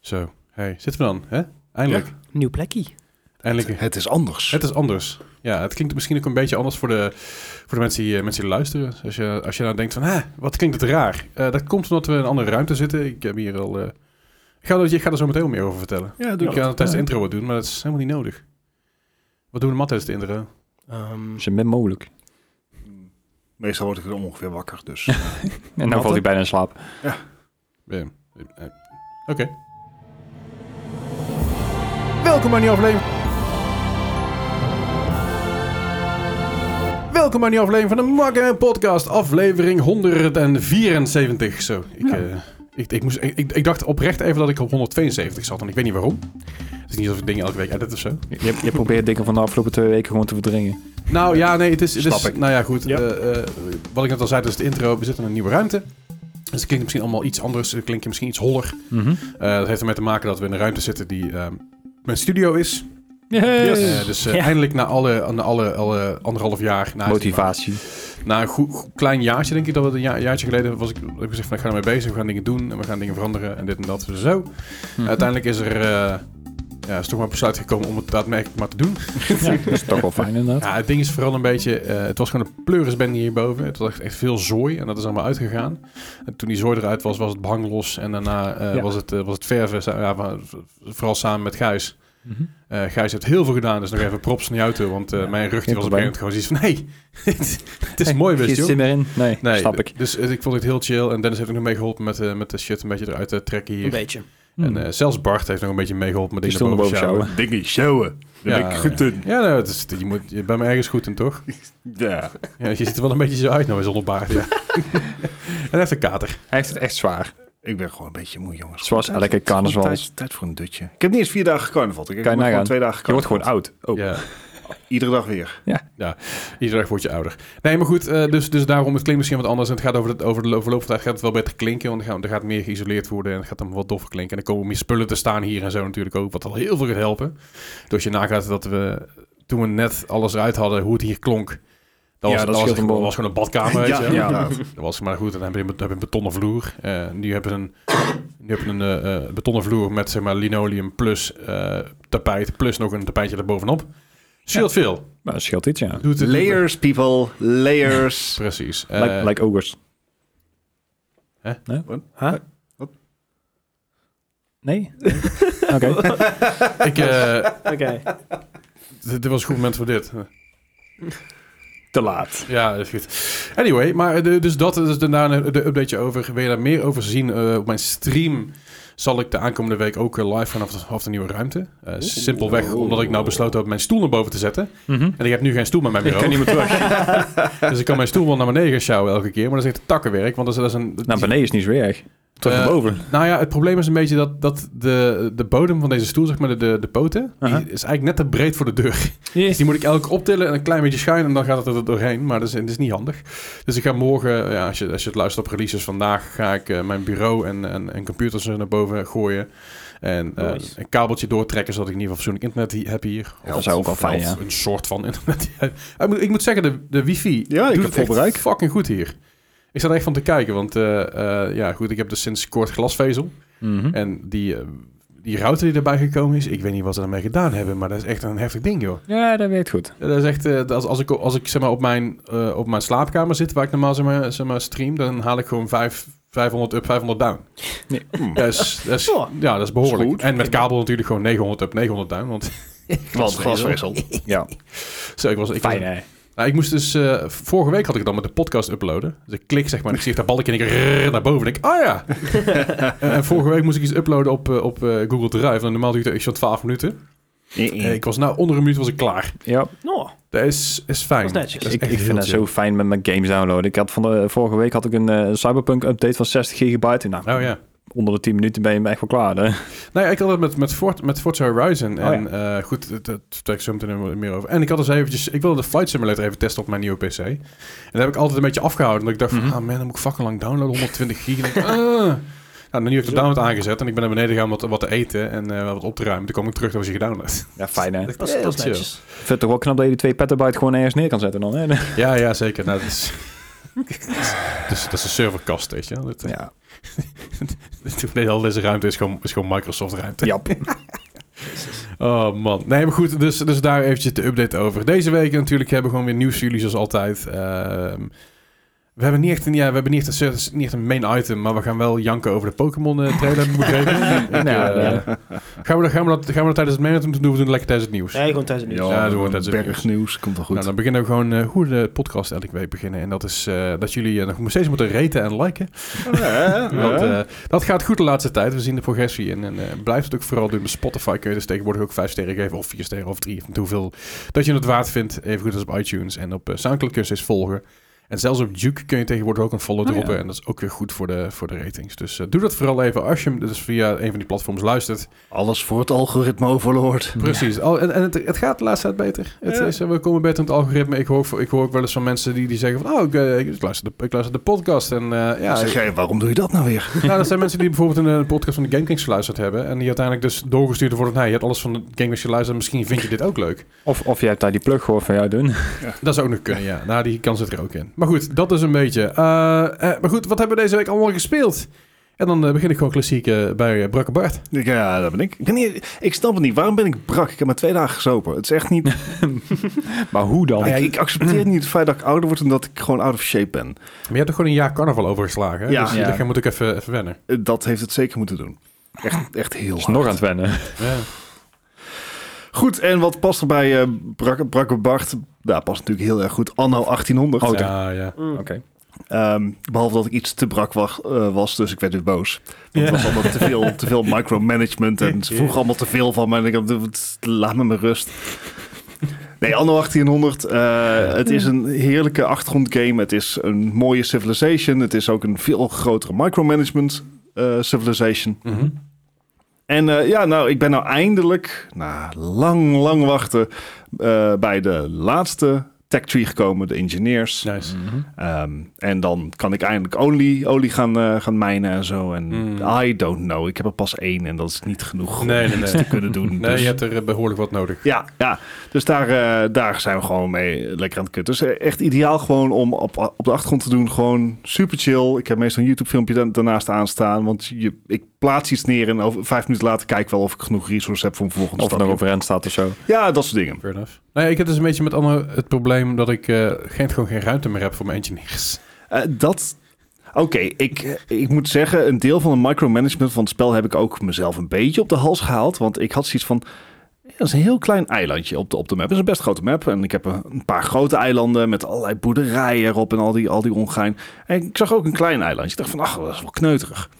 Zo, hey, zitten we dan, hè? Eindelijk. Nieuw plekje. Eindelijk. Het is anders. Het is anders. Ja, het klinkt misschien ook een beetje anders voor de, voor de mensen, die, eh, mensen die luisteren. Dus Als je, als je nou denkt van, hè, wat klinkt het raar? Eh, dat komt omdat we in een andere ruimte zitten. Ik heb hier al... eh, ik, ga, er- ik ga er zo meteen wel meer over vertellen. ja, ik ga dat tijdens de intro wat doen, maar dat is helemaal niet nodig. Wat doen we normaal tijdens de intro? Ehm, Zo min mogelijk. Meestal word ik er ongeveer wakker, dus... En dan valt hij bijna in slaap. Eh, eh, eh, Oké. Welkom bij een nieuwe aflevering. Welkom bij een nieuwe aflevering van de Makken Podcast, aflevering 174. Zo, ik, Ja. eh, ik, ik, moest, ik, ik- ik dacht oprecht even dat ik op 172 zat, en ik weet niet waarom. Het is niet alsof ik dingen elke week edit of zo. Je, je probeert dingen van de afgelopen twee weken gewoon te verdringen. Nou ja, nee, het is... Het is Snap ik. nou ja, goed. Ja. eh, eh, wat ik net al zei, dus de intro, we zitten in een nieuwe ruimte. Dus het klinkt misschien allemaal iets anders, het klinkt misschien iets holler. Eh, dat heeft ermee te maken dat we in een ruimte zitten die ehm, mijn studio is. Eh, dus eh, Ja. eindelijk na alle, na alle, alle anderhalf jaar... Na, eh, Motivatie. Na een goed, goed klein jaartje, denk ik, dat we een ja- jaartje geleden was ik, heb ik gezegd van ik ga ermee bezig, we gaan dingen doen en we gaan dingen veranderen en dit en dat. Dus zo. Mhm. Uiteindelijk is er... eh, ja, is toch maar besluit gekomen om het daadwerkelijk maar te doen. Ja, dat is toch wel fijn inderdaad. Ja, het ding is vooral een beetje... eh, het was gewoon een pleurisbende hierboven. Het was echt, echt veel zooi en dat is allemaal uitgegaan. En toen die zooi eruit was, was het behang los. En daarna eh, Ja. was, het, eh, was het verven, sa- ja, maar vooral samen met Gijs. Eh, Gijs heeft heel veel gedaan, dus nog even props naar jou toe. Want eh, Ja, mijn rug die geen was op een gegeven moment gewoon zoiets van... Nee, het is mooi, Geen wist je zin meer in? Nee, Nee, snap ik. Dus eh, ik vond het heel chill. En Dennis heeft ook nog meegeholpen met, eh, met de shit een beetje eruit te trekken een hier. beetje. Mm. Hmm. En eh, zelfs Bart heeft nog een beetje meegeholpen met Die deze stonden boven boven sjouwen. Dingen showen. Daar Ja, ben ik goed in. Ja, nou, het is, je, moet, je bent me ergens goed in, toch? Ja. Ja, je ziet er wel een beetje zo uit nou zonder baard. Ja. en hij heeft een kater. Hij heeft het echt zwaar. Ik ben gewoon een beetje moe, jongens. Zoals Tijd- elke carnaval. Tijd, tijd voor een dutje. Ik heb niet eens vier dagen carnaval. Ik heb maar gewoon nagaan. twee dagen Je wordt carnaval. gewoon oud. Oh. Ja, Iedere dag weer. iedere dag word je ouder. Nee, maar goed, eh, dus, dus daarom, het klinkt misschien wat anders. En het gaat over, het, over de lo- verloop van tijd gaat het wel beter klinken. Want er gaat, er gaat meer geïsoleerd worden en het gaat dan wat doffer klinken. En dan komen meer spullen te staan hier en zo natuurlijk ook. Wat al heel veel gaat helpen. Dus als je nagaat dat we, toen we net alles eruit hadden, hoe het hier klonk. Dat Ja, was, dat dat was, scheelt een gewoon- bol. was gewoon een badkamer, weet je wel. ja. inderdaad. Dat was maar goed. En dan heb je een, dan heb je een betonnen vloer. Eh, nu hebben ze een, nu hebben ze een eh, eh, betonnen vloer met zeg maar, linoleum plus eh, tapijt. Plus nog een tapijtje erbovenop. Scheelt veel. Maar dat scheelt iets, ja. Doet het Layers, people. Layers. Precies. Eh, Like, like ogers. Hè? Nee? Wat? Huh? Wat? Nee? Oké. ik, eh, Oké. dit dit was een goed moment voor dit. Te laat. Ja, dat is goed. Anyway, maar eh, de- dus dat is daarna een de updateje over. Wil je daar meer over zien eh, op mijn stream? Zal ik de aankomende week ook eh, live vanaf de, vanaf de nieuwe ruimte. Eh, simpelweg omdat ik nou besloten heb mijn stoel naar boven te zetten. En ik heb nu geen stoel met mij meer. Ik kan niet meer terug. Dus ik kan mijn stoel wel naar beneden gaan sjouwen elke keer. Maar dat is echt takkenwerk. Want dat is, dat is een. Nou, beneden is niet zo erg. Terug Eh, naar boven. Nou ja, het probleem is een beetje dat, dat de, de bodem van deze stoel, zeg maar de, de, de poten, Aha. die is eigenlijk net te breed voor de deur. Dus die moet ik elke keer optillen en een klein beetje schuin en dan gaat het er doorheen. Maar dat is, dat is niet handig. Dus ik ga morgen, ja, als, je, als je het luistert op releases vandaag, ga ik eh, mijn bureau en, en, en computers er naar boven gooien. En eh, Nice. een kabeltje doortrekken, zodat ik in ieder geval fatsoenlijk internet hi- heb hier. Ja, dat zou ook wel fijn, of ja. een soort van internet. ik, moet, ik moet zeggen, de, de wifi Ja, ik doet heb het vol echt bereik. fucking goed hier. Ik sta er echt van te kijken, want eh, eh, ja, goed, ik heb dus sinds kort glasvezel. Mhm. En die, eh, die router die erbij gekomen is, ik weet niet wat ze ermee gedaan hebben, maar dat is echt een heftig ding, joh. Ja, dat werkt goed. Ja, Dat is echt, eh, als, als ik, als ik zeg maar, op, mijn, eh, op mijn slaapkamer zit, waar ik normaal zeg maar, zeg maar, stream, dan haal ik gewoon vijf- 500 up, 500 down. Nee. Dat is, dat is- Ja. ja, dat is behoorlijk. Hmm. Is goed. en met kabel natuurlijk gewoon 900 up, 900 down. Want Want glasvezel. Ja, zo, ik, was, ik, was- fijn hè. nou, ik moest dus, eh, vorige week had ik dan met de podcast uploaden. Dus ik klik zeg maar, en ik zie dat balkje en ik rrrr naar boven en ik, ah ja. en, en vorige week moest ik iets uploaden op, eh, op eh, Google Drive. En normaal duurt het echt zo'n 12 minuten. Eh, ik was nou onder een minuut was ik klaar. Ja, Nou, Dat is, is fijn. Dat is netjes. is ik, echt ik heel vind dat chill. zo fijn met mijn games downloaden. Ik had van de, vorige week had ik een eh, Cyberpunk update van 60 gigabyte. Nou, Oh ja. onder de 10 minuten ben je echt wel klaar. Hè? Nou ja, ik had het met, met, Fort, met Forza Horizon. Oh en eh, goed, dat- dat vertel ik zo meteen meer over. En ik had dus eventjes... Ik wilde de Flight Simulator even testen op mijn nieuwe PC. En dat heb ik altijd een beetje afgehouden. Omdat ik dacht van, ah man, dan moet ik fucking lang downloaden. 120 gig. En ik, ah. Nou, nu heb ik de download aangezet en ik ben naar beneden gegaan om wat, wat te eten en eh, wat op te ruimen. Toen kwam ik terug, dat was je gedownload. Ja, fijn hè. dat is, Ja, dat is chill. netjes. Ik vind het toch wel knap dat je die 2 petabyte gewoon ergens neer kan zetten dan. Hè? Ja, ja, zeker. Nou, dat is... Dus dat is een serverkast, weet je. wel. Dat, Ja. Nee, al deze ruimte is gewoon, is gewoon Microsoft ruimte. Jap. Oh man. Nee, maar goed, dus, dus daar eventjes de update over. Deze week natuurlijk hebben we gewoon weer nieuws voor jullie, zoals altijd. Ehm, we hebben niet echt een, ja, we hebben niet echt een, niet echt een main item, maar we gaan wel janken over de Pokémon eh, trailer, heb ik begrepen. Ik, Nou, eh, ja. gaan, we, dat- gaan, we dat, gaan we dat tijdens het main item doen? Doen we het lekker tijdens het nieuws. Nee, gewoon thuis nu. Ja, dat wordt- dat is het berg nieuws. Komt wel goed. Nou, dan beginnen we gewoon eh, hoe de podcast elke week beginnen. En dat is eh, dat jullie eh, nog steeds moeten raten en liken. Want, eh, dat gaat goed de laatste tijd. We zien de progressie. En, en eh, blijf het ook vooral doen. Bij Spotify kun je dus tegenwoordig ook vijf sterren geven. Of vier sterren of drie. Of hoeveel dat je het waard vindt. Even goed als op iTunes. En op eh, Soundcloud kun je steeds volgen. En zelfs op Duke kun je tegenwoordig ook een follow Oh, droppen. ja. En dat is ook weer goed voor de, voor de ratings. Dus eh, doe dat vooral even als je hem dus via een van die platforms luistert. Alles voor het algoritme overlord. Precies. Al, en en het, het gaat de laatste tijd beter. Het Ja. is, eh, we komen beter in het algoritme. Ik hoor, ook- ik hoor ook wel eens van mensen die, die zeggen van... Oh, ik, eh, ik, luister de, ik luister de podcast. En eh, ja, Ja, zeg jij, waarom doe je dat nou weer? nou, dat zijn mensen die bijvoorbeeld een, eh, podcast van de Gamekings geluisterd hebben. En die uiteindelijk dus doorgestuurd worden. Nou, je hebt alles van de Gamekings geluisterd. Misschien vind je dit ook leuk. Of, of je hebt daar die plug gehoord van jou doen. Dat zou ook nog kunnen, ja. Nou, die kans zit er ook in. Maar goed, dat is een beetje. Eh, eh, maar goed, wat hebben we deze week allemaal gespeeld? En dan eh, begin ik gewoon klassiek eh, bij eh, Brakke Bart. Ik, Ja, dat ben ik. Ik, ben niet, ik snap het niet. Waarom ben ik brak? Ik heb maar twee dagen gesopen. Het is echt niet... Maar hoe dan? ik, ik accepteer niet het feit dat ik ouder word en dat ik gewoon out of shape ben. Maar je hebt er gewoon een jaar carnaval overgeslagen. Hè? Ja. Dus Ja. daar moet ik even, even wennen. Eh, Dat heeft het zeker moeten doen. Echt, echt heel is hard. nog aan het wennen. Ja. Goed, en wat past er bij eh Brak, Brakke Bart? Daar past natuurlijk heel erg goed. Anno 1800. Oh, ja, ja. Mm. Oké. Ehm, behalve dat ik iets te brak was, eh, was dus ik werd weer boos. Want Het was allemaal te veel, te veel micromanagement en ze vroegen allemaal te veel van me. En ik dacht, "Wat, laat me met rust. Nee, anno 1800. eh, het is een heerlijke achtergrondgame. Het is een mooie civilization. Het is ook een veel grotere micromanagement eh, civilization. Mhm. En eh, ja, nou, ik ben nou eindelijk, na lang, lang wachten, eh, bij de laatste tech tree gekomen, de engineers. Nice. Ehm, en dan kan ik eindelijk olie, olie gaan, eh, gaan mijnen en zo. En Mm. I don't know. Ik heb er pas één en dat is niet genoeg om Nee, nee, iets nee. te kunnen doen. Nee, Dus- je hebt er eh, behoorlijk wat nodig. ja, ja, dus daar, eh, daar zijn we gewoon mee lekker aan het kutten. Dus eh, echt ideaal gewoon om op, op de achtergrond te doen. Gewoon super chill. Ik heb meestal een YouTube filmpje da- daarnaast aanstaan. Want je, ik plaats iets neer en over vijf minuten later kijk ik wel of ik genoeg resources heb voor een volgende Of er nog stapje. overeind staat of zo. Ja, dat soort dingen. Fair enough. Nou ja, ik heb dus een beetje met Anne het probleem dat ik eh, geen, gewoon geen ruimte meer heb voor mijn engineers. Eh, dat. Oké, ik, ik moet zeggen, een deel van de micromanagement van het spel heb ik ook mezelf een beetje op de hals gehaald. Want ik had zoiets van. ja, Dat is een heel klein eilandje op de, op de map. Het is een best grote map. En ik heb een, een paar grote eilanden met allerlei boerderijen erop en al die, al die ongein. En ik zag ook een klein eilandje. Ik dacht van, ach, dat is wel kneuterig.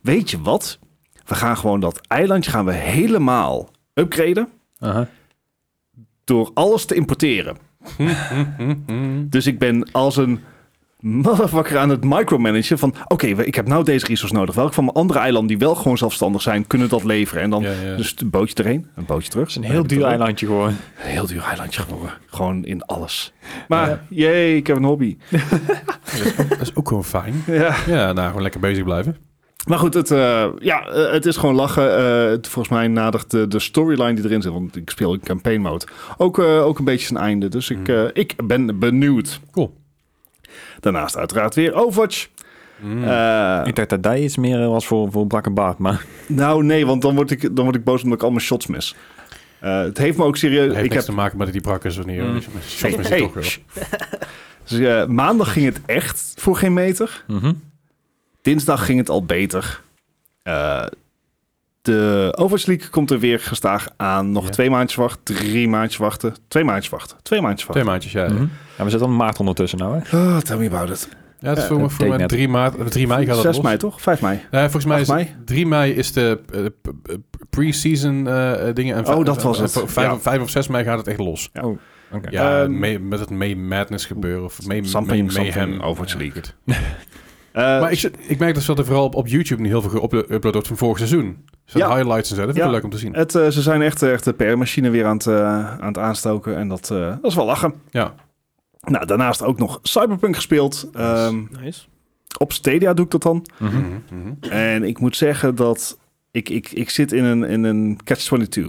Weet je wat? We gaan gewoon dat eilandje gaan we helemaal upgraden Aha. door alles te importeren. Dus ik ben als een motherfucker aan het micromanagen van... oké, we- ik heb nou deze resource nodig. Welke van mijn andere eilanden die wel gewoon zelfstandig zijn... kunnen dat leveren? En dan Ja, ja. dus een bootje erheen, een bootje terug. Het is een heel duur eilandje gewoon. Een heel duur eilandje geworden. Gewoon in alles. Maar jee, ik heb een hobby. Dat is ook gewoon fijn. Ja. Ja, nou, gewoon lekker bezig blijven. Maar goed, het, eh, ja, eh, het is gewoon lachen. Eh, het- volgens mij nadert de, de storyline die erin zit... want ik speel in campaign mode... ook, eh, ook een beetje zijn einde. Dus ik, eh, ik ben benieuwd. Mm. Cool. Daarnaast uiteraard weer Overwatch. Mm. Eh, Ik dacht dat dat iets meer eh, was voor, voor Brak en Baard, maar... Nou, nee, want dan word ik, dan word ik boos omdat ik al mijn shots mis. Eh, het heeft me ook serieus. Het heeft Ik niks heb, te maken met die brakkers of niet. hoor. Shots Hey, mis je hey, toch wel. shh. dus, eh, maandag ging het echt voor geen meter. Mhm. Dinsdag ging het al beter. Eh, de Overwatch League komt er weer gestaag aan. Nog Ja. twee maandjes wachten, drie maandjes wachten, twee maandjes wachten, twee maandjes Twee wachten. maandjes, ja. Mhm. Ja, we zitten al maart ondertussen nou, hè? Ah, tell me about it. Ja, het is Eh, voor, me- dat voor mij betekent- 3 maart, 3 mei gaat dat 6 los. mei toch? 5 mei. Nou, volgens mij is 8 3 mei is de eh, p- p- pre-season eh, eh, dingen. En vijf- Oh, dat was en het. v- Vijf, Ja. vijf of 6 mei gaat het echt los. Ja. Oh, oké. Ja, Ehm, May- met het May Madness gebeuren. Of May, Something, May Mayhem. something, Overwatch Ja, League. goed. Eh, maar ik, ik merk dus dat er vooral op, op YouTube nu heel veel geüpload wordt van vorig seizoen. Dus dat Ja. highlights en zo. Dat vind ik Ja. wel leuk om te zien. het, eh, ze zijn echt, echt de PR-machine weer aan het, eh, aan het aanstoken. En dat, eh, dat is wel lachen. Ja. Nou, daarnaast ook nog Cyberpunk gespeeld. Ehm, Nice. op Stadia doe ik dat dan. Mhm. Mhm, mhm. En ik moet zeggen dat ik, ik, ik zit in een, in een catch-22.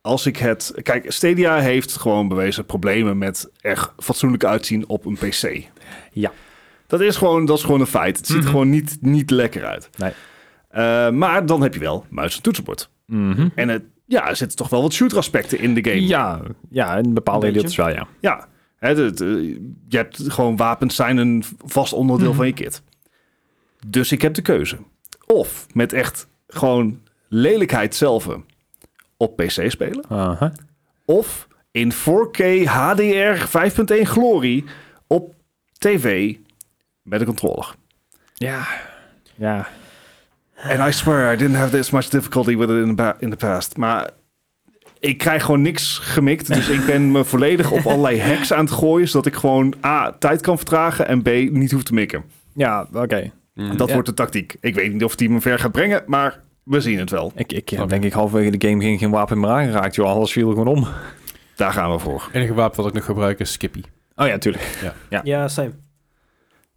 Als ik het... Kijk, Stadia heeft gewoon bewezen problemen met er fatsoenlijk uitzien op een PC. Ja. Dat is gewoon, dat is gewoon een feit. Het ziet er Mhm. gewoon niet, niet lekker uit. Nee. Eh, maar dan heb je wel muis en toetsenbord. Mhm. En het, ja, er zitten toch wel wat shooter-aspecten in de game. Ja, ja, in bepaalde Een beetje. deeltjes wel, ja. Ja, hè, het, eh, je hebt gewoon wapens zijn een vast onderdeel van je kit. Dus ik heb de keuze. Of met echt gewoon lelijkheid zelf op PC spelen. Aha. Of in 4K HDR 5.1 glorie op tv met een controller. Ja. Ja. And I swear I didn't have this much difficulty with it in the, ba- in the past. Maar ik krijg gewoon niks gemikt. Dus ik ben me volledig op allerlei hacks aan het gooien. Zodat ik gewoon A, tijd kan vertragen en B, niet hoef te mikken. Ja, oké. Dat Mm. Ja. wordt de tactiek. Ik weet niet of die me ver gaat brengen, maar we zien het wel. Ik, ik Oké. denk ik halverwege de game ging geen wapen meer aangeraakt, joh. Alles viel er gewoon om. Daar gaan we voor. enige wapen wat ik nog gebruik is Skippy. Oh ja, tuurlijk. Ja, same.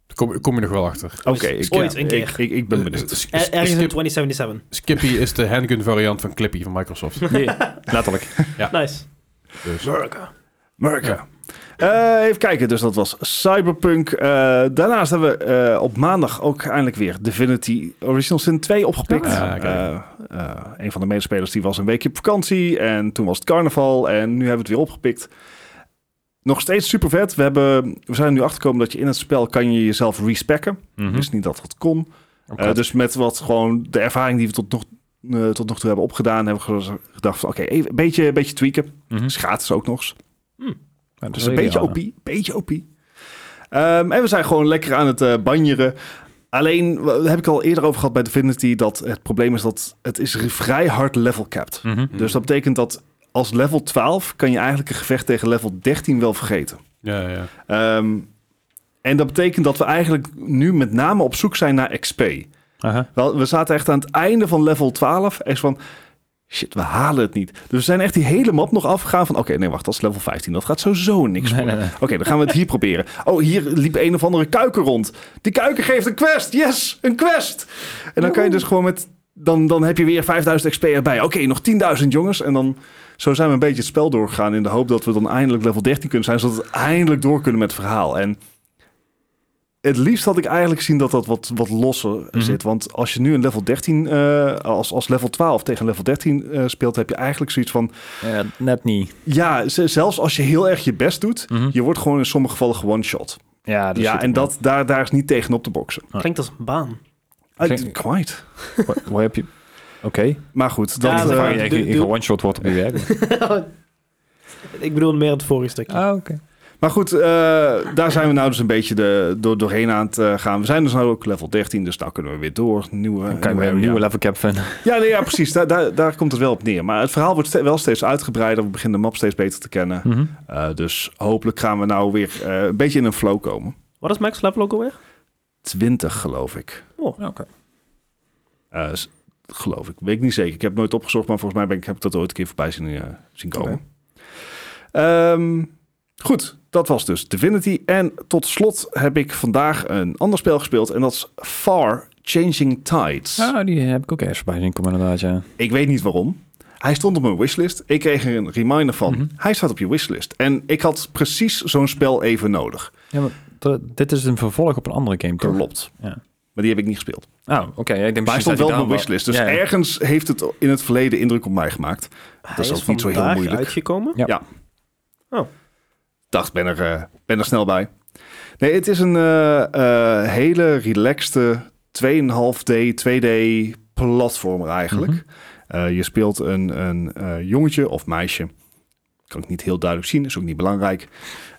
Daar kom, kom je nog wel achter. Eh, Oké, Ooit- ik, ooit ja, een keer. ik, ik, ik ben benieuwd. S- s- Er- Ergens in Skip- 2077. Skippy is de handgun variant van Clippy van Microsoft. Letterlijk. Nice. Dus. Merken. even kijken, dus dat was Cyberpunk. Eh, daarnaast hebben we eh, op maandag ook eindelijk weer Divinity Original Sin 2 opgepikt. Ah, kijk. Eh, eh, een van de medespelers die was een weekje op vakantie en toen was het carnaval en nu hebben we het weer opgepikt. Nog steeds super vet. We, hebben, we zijn er nu achtergekomen dat je in het spel kan je jezelf respecken. Mhm. Ik Dus, wist niet dat dat kon. Oké. Eh, dus met wat gewoon de ervaring die we tot nog, eh, tot nog toe hebben opgedaan, hebben we ge- gedacht van oké, even een beetje, een beetje tweaken. Mhm. Is gratis ook nog eens. Oh, Ja, dat Dus is een beetje ideaal, OP, beetje OP. Ehm, en we zijn gewoon lekker aan het eh, banjeren. Alleen, w- daar heb ik al eerder over gehad bij Divinity, dat het probleem is dat het is r- vrij hard level capped. ja. Mhm. Hmm. Dus dat betekent dat als level 12 kan je eigenlijk een gevecht tegen level 13 wel vergeten. Ja, ja. Ehm, en dat betekent dat we eigenlijk nu met name op zoek zijn naar XP. Aha. Wel, we zaten echt aan het einde van level 12. Echt van, shit, we halen het niet. Dus we zijn echt die hele map nog afgegaan van... Oké, nee, wacht, dat is level 15. Dat gaat sowieso niks worden. Oké, dan gaan we het hier proberen. Oh, hier liep een of andere kuiker rond. Die kuiker geeft een quest. Yes, een quest. En dan kan je dus gewoon met... Dan, dan heb je weer 5000 XP erbij. Oké, nog 10.000 jongens. En dan zo zijn we een beetje het spel doorgegaan... in de hoop dat we dan eindelijk level 13 kunnen zijn... zodat we eindelijk door kunnen met het verhaal. En het liefst had ik eigenlijk zien dat dat wat, wat losser Mhm. zit. Want als je nu een level 13, eh, als, als level 12 tegen level 13 eh, speelt, heb je eigenlijk zoiets van. Ja, net niet. Ja, z- zelfs als je heel erg je best doet, Mhm. je wordt gewoon in sommige gevallen one-shot. Ja, dus dat is Ja, goed. en dat, daar, daar is niet tegen op te boksen. Klinkt als een baan. Uh, Zeker. quite. Waar, waar heb je... Oké. Maar goed, dat, Ja, eh, dat Waar doe- je echt in doe- one-shot wordt op je werk. Ik bedoel meer het vorige stukje. Ah, oké. maar goed eh, daar zijn we nou dus een beetje de, door, doorheen aan het eh, gaan. We zijn dus nu ook level 13, dus nou kunnen we weer door. Nieuwe, Dan kan je weer een area. nieuwe level cap vinden. Ja, nee, ja precies. Daar, daar, daar komt het wel op neer. Maar het verhaal wordt ste- wel steeds uitgebreider. We beginnen de map steeds beter te kennen. Mhm. Eh, dus hopelijk gaan we nou weer eh, een beetje in een flow komen. Wat is Max level ook alweer? 20 geloof ik. Oh, Oké. Eh, s- geloof ik. Weet ik niet zeker. Ik heb het nooit opgezocht, maar volgens mij ben ik, heb ik dat ooit een keer voorbij zien, eh, zien komen. Ehm, goed, dat was dus Divinity. En tot slot heb ik vandaag een ander spel gespeeld. En dat is Far Changing Tides. Nou, die heb ik ook eerst voorbij zien komen inderdaad, ja. Ik weet niet waarom. Hij stond op mijn wishlist. Ik kreeg er een reminder van. Mhm. Hij staat op je wishlist. En ik had precies zo'n spel even nodig. ja maar d- dit is een vervolg op een andere game, toch? Klopt. Ja. Maar die heb ik niet gespeeld. Oh, oké. ja, ik denk Maar hij stond precies wel dat op hij mijn daar- wishlist. Dus Ja, ja. ergens heeft het in het verleden indruk op mij gemaakt. Hij is ook niet zo heel vandaag moeilijk. uitgekomen. Dacht, ben er, eh, ben er snel bij. Nee, het is een eh, eh, hele relaxte 2,5D, 2D platformer eigenlijk. Mhm. Eh, je speelt een, een eh, jongetje of meisje. Kan ik niet heel duidelijk zien, is ook niet belangrijk.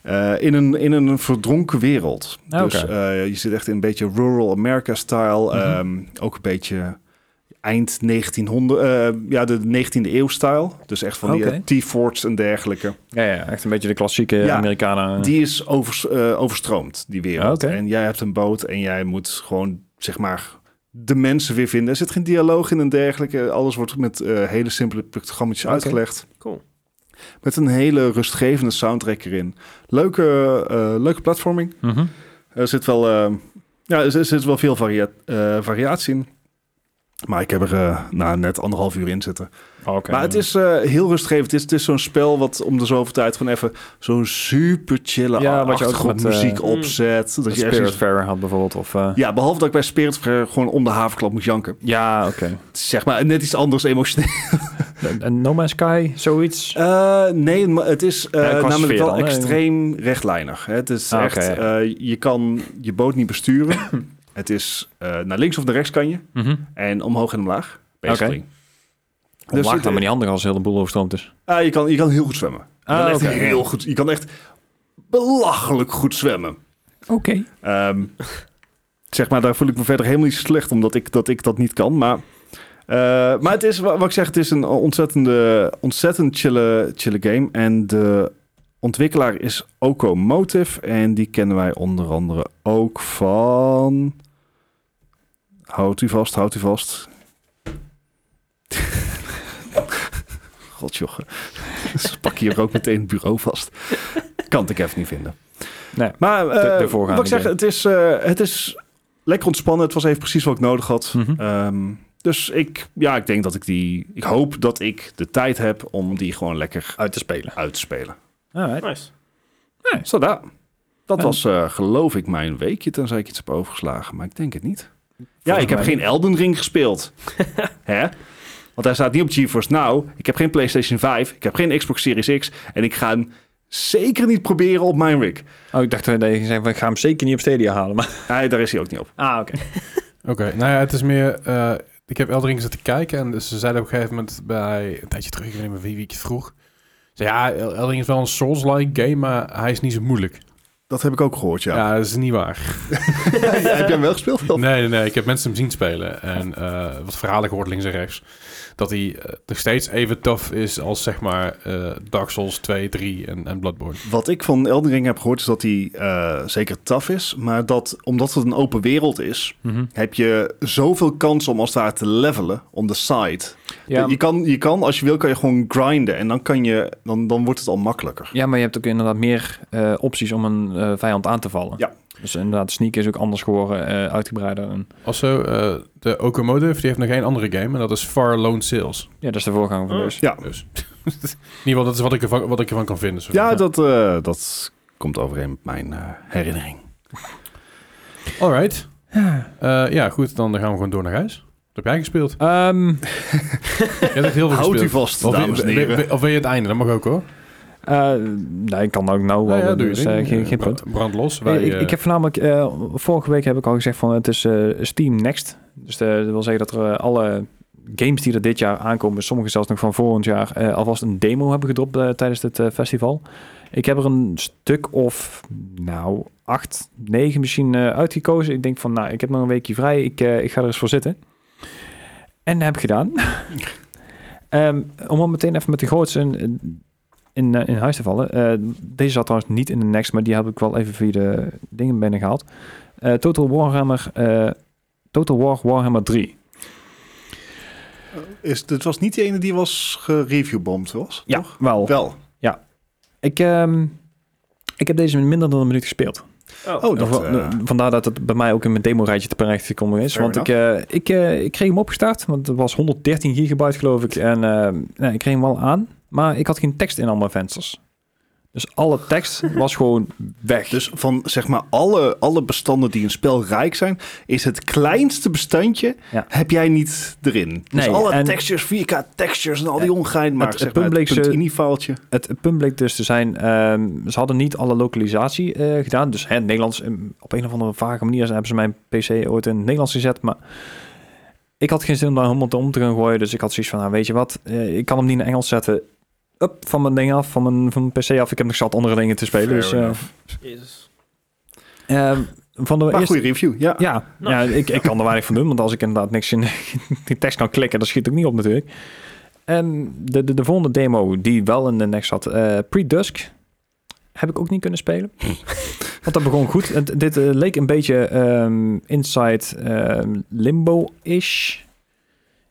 Eh, in, een, in een verdronken wereld. Ah, Dus oké. eh, je zit echt in een beetje rural America-style. Mhm. ehm, ook een beetje eind 1900, eh, ja, de 19e eeuw-style. Dus echt van die Oké. eh, T-forts en dergelijke. Ja, ja, echt een beetje de klassieke Ja, Amerikanen. Die is overs- eh, overstroomd, die wereld. Ah, oké. En jij hebt een boot en jij moet gewoon, zeg maar, de mensen weer vinden. Er zit geen dialoog in en dergelijke. Alles wordt met eh, hele simpele programma's Oké. uitgelegd. Cool. Met een hele rustgevende soundtrack erin. Leuke, eh, leuke platforming. Mhm. Er zit wel, eh, ja, er zit wel veel varia- eh, variatie in. Maar ik heb er eh, nou, net anderhalf uur in zitten. Oh, oké. Maar het is eh, heel rustgevend. Het is, het is zo'n spel wat om de zoveel tijd gewoon even zo'n super chille Ja, wat je ook achtergrondmuziek met, eh, opzet. dat Dat je echt Spirit zoiets- Fair had bijvoorbeeld. Of, eh, ja, behalve dat ik bij Spirit Fair gewoon om de haverklap moet janken. ja, oké. Het is Zeg maar net iets anders emotioneel. En- En No Man's Sky, zoiets. Eh, nee, maar het is eh, Ja, qua namelijk sfeer wel dan, hè? extreem rechtlijnig. Hè? Het is Ah, echt, oké, ja. eh, je kan je boot niet besturen. het is eh, naar links of naar rechts kan je. Mhm. En omhoog en omlaag. Basically. Dus Omlaag het- dan maar niet handig als heel de boel overstroomt is. Ah, je, kan, je kan heel goed zwemmen. Je kan Ah, echt oké. heel goed. Je kan echt belachelijk goed zwemmen. Oké. Ehm, zeg maar, daar voel ik me verder helemaal niet slecht omdat ik dat, ik dat niet kan. Maar, eh, maar het is, wa- wat ik zeg, het is een ontzettende, ontzettend chille, chille game. En de ontwikkelaar is Oko Motive. En die kennen wij onder andere ook van... Houd u vast, houd u vast. Godjoche. Ze pak hier ook meteen het bureau vast. Kan ik even niet vinden. Nee, maar eh, de wat voorgaande ik zeg, game. het is, eh, het is lekker ontspannen. Het was even precies wat ik nodig had. Mhm. Ehm, dus ik, ja, ik denk dat ik die... Ik hoop dat ik de tijd heb om die gewoon lekker Uit te spelen. uit te spelen. Alright. Nice. Zodat. Dat Ja. was, eh, geloof ik, mijn weekje. Tenzij ik iets heb overgeslagen, maar ik denk het niet. ja, Volgens ik heb mij geen Elden Ring gespeeld. Hè? Want hij staat niet op GeForce Now. Ik heb geen PlayStation 5. Ik heb geen Xbox Series X. En ik ga hem zeker niet proberen op mijn rig. Oh, ik dacht dat je zei van ik ga hem zeker niet op Stadia halen. Maar... Nee, daar is hij ook niet op. Ah, oké. Oké, nou ja, het is meer... eh, ik heb Eldering zitten kijken en ze zeiden op een gegeven moment bij... Een tijdje terug, ik weet niet meer wie, wie ik het vroeg. Ze zei, ja, Eldering is wel een Souls-like game, maar hij is niet zo moeilijk. Dat heb ik ook gehoord, Ja, dat is niet waar. heb jij hem wel gespeeld? Nee, nee, nee, ik heb mensen hem zien spelen. En eh, wat verhalen gehoord links en rechts. Dat hij eh, nog steeds even tough is als, zeg maar, eh, Dark Souls 2, 3 en, en Bloodborne. Wat ik van Elden Ring heb gehoord is dat hij eh, zeker tough is. Maar dat omdat het een open wereld is, Mhm. heb je zoveel kans om als het ware te levelen on the side. Ja, Je, kan, je kan, als je wil, kan je gewoon grinden. En dan, kan je, dan, dan wordt het al makkelijker. ja, maar je hebt ook inderdaad meer eh, opties om een eh, vijand aan te vallen. Ja. Dus inderdaad, sneak is ook anders geworden, eh, uitgebreider. En, Also, eh, de Okomotive, die heeft nog één andere game. En dat is Far Lone Sales. ja, dat is de voorganger van Oh. deze. Ja, Dus, in ieder geval, dat is wat ik ervan, wat ik ervan kan vinden. zo. ja dat, eh, dat komt overeen met mijn eh, herinnering. Alright. Eh, ja, goed. Dan gaan we gewoon door naar huis. Wat heb jij gespeeld? Ehm, Je hebt echt heel veel Houdt u gespeeld. vast, Of wil- dames en wil- heren. wil- Of wil je het einde? Dat mag ook hoor. eh, nee, ik kan ook nou wel. Nou ja, doe je dus, eh, ding. geen, geen Eh, punt. Brand los. Wij, ik, eh, ik heb voornamelijk, eh, vorige week heb ik al gezegd van het is eh, Steam Next. Dus eh, dat wil zeggen dat er eh, alle games die er dit jaar aankomen, sommige zelfs nog van volgend jaar, eh, alvast een demo hebben gedropt eh, tijdens dit eh, festival. Ik heb er een stuk of, nou, acht, negen misschien eh, uitgekozen. Ik denk van, nou, ik heb nog een weekje vrij, ik, eh, ik ga er eens voor zitten. En dat heb ik gedaan. Ehm, om al meteen even met de grootste in, in, eh, in huis te vallen. Eh, deze zat trouwens niet in de next, maar die heb ik wel even via de dingen binnengehaald. Eh Total Warhammer, eh, Total War Warhammer 3. Is, dit was niet die ene die was gereviewbomd, was? Ja, wel. Wel. Ik, ehm, ik heb deze in minder dan een minuut gespeeld. Oh. Oh, dat, En va- eh, Vandaar dat het bij mij ook in mijn demo-rijtje terecht gekomen is. Fair Want ik, eh, ik, eh, ik kreeg hem opgestart, want het was 113 gigabyte geloof ik. En eh, nou, ik kreeg hem wel aan, maar ik had geen tekst in al mijn vensters. Dus alle tekst was gewoon weg. Dus van zeg maar alle, alle bestanden die een spel rijk zijn, is het kleinste bestandje Ja. heb jij niet erin. Dus Nee, alle en- textures, 4K textures en al die ongein, maar het zeg maar punt het bleek ze- punt ini-foutje. Het punt bleek dus te zijn, ehm, ze hadden niet alle lokalisatie eh, gedaan. Dus hè, het Nederlands, ehm, op een of andere vage manier hebben ze mijn PC ooit in het Nederlands gezet. Maar ik had geen zin om daar helemaal te om te gaan gooien. Dus ik had zoiets van, nou, weet je wat, eh, ik kan hem niet in Engels zetten. Up, van mijn ding af, van mijn, van mijn PC af. Ik heb nog zat andere dingen te spelen. Fair dus, eh, enough. Jezus. ehm, van de Maar eerste- goede review, ja. ja, Nou. ja ik, ik kan er weinig van doen, want als ik inderdaad niks in die tekst kan klikken, dan schiet ik niet op natuurlijk. En de, de, de volgende demo die wel in de next zat, eh, Pre-Dusk, heb ik ook niet kunnen spelen. want dat begon goed. Het, dit eh, leek een beetje ehm, Inside ehm, Limbo-ish.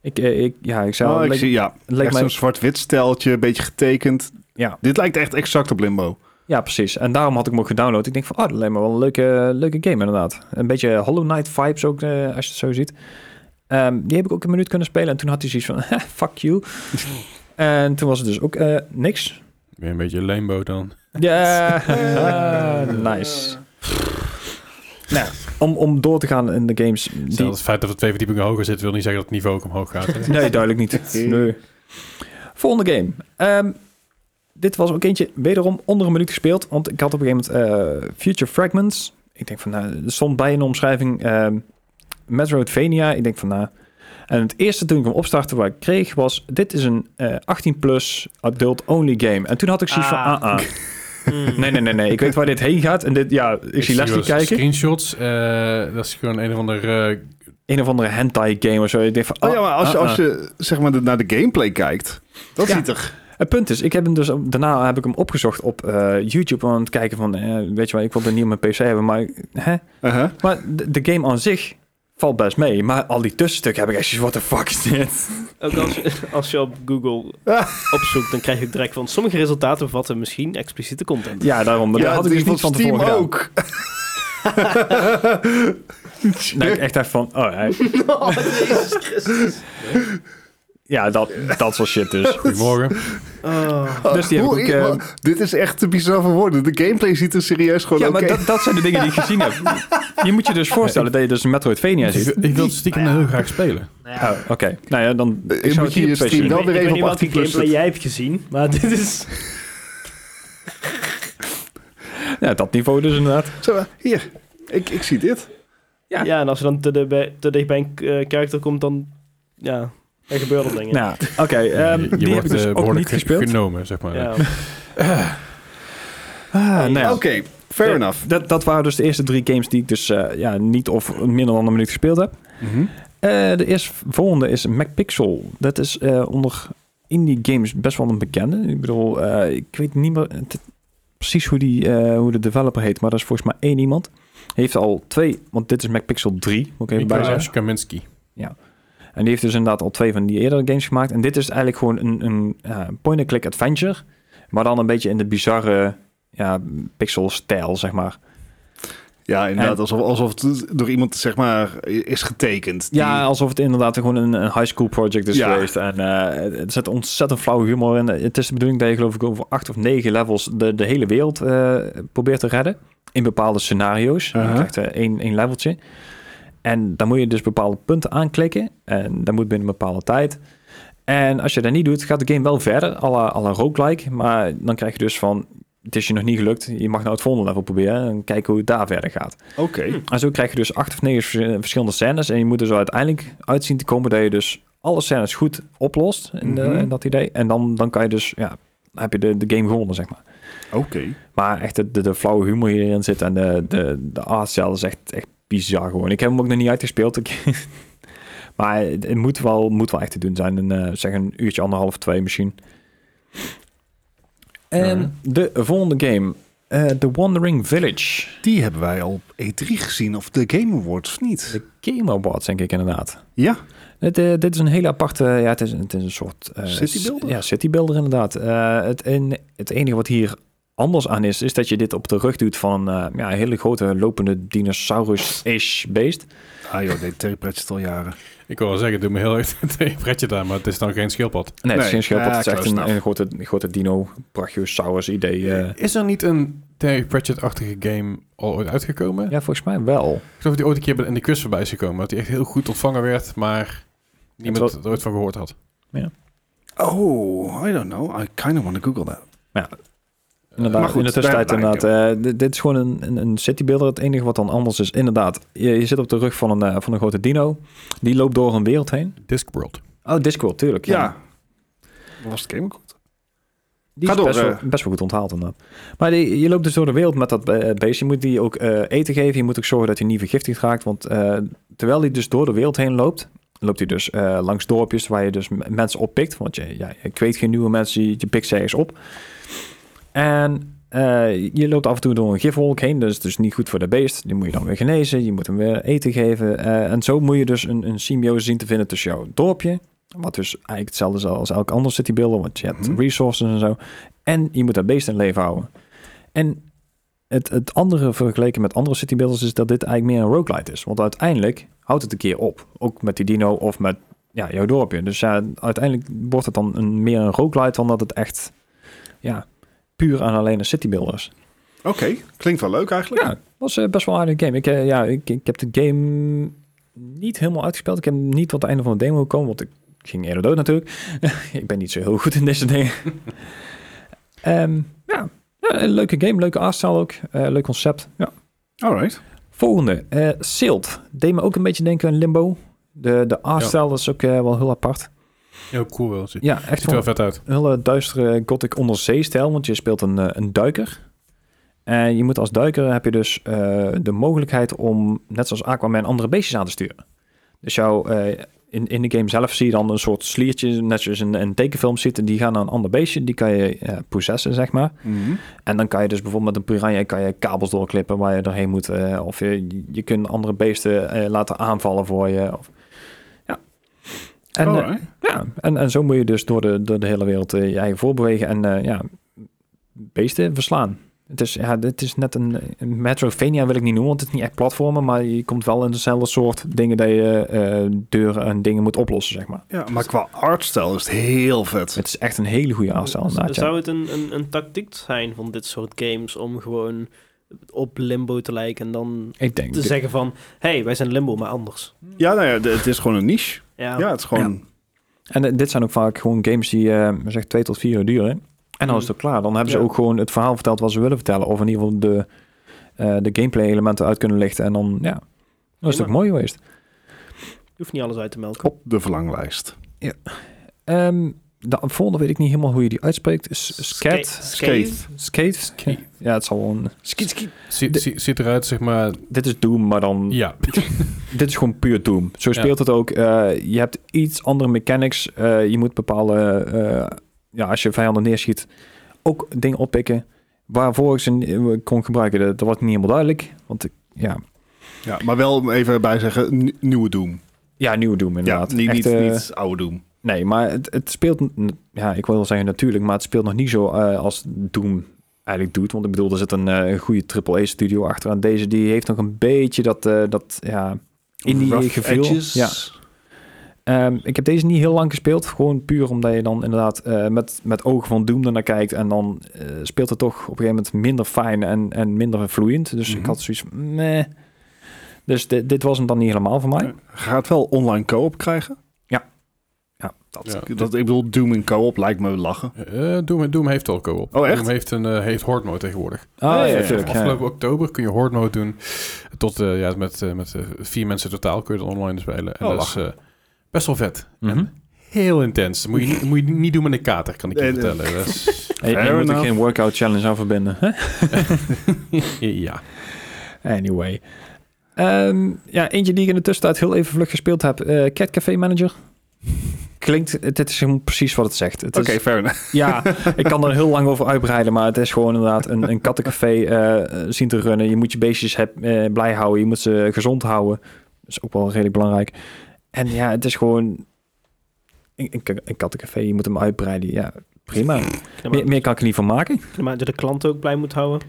Ik, eh, ik, ja, ik zou... Oh, ik leek- zie, ja. leek echt mij- zo'n zwart-wit steltje, een beetje getekend. Ja. Dit lijkt echt exact op Limbo. Oh, Ja, precies. En daarom had ik hem ook gedownload. Ik denk van, oh, dat lijkt me wel een leuke, leuke game inderdaad. Een beetje Hollow Knight vibes ook, eh, als je het zo ziet. Ehm, die heb ik ook een minuut kunnen spelen. En toen had hij zoiets van, "Ha, fuck you. en toen was het dus ook eh, niks. Weer een beetje lambo dan. Ja, eh, nice. Nou, om, om door te gaan in de games. Stel, Die... Het feit dat we twee verdiepingen hoger zitten, wil niet zeggen dat het niveau ook omhoog gaat. hè? Nee, duidelijk niet. Nee. Volgende game. Ehm, dit was ook eentje wederom onder een minuut gespeeld. Want ik had op een gegeven moment eh, Future Fragments. Ik denk van, nou, er stond bij in de omschrijving ehm Metroidvania. Ik denk van, nou... En het eerste toen ik hem opstartte wat ik kreeg was... Dit is een eh, 18-plus adult-only game. En toen had ik zoiets Ah. van, ah, ah. Hmm. Nee, nee, nee, nee. Ik weet waar dit heen gaat. En dit, ja, ik, zie wel Leslie eens kijken. Screenshots. eh, dat is gewoon een of ander... eh, Een of andere hentai game of zo. Ik denk van, Oh ah, ja, maar als je, ah, als ah. je zeg maar de- naar de gameplay kijkt, dat Ja. ziet er... Het punt is, ik heb hem dus daarna heb ik hem opgezocht op eh, YouTube om te kijken van, eh, weet je wel, ik wil er niet op mijn PC hebben, maar, hè? Uh-huh. maar de, de game aan zich valt best mee, maar al die tussenstukken heb ik echt zoiets, what the fuck is dit? Ook als je, als je op Google opzoekt, dan krijg je het direct van... Sommige resultaten bevatten misschien expliciete content. Ja, daarom, maar Ja, daar had ik die dus niet van Steam tevoren ook. ook. gedaan. Dat ik echt echt van, oh, hè. ja, dat, dat soort shit dus. goedemorgen. Oh. Nou Dus die heb Hoe ik ook, is- eh, maar dit is echt te bizar voor woorden. De gameplay ziet er serieus gewoon Ja, oké maar dat, dat zijn de dingen die ik gezien heb. Je moet je dus voorstellen dat je dus een Metroidvania ziet. Ik wil het stiekem heel graag spelen. Oh, oké. Nou ja, dan... Eh, zou moet het je hier je op PC stream doen. wel Ik weet- weer ik even weet niet op welke 18 plus gameplay jij hebt gezien, maar dit is... Ja, dat niveau dus inderdaad. Zo, eh, hier, ik, ik zie dit. Ja. Ja, en als je dan te, de, bij- te dicht bij een eh, karakter komt, dan... Ja, er gebeuren dingen. Nou, oké. ehm, je die heb wordt ik eh, dus ook niet behoorlijk ge- gespeeld. genomen, zeg maar. Ja. Ah, nou ja. Oké, fair Ja, enough. Dat, dat waren dus de eerste drie games die ik dus eh, ja, niet of minder dan een minuut gespeeld heb. Mhm. Eh, de eerste volgende is MacPixel. Dat is eh, onder indie games best wel een bekende. Ik bedoel, eh, ik weet niet meer het- precies hoe, die, eh, hoe de developer heet, maar dat is volgens mij één iemand. Heeft al twee, want dit is MacPixel 3, moet ik even bij Nicolas zeggen. eh, Kaminski. En die heeft dus inderdaad al twee van die eerdere games gemaakt. En dit is eigenlijk gewoon een, een ja, point-and-click adventure. Maar dan een beetje in de bizarre ja, pixel-stijl, zeg maar. Ja, inderdaad. En- Alsof, alsof het door iemand zeg maar is getekend. Die- Ja, alsof het inderdaad gewoon een, een high school project is Ja. geweest. En eh, er zit ontzettend flauwe humor in. Het is de bedoeling dat je geloof ik over acht of negen levels de, de hele wereld eh, probeert te redden. In bepaalde scenario's. Uh-huh. Je krijgt eh, één, één leveltje. En dan moet je dus bepaalde punten aanklikken. En dat moet binnen een bepaalde tijd. En als je dat niet doet, gaat de game wel verder. à la- à la roguelike. Maar dan krijg je dus van... Het is je nog niet gelukt. Je mag nou het volgende level proberen. En kijken hoe het daar verder gaat. Oké. En zo krijg je dus acht of negen vers- verschillende scènes. En je moet er zo uiteindelijk uitzien te komen dat je dus alle scènes goed oplost. In, de- Mhm. in dat idee. En dan, dan kan je dus, ja, dan heb je de, de game gewonnen, zeg maar. Oké. Maar echt de, de, de flauwe humor hierin zit en de, de, de art zelf is echt, echt bizar gewoon. Ik heb hem ook nog niet uitgespeeld. Ik, maar het het moet wel, moet wel echt te doen zijn. Een, eh, zeg een uurtje, anderhalf, twee misschien. En de volgende game. eh, The Wandering Village. Die hebben wij al op E3 gezien. Of de Game Awards of niet. De Game Awards, denk ik inderdaad. Ja. Het, eh, dit is een hele aparte, ja, het is, het is een soort... eh, Citybuilder? Ja, citybuilder inderdaad. Eh, het, en, het enige wat hier anders aan is, is dat je dit op de rug doet van eh, ja, een hele grote lopende dinosaurus-ish beest. Ah joh, deed Terry Pratchett al jaren. Ik wil wel zeggen, het doet me heel erg een pretje aan, maar het is dan geen schildpad. Nee, het Nee, is geen schildpad, ja, het is echt close een, enough. een grote, een grote dino brachiosaurus idee. eh. Is er niet een Terry Pratchett-achtige game al ooit uitgekomen? Ja, volgens mij wel. Ik geloof dat die ooit een keer in de quiz voorbij is gekomen. Dat die echt heel goed ontvangen werd, maar niemand er ooit van gehoord had. Oh, I don't know. I kind of want to google that. Inderdaad, Maar goed, in de tussentijd daar- daar- inderdaad. eh, dit- dit is gewoon een, een, een citybuilder. Het enige wat dan anders is, inderdaad, je, je zit op de rug van een, eh, van een grote dino. Die loopt door een wereld heen. Eh, Discworld. Oh, Discworld, tuurlijk. Ja. Was het Game Award? Die Ga is door, best, wel, eh. best wel goed onthaald inderdaad. Maar die, je loopt dus door de wereld met dat eh, beest. Je moet die ook eh, eten geven. Je moet ook zorgen dat hij niet vergiftigd raakt. Want eh, terwijl hij dus door de wereld heen loopt... loopt hij dus eh, langs dorpjes waar je dus m- mensen oppikt. Want je, ja, je kweet geen nieuwe mensen, je, je pikt ze ergens op. En eh, je loopt af en toe door een gifwolk heen. Dat is dus niet goed voor de beest. Die moet je dan weer genezen. Je moet hem weer eten geven. Eh, en zo moet je dus een, een symbiose zien te vinden tussen jouw dorpje... Wat dus eigenlijk hetzelfde is als elk ander citybuilder. Want je hebt Mhm. resources en zo. En je moet dat beest in leven houden. En het, het andere vergeleken met andere citybuilders is dat dit eigenlijk meer een roguelite is. Want uiteindelijk houdt het een keer op. Ook met die dino of met ja, jouw dorpje. Dus ja, uiteindelijk wordt het dan een, meer een roguelite dan dat het echt ja, puur aan alleen een citybuilder is. Oké, klinkt wel leuk eigenlijk. Ja, het was eh, best wel een aardige game. Ik, eh, ja, ik, ik heb de game niet helemaal uitgespeeld. Ik heb niet tot het einde van de demo gekomen, want ik ging eerder dood natuurlijk. ik ben niet zo heel goed in deze dingen. Ehm, ja. ja, een leuke game, leuke artstyle ook, eh, leuk concept. Ja. Alright. Volgende, eh Silt. Deed me ook een beetje denken aan Limbo. De, de artstyle is ook eh, wel heel apart. Heel cool wel. Ziet, Ja, echt ziet er wel wel vet uit. een hele duistere gothic onderzeestijl, want je speelt een, eh, een duiker. En je moet als duiker heb je dus eh, de mogelijkheid om, net zoals Aquaman, andere beestjes aan te sturen. Dus jouw, eh, in, in de game zelf zie je dan een soort sliertje, net zoals in een tekenfilm ziet, en die gaan naar een ander beestje, die kan je eh possessen, zeg maar. Mhm. En dan kan je dus bijvoorbeeld met een piranha kan je kabels doorklippen waar je doorheen moet. eh, of je, je kunt andere beesten eh, laten aanvallen voor je. Of, ja. En, eh, Alright. ja, en, en zo moet je dus door de, door de hele wereld eh, je eigen voorbewegen en eh, ja, beesten verslaan. Het is, ja, het is net een, een Metroidvania wil ik niet noemen, want het is niet echt platformen, maar je komt wel in dezelfde soort dingen dat je eh, deuren en dingen moet oplossen, zeg maar. ja, maar qua artstijl is het heel vet. Het is echt een hele goede aanstel. inderdaad, ja. Dus- Zou het een, een, een tactiek zijn van dit soort games om gewoon op Limbo te lijken en dan Ik denk, te zeggen van... hey, wij zijn Limbo, maar anders. Ja, nou ja, d- het is gewoon een niche. Ja, Ja, het is gewoon... En eh, dit zijn ook vaak gewoon games die eh zeg, twee tot vier uur duren. En dan is het ook klaar. Dan hebben ze Ja. ook gewoon het verhaal verteld wat ze willen vertellen. Of in ieder geval de, eh, de gameplay elementen uit kunnen lichten. En dan, ja, dan is het ook Prima. mooi geweest. je hoeft niet alles uit te melken. Op de verlanglijst. Ehm de volgende weet ik niet helemaal hoe je die uitspreekt. S- Skate. Scat? Skate. Skate? Ja, het zal wel een... Ziet, De- ziet, ziet eruit, zeg maar. Dit is Doom, maar dan... Ja, Dit is gewoon puur Doom. Zo speelt het ook. Eh, je hebt iets andere mechanics. Eh, je moet bepalen, eh, ja, als je vijanden neerschiet, ook dingen oppikken. Waarvoor ik ze n- kon gebruiken, dat, dat was niet helemaal duidelijk. Want ik- ja, Ja, maar wel even bij zeggen, n- nieuwe Doom. ja nieuwe Doom Ja, inderdaad. niet, Echt, niet, eh, niet oude Doom. Nee, maar het, het speelt, n- ja, ik wil wel zeggen natuurlijk, maar het speelt nog niet zo eh, als Doom eigenlijk doet. Want ik bedoel, er zit een eh, goede AAA-studio achter. En deze, die heeft nog een beetje dat, eh, dat ja, indie Rough gevoel. Edges. Ja. Ehm, ik heb deze niet heel lang gespeeld. Gewoon puur omdat je dan inderdaad eh, met, met ogen van Doom ernaar kijkt. En dan eh, speelt het toch op een gegeven moment minder fijn en, en minder vloeiend. Dus ik Mhm. had zoiets van, meh. Dus dit, dit was hem dan niet helemaal voor mij. Nee. Gaat wel online co-op krijgen? Ja, dat. Ja. Dat, ik bedoel, Doom in co-op lijkt me lachen. Eh, Doom, Doom heeft al co-op. Oh, echt? Doom heeft, een, eh, heeft horde mode tegenwoordig. Ah, ja, ja, natuurlijk. ja. Afgelopen oktober kun je horde mode doen. Tot, eh, ja, met, eh, met eh, vier mensen totaal kun je dan online spelen. En Oh, dat is eh, best wel vet. Mhm. En heel intens. Dat moet je, niet- moet je niet doen met een kater, kan ik je Nee, nee. vertellen. Dat is- En je- en je Fair moet er enough. geen workout challenge aan verbinden. hè? ja. Anyway. Ehm, ja, eentje die ik in de tussentijd heel even vlug gespeeld heb. eh Cat Café Manager. Klinkt, eh, dit is helemaal precies wat het zegt. Het Oké, is, fair enough. ja, ik kan er heel lang over uitbreiden, maar het is gewoon inderdaad een, een kattencafé eh, zien te runnen. Je moet je beestjes heb, eh, blij houden, je moet ze gezond houden. Dat is ook wel redelijk belangrijk. En ja, het is gewoon een, een, een kattencafé, je moet hem uitbreiden. Ja, prima. Meer, meer kan ik er niet van maken. Maar dat je de klant ook blij moet houden.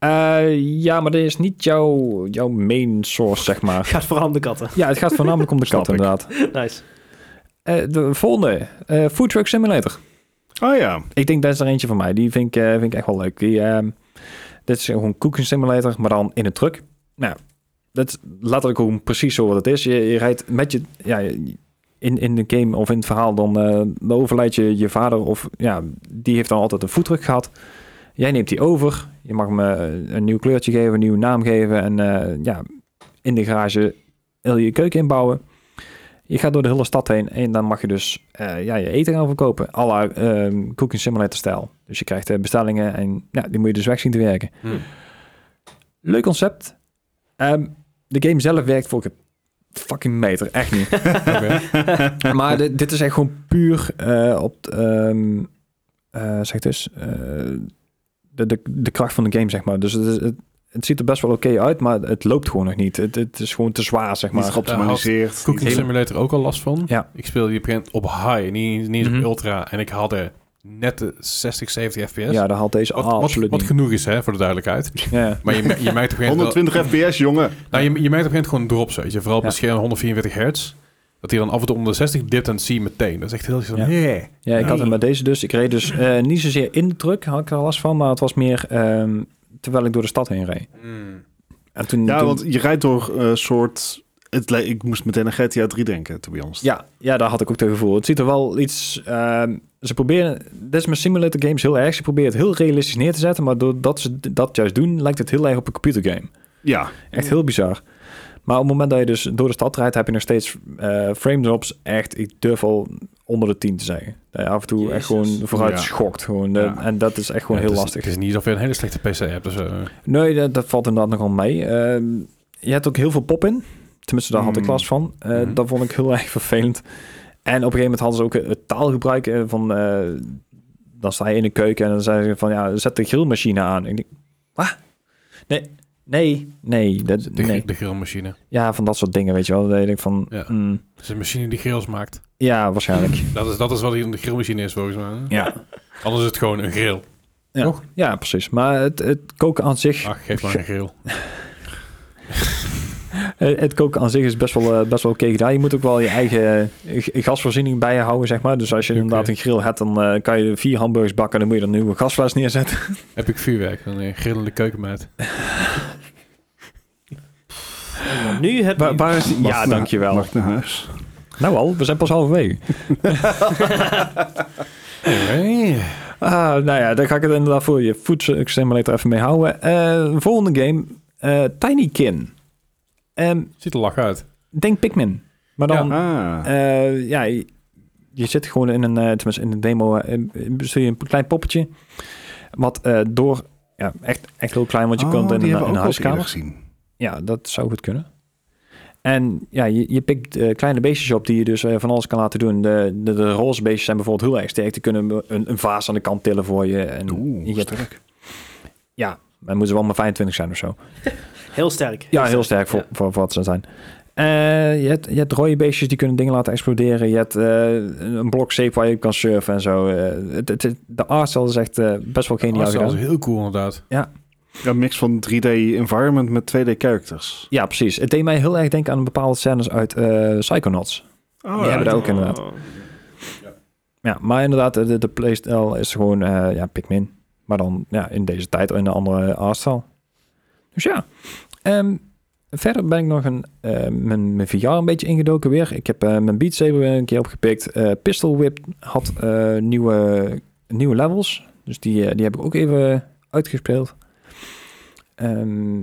Eh, ja, maar dit is niet jouw, jouw main source, zeg maar. Gaat vooral om de katten. Ja, het gaat voornamelijk om de Snap kat, inderdaad. Nice. Eh, de volgende, eh Food Truck Simulator. Oh ja. Ik denk dat is er eentje van mij. Die vind ik, eh, vind ik echt wel leuk. Die, ehm, dit is gewoon Cooking Simulator, maar dan in een truck. Nou, dat is letterlijk gewoon precies zo wat het is. Je, je rijdt met je... Ja, je- in, in de game of in het verhaal, dan, eh, dan overlijdt je je vader. Of ja, die heeft dan altijd een foodtruck gehad. Jij neemt die over. Je mag hem eh, een nieuw kleurtje geven, een nieuwe naam geven. En eh, ja, in de garage heel je keuken inbouwen. Je gaat door de hele stad heen en dan mag je dus eh, ja, je eten gaan verkopen. à la ehm, Cooking Simulator stijl. Dus je krijgt eh, bestellingen en ja, die moet je dus weg zien te werken. Hm. Leuk concept. Ehm, de game zelf werkt voor een fucking meter. Echt niet. Oké. maar dit, dit is echt gewoon puur eh, op... ehm, eh, zeg het eens. eh, de, de, de kracht van de game, zeg maar. Dus het, is- het, het ziet er best wel oké uit, maar het loopt gewoon nog niet. Het, het is gewoon te zwaar, zeg Niet maar. eh, geoptimaliseerd. Cooking Hele- Simulator ook al last van. Ja. Ik speelde die op een gegeven moment op high, niet, niet eens Mhm. op ultra. En ik had er net eh, de 60, 70 fps. Ja, daar haalt deze wat, wat, absoluut wat niet. genoeg is, hè, voor de duidelijkheid. Ja, ja. Maar je, me- je merkt op een gegeven moment... 120 fps, jongen. Nou, je, je merkt op een gegeven moment gewoon drops, weet je. Vooral op Ja. een scherm 144 hertz. Dat hij dan af en toe onder de 60 dipt en zie je meteen. Dat is echt heel... zo. Ja. Yeah. Ja, ik had hem Nee. met deze dus. Ik reed dus eh, niet zozeer in de truck, had ik er last van, maar het was meer ehm, terwijl ik door de stad heen reed. Mm. En toen, Hmm. Ja, toen- want je rijdt door een soort... Het, le- ik moest meteen aan GTA 3 denken, to be honest. ja, ja, daar had ik ook het gevoel. Het ziet er wel iets... ehm, ze proberen... Dit is met simulator games heel erg. Ze proberen het heel realistisch neer te zetten, maar doordat ze d- dat juist doen, lijkt het heel erg op een computergame. ja. Echt heel bizar. Maar op het moment dat je dus door de stad rijdt, heb je nog steeds eh, frame drops. Echt, ik durf al onder de 10 te zeggen. Dat je af en toe echt gewoon Jezus. vooruit Ja. schokt. Gewoon, eh, Ja. En dat is echt gewoon Ja, heel het is- lastig. Het is niet alsof je een hele slechte PC hebt. Dus, eh, Nee, dat, dat valt inderdaad nogal mee. Ehm, je hebt ook heel veel pop in. Tenminste, daar had ik Mm. last van. Eh, Mhm. Dat vond ik heel erg vervelend. En op een gegeven moment hadden ze ook eh, het taalgebruik eh, van... eh, dan sta je in de keuken en dan zeiden ze van... Ja, zet de grillmachine aan. En ik denk, wat? Nee, nee, nee, dat, de, Dus nee. de grillmachine. Ja, van dat soort dingen, weet je wel. Dan denk ik van... Ja. Ja, Het is een machine die grills maakt. ja waarschijnlijk. Dat is, dat is wat hier een grillmachine is, volgens mij. ja. Anders is het gewoon een grill. Ja. Toch? ja, precies. Maar het, het koken aan zich... Ach, geef maar een grill. Eh, Het koken aan zich is best wel, eh, best wel oké gedaan. Je moet ook wel je eigen eh, g- gasvoorziening bij je houden, zeg maar. Dus als je Oké. inderdaad een grill hebt, dan eh, kan je vier hamburgers bakken... en dan moet je er nu een gasfles neerzetten. Heb ik vuurwerk? Dan een grillende keukenmaat. Maar nu heb je... waar is die? Mag Ja, ik naar- dankjewel. Mag ik naar huis? Nou al, we zijn pas halverwege. Hey. Ah, nou ja, daar ga ik het inderdaad voor je voedsel simulator even mee houden. Eh, volgende game, eh Tiny Kin. Ehm, Ziet er lach uit. denk Pikmin. Maar dan... Ah. Eh, ja, je, je zit gewoon in een, eh, tenminste in een demo, eh, bestuur je een klein poppetje. Wat eh, door, ja, echt, echt heel klein, want je Oh, kunt die in een, hebben in we ook een al eens eerder huiskamer. gezien. Ja, dat zou goed kunnen. En ja, je, je pikt eh, kleine beestjes op die je dus eh, van alles kan laten doen. De, de, de roze beestjes zijn bijvoorbeeld heel erg sterk. Die kunnen een, een vaas aan de kant tillen voor je. En Oeh, je hebt- sterk. ja, maar het moeten wel maar 25 zijn of zo. Heel sterk. Ja, heel sterk voor, voor, voor wat ze zijn. Eh, je, hebt, je hebt rode beestjes die kunnen dingen laten exploderen. Je hebt eh, een blok zeep waar je op kan surfen en zo. Eh, het, het- het- de artstyle is echt eh, best wel geniaal Oh, dat gedaan. is heel cool, inderdaad. Een mix van 3D environment met 2D characters. Ja, precies. Het deed mij heel erg denken aan bepaalde scènes uit eh, Psychonauts. Oh, Die hebben dat ook inderdaad. Oh. Ja, maar inderdaad, de, de playstyle is gewoon eh, ja, Pikmin. Maar dan ja, in deze tijd in een andere artstyle. Dus ja. Ehm, verder ben ik nog een, eh, mijn, mijn VR een beetje ingedoken weer. Ik heb eh, mijn Beat Saber weer een keer opgepikt. Eh, Pistol Whip had eh, nieuwe, nieuwe levels. Dus die, eh, die heb ik ook even uitgespeeld. Ehm,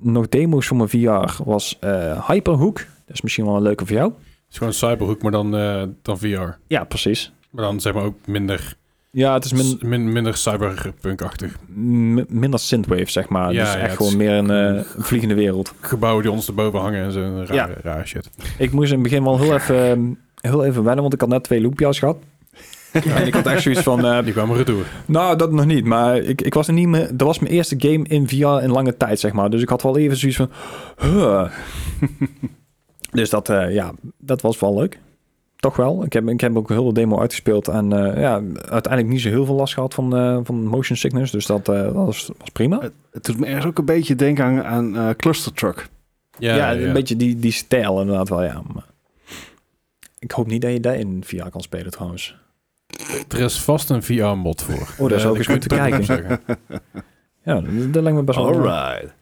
nog demo's voor mijn VR was eh Hyperhook. Dat is misschien wel een leuke voor jou. Het is gewoon cyberhoek, maar dan, eh, dan VR. Ja, precies. Maar dan zeg maar ook minder, Ja, het is mijn, min, minder cyberpunk-achtig. m- minder synthwave, zeg maar. Ja, dus ja, echt het gewoon is- meer een eh, vliegende wereld. Gebouwen die ons erboven hangen en zo. Raar, raar shit. Ik moest in het begin wel heel even, eh, heel even wennen, want ik had net twee loopja's gehad. En ik had echt zoiets van, eh, Die kwamen retour. nou, dat nog niet. Maar ik, ik was er niet meer... Dat was mijn eerste game in VR in lange tijd, zeg maar. Dus ik had wel even zoiets van... huh. dus dat, eh, ja, dat was wel leuk. Toch wel. Ik heb, ik heb ook heel de demo uitgespeeld. En eh, ja, uiteindelijk niet zo heel veel last gehad van, eh, van motion sickness. Dus dat eh, was, was prima. Het doet me ergens ook een beetje denken aan, aan eh, Cluster Truck. Ja, ja, een beetje die, die stijl inderdaad wel, ja. Maar ik hoop niet dat je daar in VR kan spelen trouwens. Er is vast een VR-mod voor. Eh, Oh, daar zou ik eens kun je moeten het kijken. zeggen. Ja, dat, dat lijkt me best wel... Alright.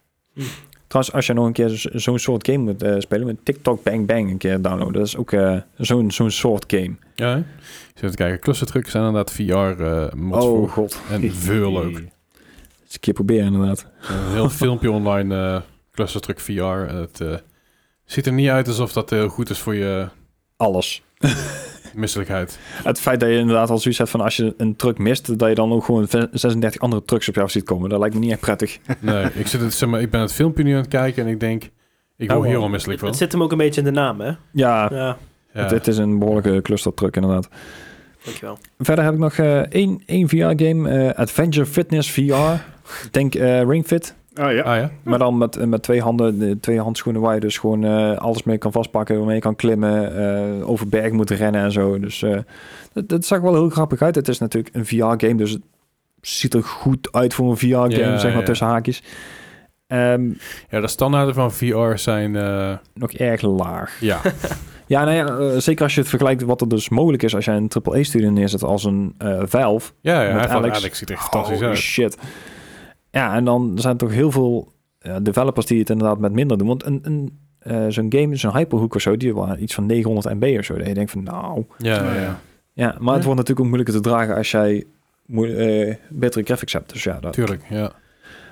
Trouwens, als je nog een keer zo- zo'n soort game moet eh, spelen, met TikTok Bang Bang een keer downloaden. Dat is ook eh, zo'n zo'n soort game. Ja, hè? Ik zit even te kijken. Clusterdrugs zijn inderdaad VR-mods oh voor. god. En veel ook. Dat is een keer proberen inderdaad. Een heel filmpje online, eh clustertruck VR. En het eh, ziet er niet uit alsof dat heel goed is voor je Alles. misselijkheid. Het feit dat je inderdaad al zoiets hebt van als je een truck mist, dat je dan ook gewoon 36 andere trucks op jou ziet komen. Dat lijkt me niet echt prettig. Nee, ik, zit het, zeg maar, ik ben het filmpje nu aan het kijken en ik denk, ik word Oh, hier wow. al misselijk Het, van. het zit hem ook een beetje in de naam, hè? Ja, Ja, Ja. Het, het is een behoorlijke clustertruck inderdaad. dankjewel. Verder heb ik nog eh één, één VR-game, Adventure Fitness VR. Denk eh Ring Fit. Ah ja. Ah ja? Maar dan met, met twee handen, eh, twee handschoenen waar je dus gewoon eh, alles mee kan vastpakken, waarmee je kan klimmen, eh, over berg moet rennen en zo. Dus eh, dat, dat zag wel heel grappig uit. Het is natuurlijk een VR-game, dus het ziet er goed uit voor een VR-game, Ja, zeg maar ja. tussen haakjes. Ehm, Ja, de standaarden van VR zijn... eh, nog erg laag. ja, Ja, nou ja, eh, zeker als je het vergelijkt wat er dus mogelijk is als jij een AAA-studio neerzet als een eh Valve. ja, ja Met hij van Alex. Alex ziet er echt fantastisch Holy uit. shit. Ja, en dan zijn er toch heel veel eh, developers die het inderdaad met minder doen. Want een, een, eh, zo'n game, zo'n Hyperhook of zo, die waren iets van 900 MB of zo. Dat je denkt van, nou... Ja, ja, ja, Ja, maar het wordt natuurlijk ook moeilijker te dragen als jij moe- eh, betere graphics hebt. Dus ja, dat... tuurlijk. Ja.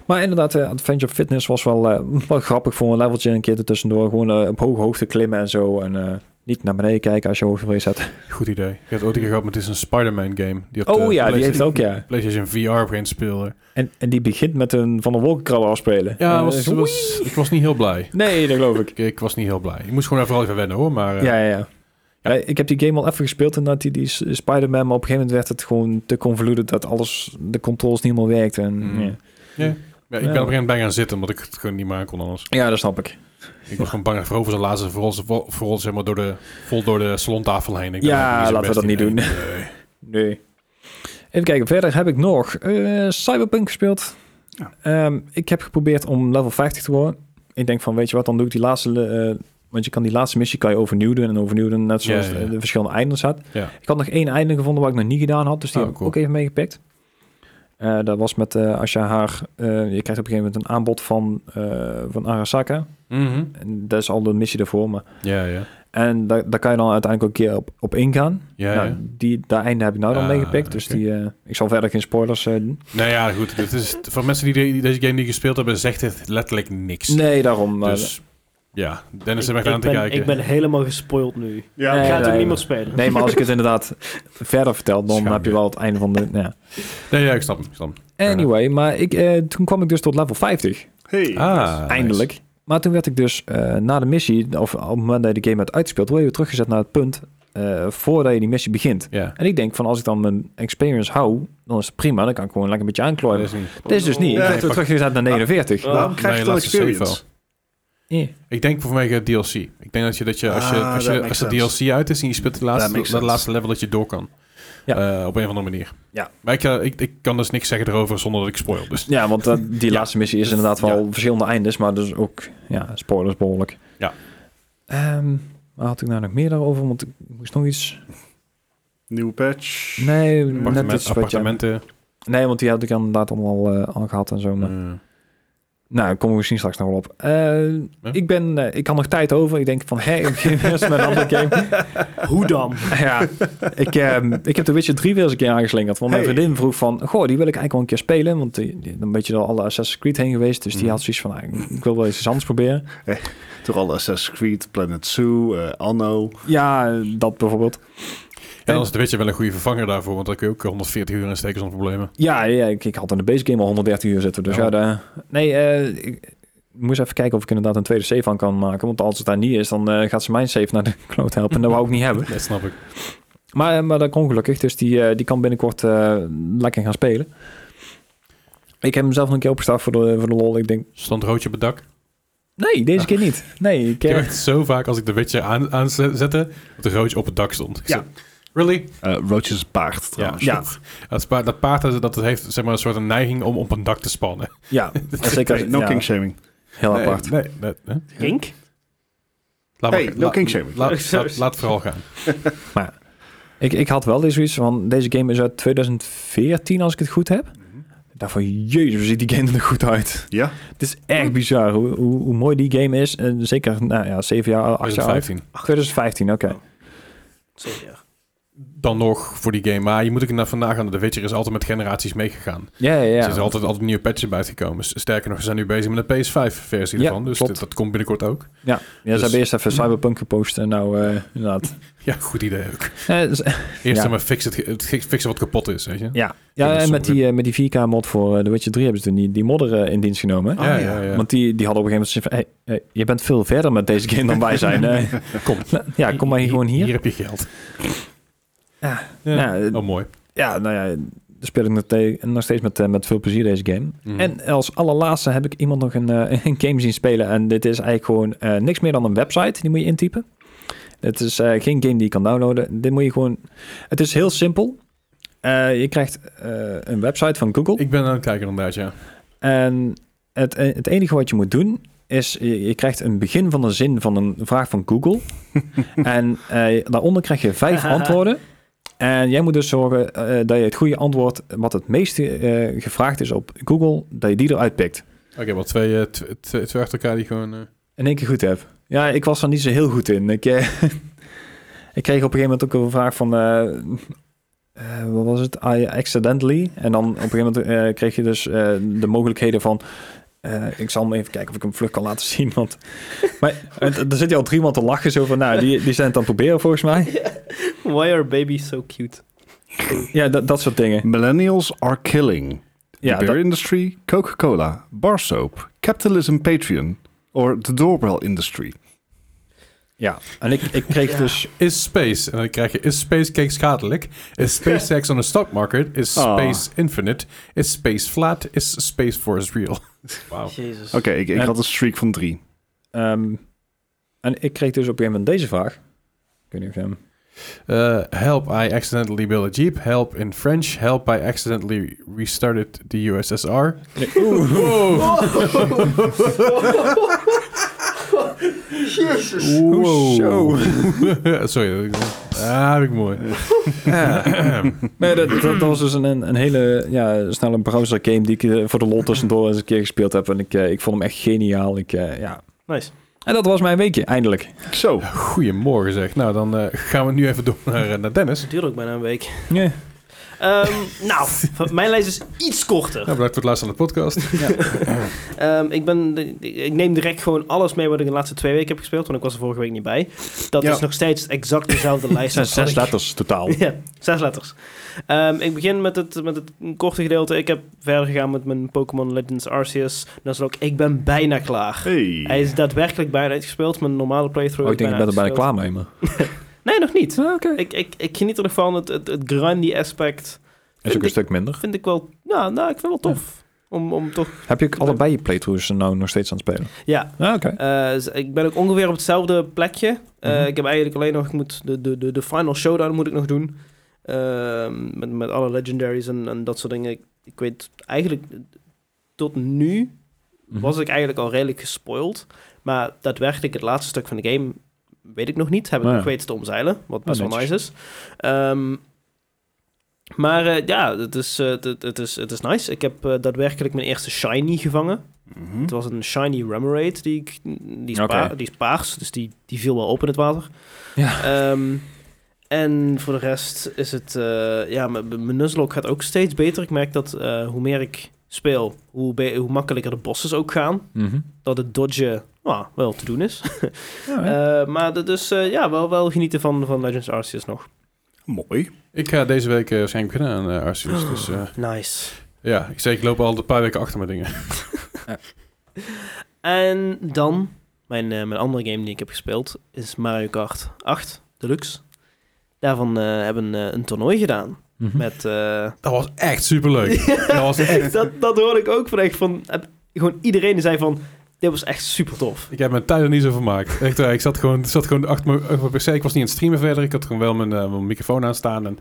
Maar inderdaad, eh, Adventure Fitness was wel, eh, wel grappig voor een leveltje een keer ertussendoor. Gewoon eh, op hoge hoogte klimmen en zo. En eh, niet naar beneden kijken als je hoogtevrees hebt. Goed idee. Ik heb het ooit een keer gehad, maar het is een Spider-Man game. Die op Oh de ja, die PlayStation- heeft ook, ja. PlayStation VR begint spelen. En, en die begint met een van de wolkenkrabber afspelen. En Ja, dan was, is het, was, ik was niet heel blij. Nee, dat geloof ik. Ik, ik was niet heel blij. Ik moest gewoon vooral even wennen hoor, maar... eh, Ja, ja, ja. Nee, ik heb die game al even gespeeld en dat die, die S- Spider-Man, maar op een gegeven moment werd het gewoon te convoluted dat alles, de controls niet meer werkten. En, Mm. ja. Ja, ik ben op een gegeven moment bij gaan zitten, omdat ik het gewoon niet meer aan kon anders. ja, dat snap ik. Ik was gewoon bang voor over zijn laatste voor ons, voor voor ons zeg maar door de, vol door de salontafel heen. Ik ben Ja, eigenlijk laten we zo'n best dat niet in. Nee. Nee. Even kijken, verder heb ik nog eh, Cyberpunk gespeeld. Ja. Ehm, ik heb geprobeerd om level 50 te worden. Ik denk van, weet je wat, dan doe ik die laatste... eh, want je kan die laatste missie kan je overnieuw doen en overnieuw doen, net Ja, zoals ja, eh, ja. de verschillende eindes had. Ja. Ik had nog één einde gevonden wat ik nog niet gedaan had, dus die Oh, heb ik cool. ook even meegepikt. Eh, dat was met, eh, als je haar, eh, je krijgt op een gegeven moment een aanbod van, eh, van Arasaka. Mhm. En dat is al de missie daarvoor. Maar. Ja, ja. En da- daar kan je dan uiteindelijk ook een keer op, op ingaan. Ja, nou, ja. Die, daar einde heb ik nou dan Ah, meegepikt. Dus oké. die, eh, ik zal verder geen spoilers eh, doen. Nou ja, goed. Dit is, voor mensen die, de- die deze game niet gespeeld hebben, zegt het letterlijk niks. Nee, daarom. eh, Dus ja, Dennis ik, heb ik aan ik te ben, kijken. ik ben helemaal gespoild nu. Ja, Nee, ik ga het nee, ook nee. niemand spelen. nee, maar als ik het inderdaad verder vertel, dan Schaam heb je je. wel het einde van de... nou Ja. Nee, ja, ik snap hem. Ik snap hem. Anyway, maar ik, eh, toen kwam ik dus tot level 50. Hey. Ah, Eindelijk. Maar toen werd ik dus eh, na de missie, of op het moment dat je de game had uitspeeld, word je weer teruggezet naar het punt eh, voordat je die missie begint. nice. Ja. En ik denk van als ik dan mijn experience hou, dan is het prima. Dan kan ik gewoon lekker een beetje Dat aanklooien. is niet. Dit is dus niet. Ik Nee, werd weer pak- teruggezet naar 49. Ah. Waarom krijg Nee, je dan laatste save experience? Ja. Ik denk vanwege DLC. Ik denk dat je, dat je als, je, Ah, als, that je, makes als de sense. DLC uit is en je speelt het laatste, That makes dat sense. laatste level dat je door kan. Ja. Eh, op een of andere manier. Ja. Maar ik, eh, ik, ik kan dus niks zeggen erover zonder dat ik spoil. Dus Ja, want eh, die laatste missie is inderdaad wel verschillende eindes, maar dus ook ja, spoilers behoorlijk. Ja. Ehm, waar had ik nou nog meer daarover? Want ik moest nog iets... Nieuwe patch? Nee, net appartement- iets wat je... appartementen. Nee, want die had ik inderdaad allemaal eh, al gehad en zo. Maar... eh, Nou, daar komen we misschien straks nog wel op. Eh, Ik ben, eh, ik had nog tijd over. Ik denk van, hé, ik begin eerst met een andere game. Hoe dan? ja, ik, ehm, ik heb The Witcher 3 weer eens een keer aangeslingerd. Want mijn Hey. vriendin vroeg van, goh, die wil ik eigenlijk wel een keer spelen. Want die, die- dan ben je door alle Assassin's Creed heen geweest. Dus die Mhm. had zoiets van, nou, ik wil wel eens iets anders proberen. Toch al Assassin's Creed, Planet Zoo, eh, Anno. Ja, eh, dat bijvoorbeeld. Ja, dan is de Witcher wel een goede vervanger daarvoor, want dan kun je ook 140 uur in steken zonder problemen. Ja, ja ik, ik had in de base game al 130 uur zitten. Dus ja, Ja. daar- nee, eh, ik moest even kijken of ik inderdaad een tweede save aan kan maken. Want als het daar niet is, dan eh, gaat ze mijn save naar de kloot helpen. En dat wou ik niet hebben. Dat snap ik. Maar, eh, maar dat kon gelukkig, dus die, eh, die kan binnenkort eh, lekker gaan spelen. Ik heb hem zelf nog een keer opgestart voor de, voor de lol. Ik denk, Stond roodje op het dak. nee, deze keer niet. Nee, ik, Ik eh, heb echt zo vaak als ik de Witcher aan, aanzette, dat er roodje op het dak stond. Ik Ja. zei, Really? Oh, Eh Roaches paard trouwens. Ja. Dat, spa- dat paard dat, dat heeft zeg maar, een soort een neiging om op een dak te spannen. ja, zeker. Hey, no ja, king shaming. Heel Nee, apart. Nee, nee, nee. Kink? Laat Hey, maar- no la- king shaming. Laat, laat, laat vooral gaan. Ik, ik had wel eens zoiets van, deze game is uit 2014 als ik het goed heb. Daarvan, jezus, ziet die game er nog goed uit. Ja? Het is Hm. echt bizar hoe, hoe, hoe mooi die game is. En zeker, nou ja, 7 jaar, 8 jaar oud. 2015. 2015, oké. Oh. Zeker. Dan nog voor die game. Maar je moet ook naar vandaag aan. De Witcher is altijd met generaties meegegaan. Ja, ja, Er is ja. altijd, altijd nieuwe patches bijgekomen. S- Sterker nog, ze zijn nu bezig met een PS5-versie Ja, ervan. Dus klopt. dit- dat komt binnenkort ook. Ja, Dus- ze hebben eerst even Cyberpunk gepost en nou, eh, inderdaad. Ja, goed idee ook. Eh, dus- Eerst Ja. maar fix het, het fix- fixen wat kapot is, weet je? Ja, dat ja is en met sommige- die, eh, met die 4K-mod voor eh, The Witcher 3 hebben ze toen die, die modder eh, in dienst genomen. Oh, ja. Want die, die hadden op een gegeven moment zoiets van... Hey, eh, je bent veel verder met deze game dan wij zijn. eh. Kom. ja, kom maar hier gewoon hier. Hier heb je geld. Ja. Ja. Nou, eh, Oh, mooi. ja, nou ja... speel ik nog, te- nog steeds met, eh, met veel plezier deze game. Mhm. En als allerlaatste heb ik iemand nog een, eh, een game zien spelen. En dit is eigenlijk gewoon eh, niks meer dan een website. Die moet je intypen. Het is eh, geen game die je kan downloaden. Dit moet je gewoon... Het is heel simpel. Eh, je krijgt eh, een website van Google. Ik ben aan het kijken inderdaad, ja. En het, eh, het enige wat je moet doen is, je, je krijgt een begin van een zin van een vraag van Google. en eh, daaronder krijg je vijf antwoorden. En jij moet dus zorgen eh, dat je het goede antwoord, wat het meest eh, gevraagd is op Google, dat je die eruit pikt. Oké, wel twee, eh, tw- tw- twee achter elkaar die gewoon... eh, In één keer goed heb. Ja, ik was er niet zo heel goed in. Ik, eh, ik kreeg op een gegeven moment ook een vraag van... eh, eh, wat was het? I accidentally. En dan op een gegeven moment eh, kreeg je dus eh, de mogelijkheden van... eh, ik zal hem even kijken of ik hem vlug kan laten zien. Want, maar eh, d- er zit al drie man te lachen. Zo van, nou, die, die zijn het aan het proberen volgens mij. Why are babies so cute? Ja, dat- dat soort dingen. Millennials are killing. Ja, the dat- beer industry, Coca-Cola, bar soap, capitalism Patreon, or the doorbell industry. ja. En ik, ik kreeg dus... Is space. En dan krijg je, is space cake schadelijk? Is SpaceX on the stock market? Is Ah. space infinite? Is space flat? Is space force real? Wauw. Jezus. Oké, ik, ik En- had een streak van drie. ehm, en ik kreeg dus op een gegeven moment deze vraag. Ik weet niet of je hem... Eh, help, I accidentally built a jeep. Help in French. Help, I accidentally restarted the USSR. Jezus. Wow. Sorry. dat- Ah, heb ik mooi. Nee, dat, dat, dat was dus een, een een hele ja, snelle browser game die ik eh, voor de lol tussendoor eens een keer gespeeld heb. En ik, eh, ik vond hem echt geniaal. Ik, eh, ja. Nice. En dat was mijn weekje, eindelijk. Zo, Goedemorgen zeg. Nou, dan eh, gaan we nu even door naar, eh, naar Dennis. Het duurde ook bijna een week. Ja. Ehm, nou, van- mijn lijst is iets korter. Nou, bedankt voor het luisteren aan de podcast. Ehm, ik, ben, de- ik neem direct gewoon alles mee wat ik de laatste twee weken heb gespeeld, want ik was er vorige week niet bij. Dat Ja. is nog steeds exact dezelfde lijst. Zes, als wat zes ik- letters totaal. Ja, zes letters. Ehm, ik begin met het, met het korte gedeelte. Ik heb verder gegaan met mijn Pokémon Legends Arceus. Dat is ook, ik ben bijna klaar. hey. Hij is daadwerkelijk bijna uitgespeeld. Mijn normale playthrough Oh, ik is denk, ik ben er bijna uitgespeeld. klaar mee, maar... Nee, nog niet. Ah, Oké. Ik, ik, ik geniet er nog van. Het, het, het grindy aspect Is ook ik- een stuk minder. vind ik wel... Nou, nou ik vind het wel tof. Om, om toch... Heb je ook allebei je playthroughs nou nog steeds aan het spelen? Ja, Ah, Oké. Eh, z- ik ben ook ongeveer op hetzelfde plekje. Eh, Mhm. Ik heb eigenlijk alleen nog ik moet de, de, de, de final showdown moet ik nog doen. Ehm, met, met alle legendaries en, en dat soort dingen. Ik, ik weet eigenlijk eh, tot nu Mhm. was ik eigenlijk al redelijk gespoild. Maar daadwerkelijk het laatste stuk van de game weet ik nog niet. Heb ik Ah, ja. nog weten te omzeilen, wat best Ah, wel netjes. nice is. Ehm, maar eh, ja, het is, eh, het, het- het is, het is nice. Ik heb eh, daadwerkelijk mijn eerste shiny gevangen. Mhm. Het was een shiny Remoraid, die, ik- die, is, Hm? Oké. pa- die is paars, dus die, die viel wel op in het water. Ja. Ehm, en voor de rest is het... eh, ja, m- m- mijn Nuzlocke gaat ook steeds beter. Ik merk dat eh, hoe meer ik speel, hoe, be- hoe makkelijker de bosses ook gaan. Mhm. Dat het dodgen nou, wel te doen is. Oh Ja, hè. Eh, maar dat is eh, ja, wel, wel genieten van, van Legends Arceus nog. Mooi. Ik ga deze week eh, waarschijnlijk beginnen aan eh, Arceus. Dus eh, Nice. ja, ik zeg, ik loop al een paar weken achter met dingen. En dan, mijn, eh, mijn andere game die ik heb gespeeld, is Mario Kart 8 Deluxe. Daarvan eh, hebben we een, eh, een toernooi gedaan. Mhm. Met, eh, Dat was echt superleuk. dat was echt... dat, dat hoorde ik ook van echt van... eh, Gewoon iedereen die zei van, dit was echt super tof. Ik heb mijn tijd er niet zo van gemaakt. Echt waar, ik zat gewoon, zat gewoon achter mijn, achter mijn pc. Ik was niet aan het streamen verder. Ik had gewoon wel mijn, eh, mijn microfoon aanstaan. En,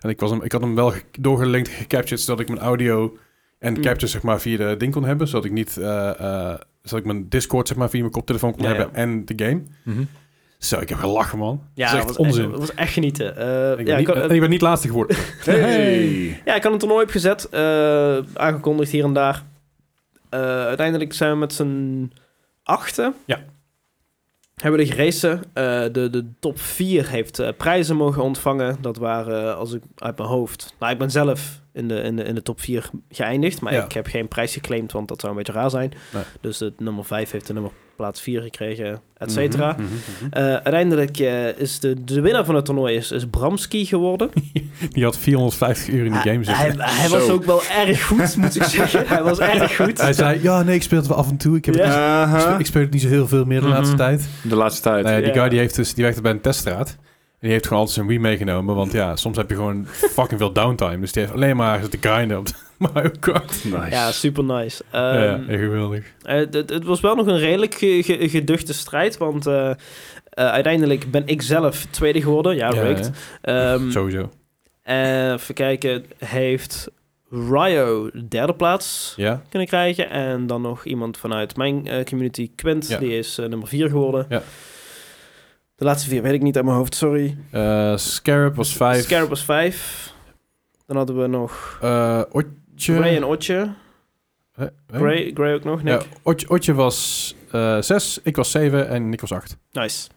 en ik, was hem, ik had hem wel ge- doorgelinkt, gecaptured, zodat ik mijn audio en de Mm. capture zeg maar, via de ding kon hebben. Zodat ik niet... eh, eh, zodat ik mijn Discord zeg maar, via mijn koptelefoon kon Ja, hebben en de game. Mhm. Zo, ik heb gelachen, man. Ja, dat is was echt onzin. Echt, was echt genieten. Eh, ik, ben ja, niet, ik, had- en ik ben niet laatste geworden. Hey. Ja, ik had een toernooi opgezet. eh, aangekondigd hier en daar. Eh, uiteindelijk zijn we met z'n achten. Ja. Hebben we er geracen. Eh, de, de top 4 heeft eh, prijzen mogen ontvangen. Dat waren, eh, als ik uit mijn hoofd... Nou, ik ben zelf in de, in de, in de top 4 geëindigd. Maar Ja. ik heb geen prijs geclaimd, want dat zou een beetje raar zijn. Nee. Dus de nummer 5 heeft de nummer plaats 4 gekregen, et cetera. Mhm, mhm, mhm. Eh, uiteindelijk eh, is de, de winnaar van het toernooi is, is Bramski geworden. Die had 450 uur in de Hij- game zitten. Hij, hij was Zo. ook wel erg goed, moet ik zeggen. Hij was erg goed. Hij zei, ja, nee, ik speel het wel af en toe. Ik, heb Ja. het Aha. niet- ik speel het niet zo heel veel meer de Mhm. laatste tijd. De laatste tijd. Nou ja, die Ja. guy die, heeft dus, die werkte bij een teststraat. En die heeft gewoon altijd zijn Wii meegenomen. Want ja, soms heb je gewoon fucking veel downtime. Dus die heeft alleen maar zitten grinden op de Mario Kart. Nice. Ja, super nice. ja, Ehm, echt geweldig. Eh, Het het was wel nog een redelijk ge- ge- geduchte strijd, want eh, eh, uiteindelijk ben ik zelf tweede geworden. Ja, Ja, rigged. Ehm, Sowieso. eh, even kijken, heeft Ryo derde plaats Ja? kunnen krijgen. En dan nog iemand vanuit mijn eh, community, Quint, Ja. die is eh, nummer vier geworden. Ja. De laatste vier weet ik niet uit mijn hoofd, sorry. Eh, Scarab was vijf. Scarab was vijf. Dan hadden we nog Eh, Otje. Gray en Otje. Eh, eh? Gray, Gray ook nog, Nick. Ja, Otje, Otje was eh, zes, ik was zeven en ik was acht. Nice.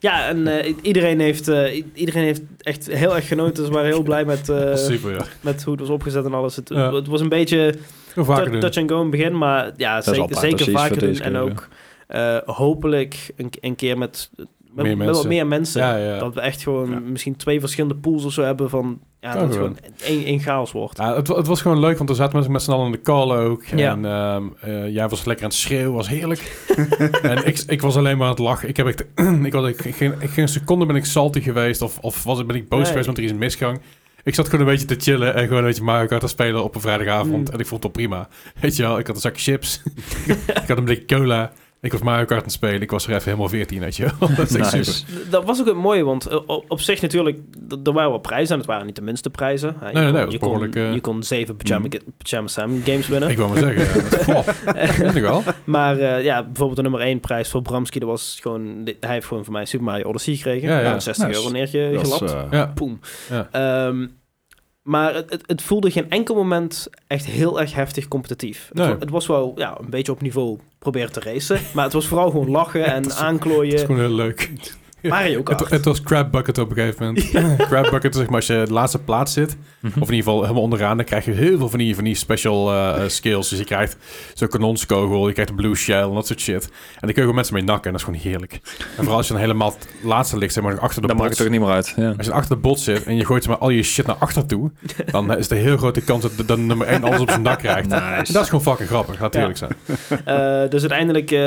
Ja, en eh, i- iedereen, heeft, eh, i- iedereen heeft echt heel erg genoten. Ze waren heel blij met, eh, Super, ja. met hoe het was opgezet en alles. Het, Ja. het was een beetje Hoe vaker tou- doen. touch and go in het begin, maar ja, is zeker, altijd zeker precies vaker voor doen. deze En keer, ook eh, hopelijk een, een keer met, met, met wat mensen. meer mensen. Ja, ja. Dat we echt gewoon Ja. misschien twee verschillende pools of zo hebben van... Ja, Kan dat het gewoon. gewoon één, één chaos wordt. Ja, het, wa- het was gewoon leuk, want er zaten mensen met z'n allen in de call ook. Ja. En ehm, eh, jij was lekker aan het schreeuwen, was heerlijk. en ik, ik was alleen maar aan het lachen. Ik heb echt, ik had echt geen, geen seconde ben ik salty geweest of, of was, ik- ben ik boos Nee. geweest, want er is een misgang. Ik zat gewoon een beetje te chillen en gewoon een beetje Mario Kart te spelen op een vrijdagavond. Mm. En ik vond het al prima. Weet je wel, ik had een zak chips, ik had een blik cola. Ik was Mario Kart aan het spelen. Ik was er even helemaal 14, weet je wel. Dat is echt Nice. super. D- Dat was ook het mooie, want eh, op, op zich natuurlijk, d- er waren wel prijzen en het waren niet de minste prijzen. Eh, je nee, nee, kon- dat was je, kon, behoorlijk, eh, je kon zeven Pyjama, Pyjama Sam games winnen. Ik wil maar zeggen, ja. Dat- Goh, dat is wel. Maar eh, ja, bijvoorbeeld de nummer 1 prijs voor Bramski, dat was gewoon, dit- hij heeft gewoon van mij Super Mario Odyssey gekregen. Ja, ja. Nou, 60 Nice. euro neerge Dat is, gelapt. eh, Ja. Poem. Ja. Ehm, maar het, het, het voelde geen enkel moment echt heel erg heftig competitief. Het, Nee. wa- het was wel ja, een beetje op niveau proberen te racen, maar het was vooral gewoon lachen en aanklooien. Het is gewoon heel leuk. Mario Kart. Het, het was crab bucket op een gegeven moment. crab bucket is zeg maar als je de laatste plaats zit, Mhm. of in ieder geval helemaal onderaan, dan krijg je heel veel van die, van die special eh, eh, skills. Dus je krijgt zo'n kanonskogel, je krijgt een blue shell en dat soort shit. En daar kun je gewoon mensen mee nakken en dat is gewoon heerlijk. En vooral als je dan helemaal het laatste ligt, zeg maar achter de Dan maakt bots. het ook niet meer uit. Ja. Als je achter de bot zit en je gooit zeg maar, al je shit naar achter toe, dan is de heel grote kans dat de, de nummer 1 alles op zijn dak krijgt. En dat is gewoon fucking grappig, laat het Ja. eerlijk zijn. Eh, dus uiteindelijk eh,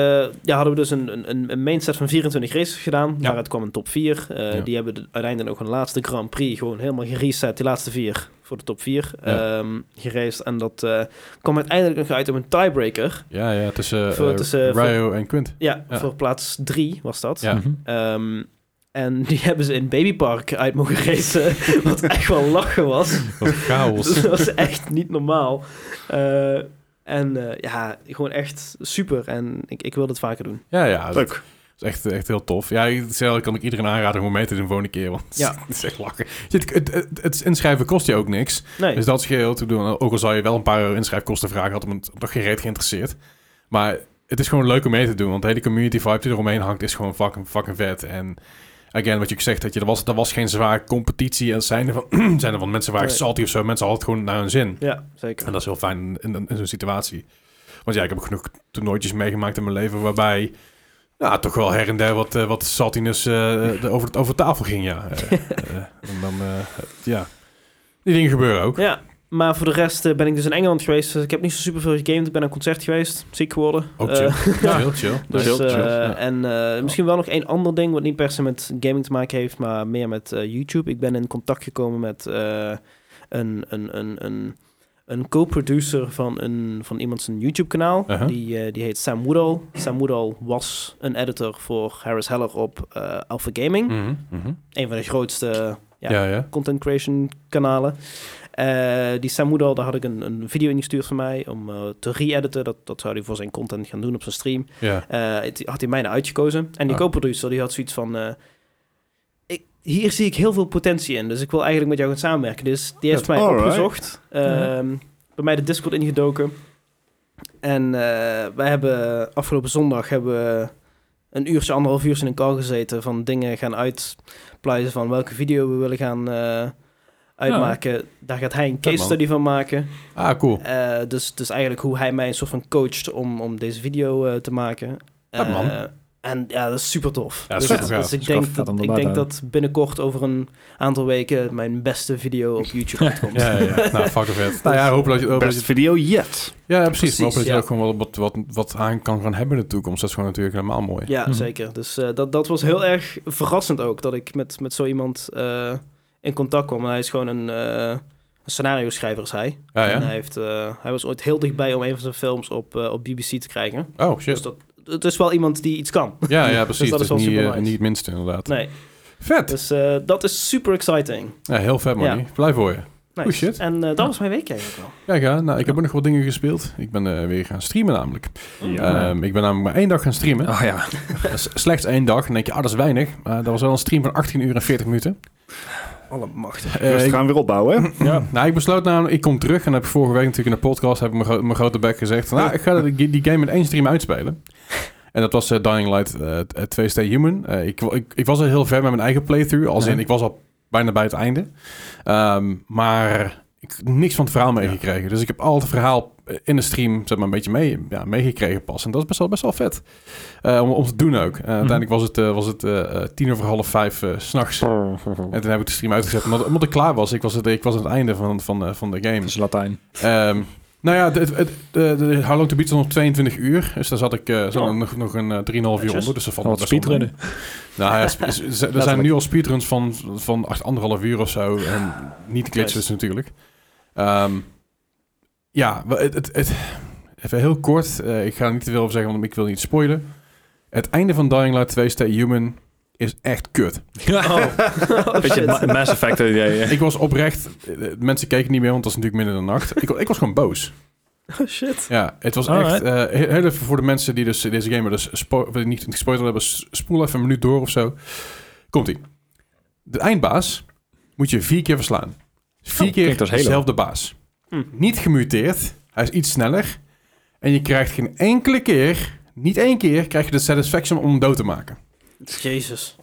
ja, hadden we dus een, een- een, een main set van 24 races gedaan. Ja. Maar het kwam een top 4. Eh, Ja. Die hebben de- uiteindelijk ook een laatste Grand Prix gewoon helemaal gereset. Die laatste vier voor de top 4 Ja. geraced. En dat eh, kwam uiteindelijk nog uit op een tiebreaker. Ja, ja, tussen, eh, Voor- tussen- voor- Ryo en Quint. Ja, Ja. voor plaats 3 was dat. Ja. Mhm. Ehm, en die hebben ze in Baby Park uit mogen racen. wat echt wel lachen was. Wat chaos. Dus dat was echt niet normaal. Eh, en eh, ja, gewoon echt super. En ik, ik wil dit vaker doen. Ja, ja. Leuk. Dat is echt, echt heel tof. Ja, ik- zelf kan ik iedereen aanraden om mee te doen de volgende keer. Want Ja. het is echt lachen. Het, het, het, het inschrijven kost je ook niks. Nee. Dus dat scheelt. Ik bedoel, Ook al zou je wel een paar euro inschrijfkosten vragen, had me toch geen reet geïnteresseerd. Maar het is gewoon leuk om mee te doen. Want de hele community vibe die eromheen hangt, is gewoon fucking, fucking vet. En again, wat je ook zegt, dat je, er, was, er was geen zware competitie. En zijn er van, zijn er van mensen waar ik Nee. salty of zo. Mensen hadden het gewoon naar hun zin. Ja, zeker. En dat is heel fijn in, in, in zo'n situatie. Want ja, ik heb genoeg toernooitjes meegemaakt in mijn leven waarbij nou, toch wel her en der wat, eh, wat saltiness eh, de- over, over tafel ging, ja. Eh, eh, en dan, eh, ja. Die dingen gebeuren ook. Ja, maar voor de rest eh, ben ik dus in Engeland geweest. Dus ik heb niet zo super veel gegamed. Ik ben aan een concert geweest. Ziek geworden. Ook Eh, chill. ja, heel chill. dus, heel eh, chill, ja. En eh, misschien wel nog één ander ding... wat niet per se met gaming te maken heeft... maar meer met eh, YouTube. Ik ben in contact gekomen met eh, een, een, een, een, een co-producer... Van, een, van iemand zijn YouTube-kanaal. Uh-huh. die, eh, die heet Sam Woodall. Sam Woodall was een editor voor Harris Heller op eh, Alpha Gaming. Mhm, mhm. Een van de grootste ja, Ja, ja. eh, content creation kanalen. Eh, die Sam Woodall, daar had ik een, een video in gestuurd van mij om eh, te re-editen. Dat, dat zou hij voor zijn content gaan doen op zijn stream. Ja, Eh, het- had hij mij nou uitgekozen. En die Ah. co-producer die had zoiets van... eh, ik, hier zie ik heel veel potentie in, dus ik wil eigenlijk met jou gaan samenwerken. Dus die heeft Ja, mij alright. opgezocht. ehm, Bij mij de Discord ingedoken. En eh, wij hebben afgelopen zondag hebben we een uurtje, anderhalf uurtje in een call gezeten... van dingen gaan uitpluizen van welke video we willen gaan eh, uitmaken. Daar gaat hij een case man. study van maken. ah, cool. Eh, dus, dus eigenlijk hoe hij mij een soort van coacht om, om deze video eh, te maken. Ja, man. Eh, En ja, dat is super tof. Ja, dus, super gaaf. dus ik Gaaf, denk, gaat dat, hem ik erbij denk houden. dat binnenkort over een aantal weken mijn beste video op YouTube uitkomt. Ja, ja, ja. nou, fucking vet. Nou ja, hopelijk dat je... hoop dat Best je- video yet. ja, precies. Maar hoop dat je ja. er ook gewoon wel wat, wat, wat aan kan gaan hebben in de toekomst. Dat is gewoon natuurlijk helemaal mooi. Ja, Mhm. zeker. Dus eh, dat, dat was heel erg verrassend ook, dat ik met, met zo iemand eh, in contact kwam. En hij is gewoon een, eh, een scenario-schrijver, is hij. Ja, En ja? hij, heeft, eh, hij was ooit heel dichtbij om een van zijn films op, eh, op BBC te krijgen. Oh, Dus shit. dat, het is wel iemand die iets kan. Ja, ja, precies. Dus- dat dat is is wel niet, super eh, nice. niet het minste, inderdaad. Nee, Vet! dus eh, dat is super exciting. Ja, heel vet, man. Ja. Blij voor je. Nice. Oh, shit. En eh, dat was mijn week eigenlijk wel. Ja, ja. Nou, ik heb ook nog wat dingen gespeeld. Ik ben eh, weer gaan streamen namelijk. Ja. Eh, Ehm, ik ben namelijk maar één dag gaan streamen. Oh ja. Dat is Slechts één dag. En dan denk je, ah, dat is weinig. Maar dat was wel een stream van 18 uur en 40 minuten. Alle macht. Eh, dus we ik- gaan weer opbouwen, hè? Ja, nou, ik besloot namelijk, ik kom terug en heb vorige week natuurlijk in de podcast, heb ik mijn, gro- mijn grote bek gezegd, van, nou, ik ga die, die game in één stream uitspelen. En dat was eh, Dying Light eh, t- eh, 2 Stay Human. Eh, ik, wa- ik, ik was al heel ver met mijn eigen playthrough, als in, Ja. ik was al bijna bij het einde. Ehm, maar ik heb niks van het verhaal meegekregen. Dus ik heb al het verhaal eh, in de stream zeg maar, een beetje mee, ja, meegekregen pas. En dat is best wel, best wel vet Eh, om, om te doen ook. Eh, uiteindelijk was het, eh, was het eh, eh, tien over half vijf eh, s s'nachts. En toen heb ik de stream uitgezet omdat, omdat ik klaar was. Ik was, het, ik was aan het einde van, van, eh, van de game. Dat is Latijn. Ehm, nou ja, het, het, het- de, de How Long To Beat stond op 22 uur. Dus daar zat ik eh, zo Oh. nog, nog een eh, 3,5 uur Netjes. onder. Dus dat valt Wat nog best wel speedrunnen. mee. Nou ja, sp- z- z- er zijn nu al speedruns van, van acht- anderhalf uur of zo. En niet glitches Nice. natuurlijk. Ehm, ja, wa- het, het, het- even heel kort. eh, ik ga er niet te veel over zeggen, want ik wil niet spoilen. Het einde van Dying Light 2 Stay Human is echt kut. Oh. Beetje Ma- Mass Effect idee. hè? Ik was oprecht, eh, mensen keken niet meer, want het was natuurlijk midden in de nacht. Ik, wa- ik was gewoon boos. Oh, shit. Ja, het was Alright. echt. eh, he- heel even voor de mensen die dus deze game dus spo- of niet gespoilerd hebben, s- spoel even een minuut door of zo. Komt ie. De eindbaas moet je vier keer verslaan. Vier Oh, keer klinkt als Halo. dezelfde baas. Hm. Niet gemuteerd. Hij is iets sneller. En je krijgt geen enkele keer, niet één keer, krijg je de satisfaction om hem dood te maken. Jezus.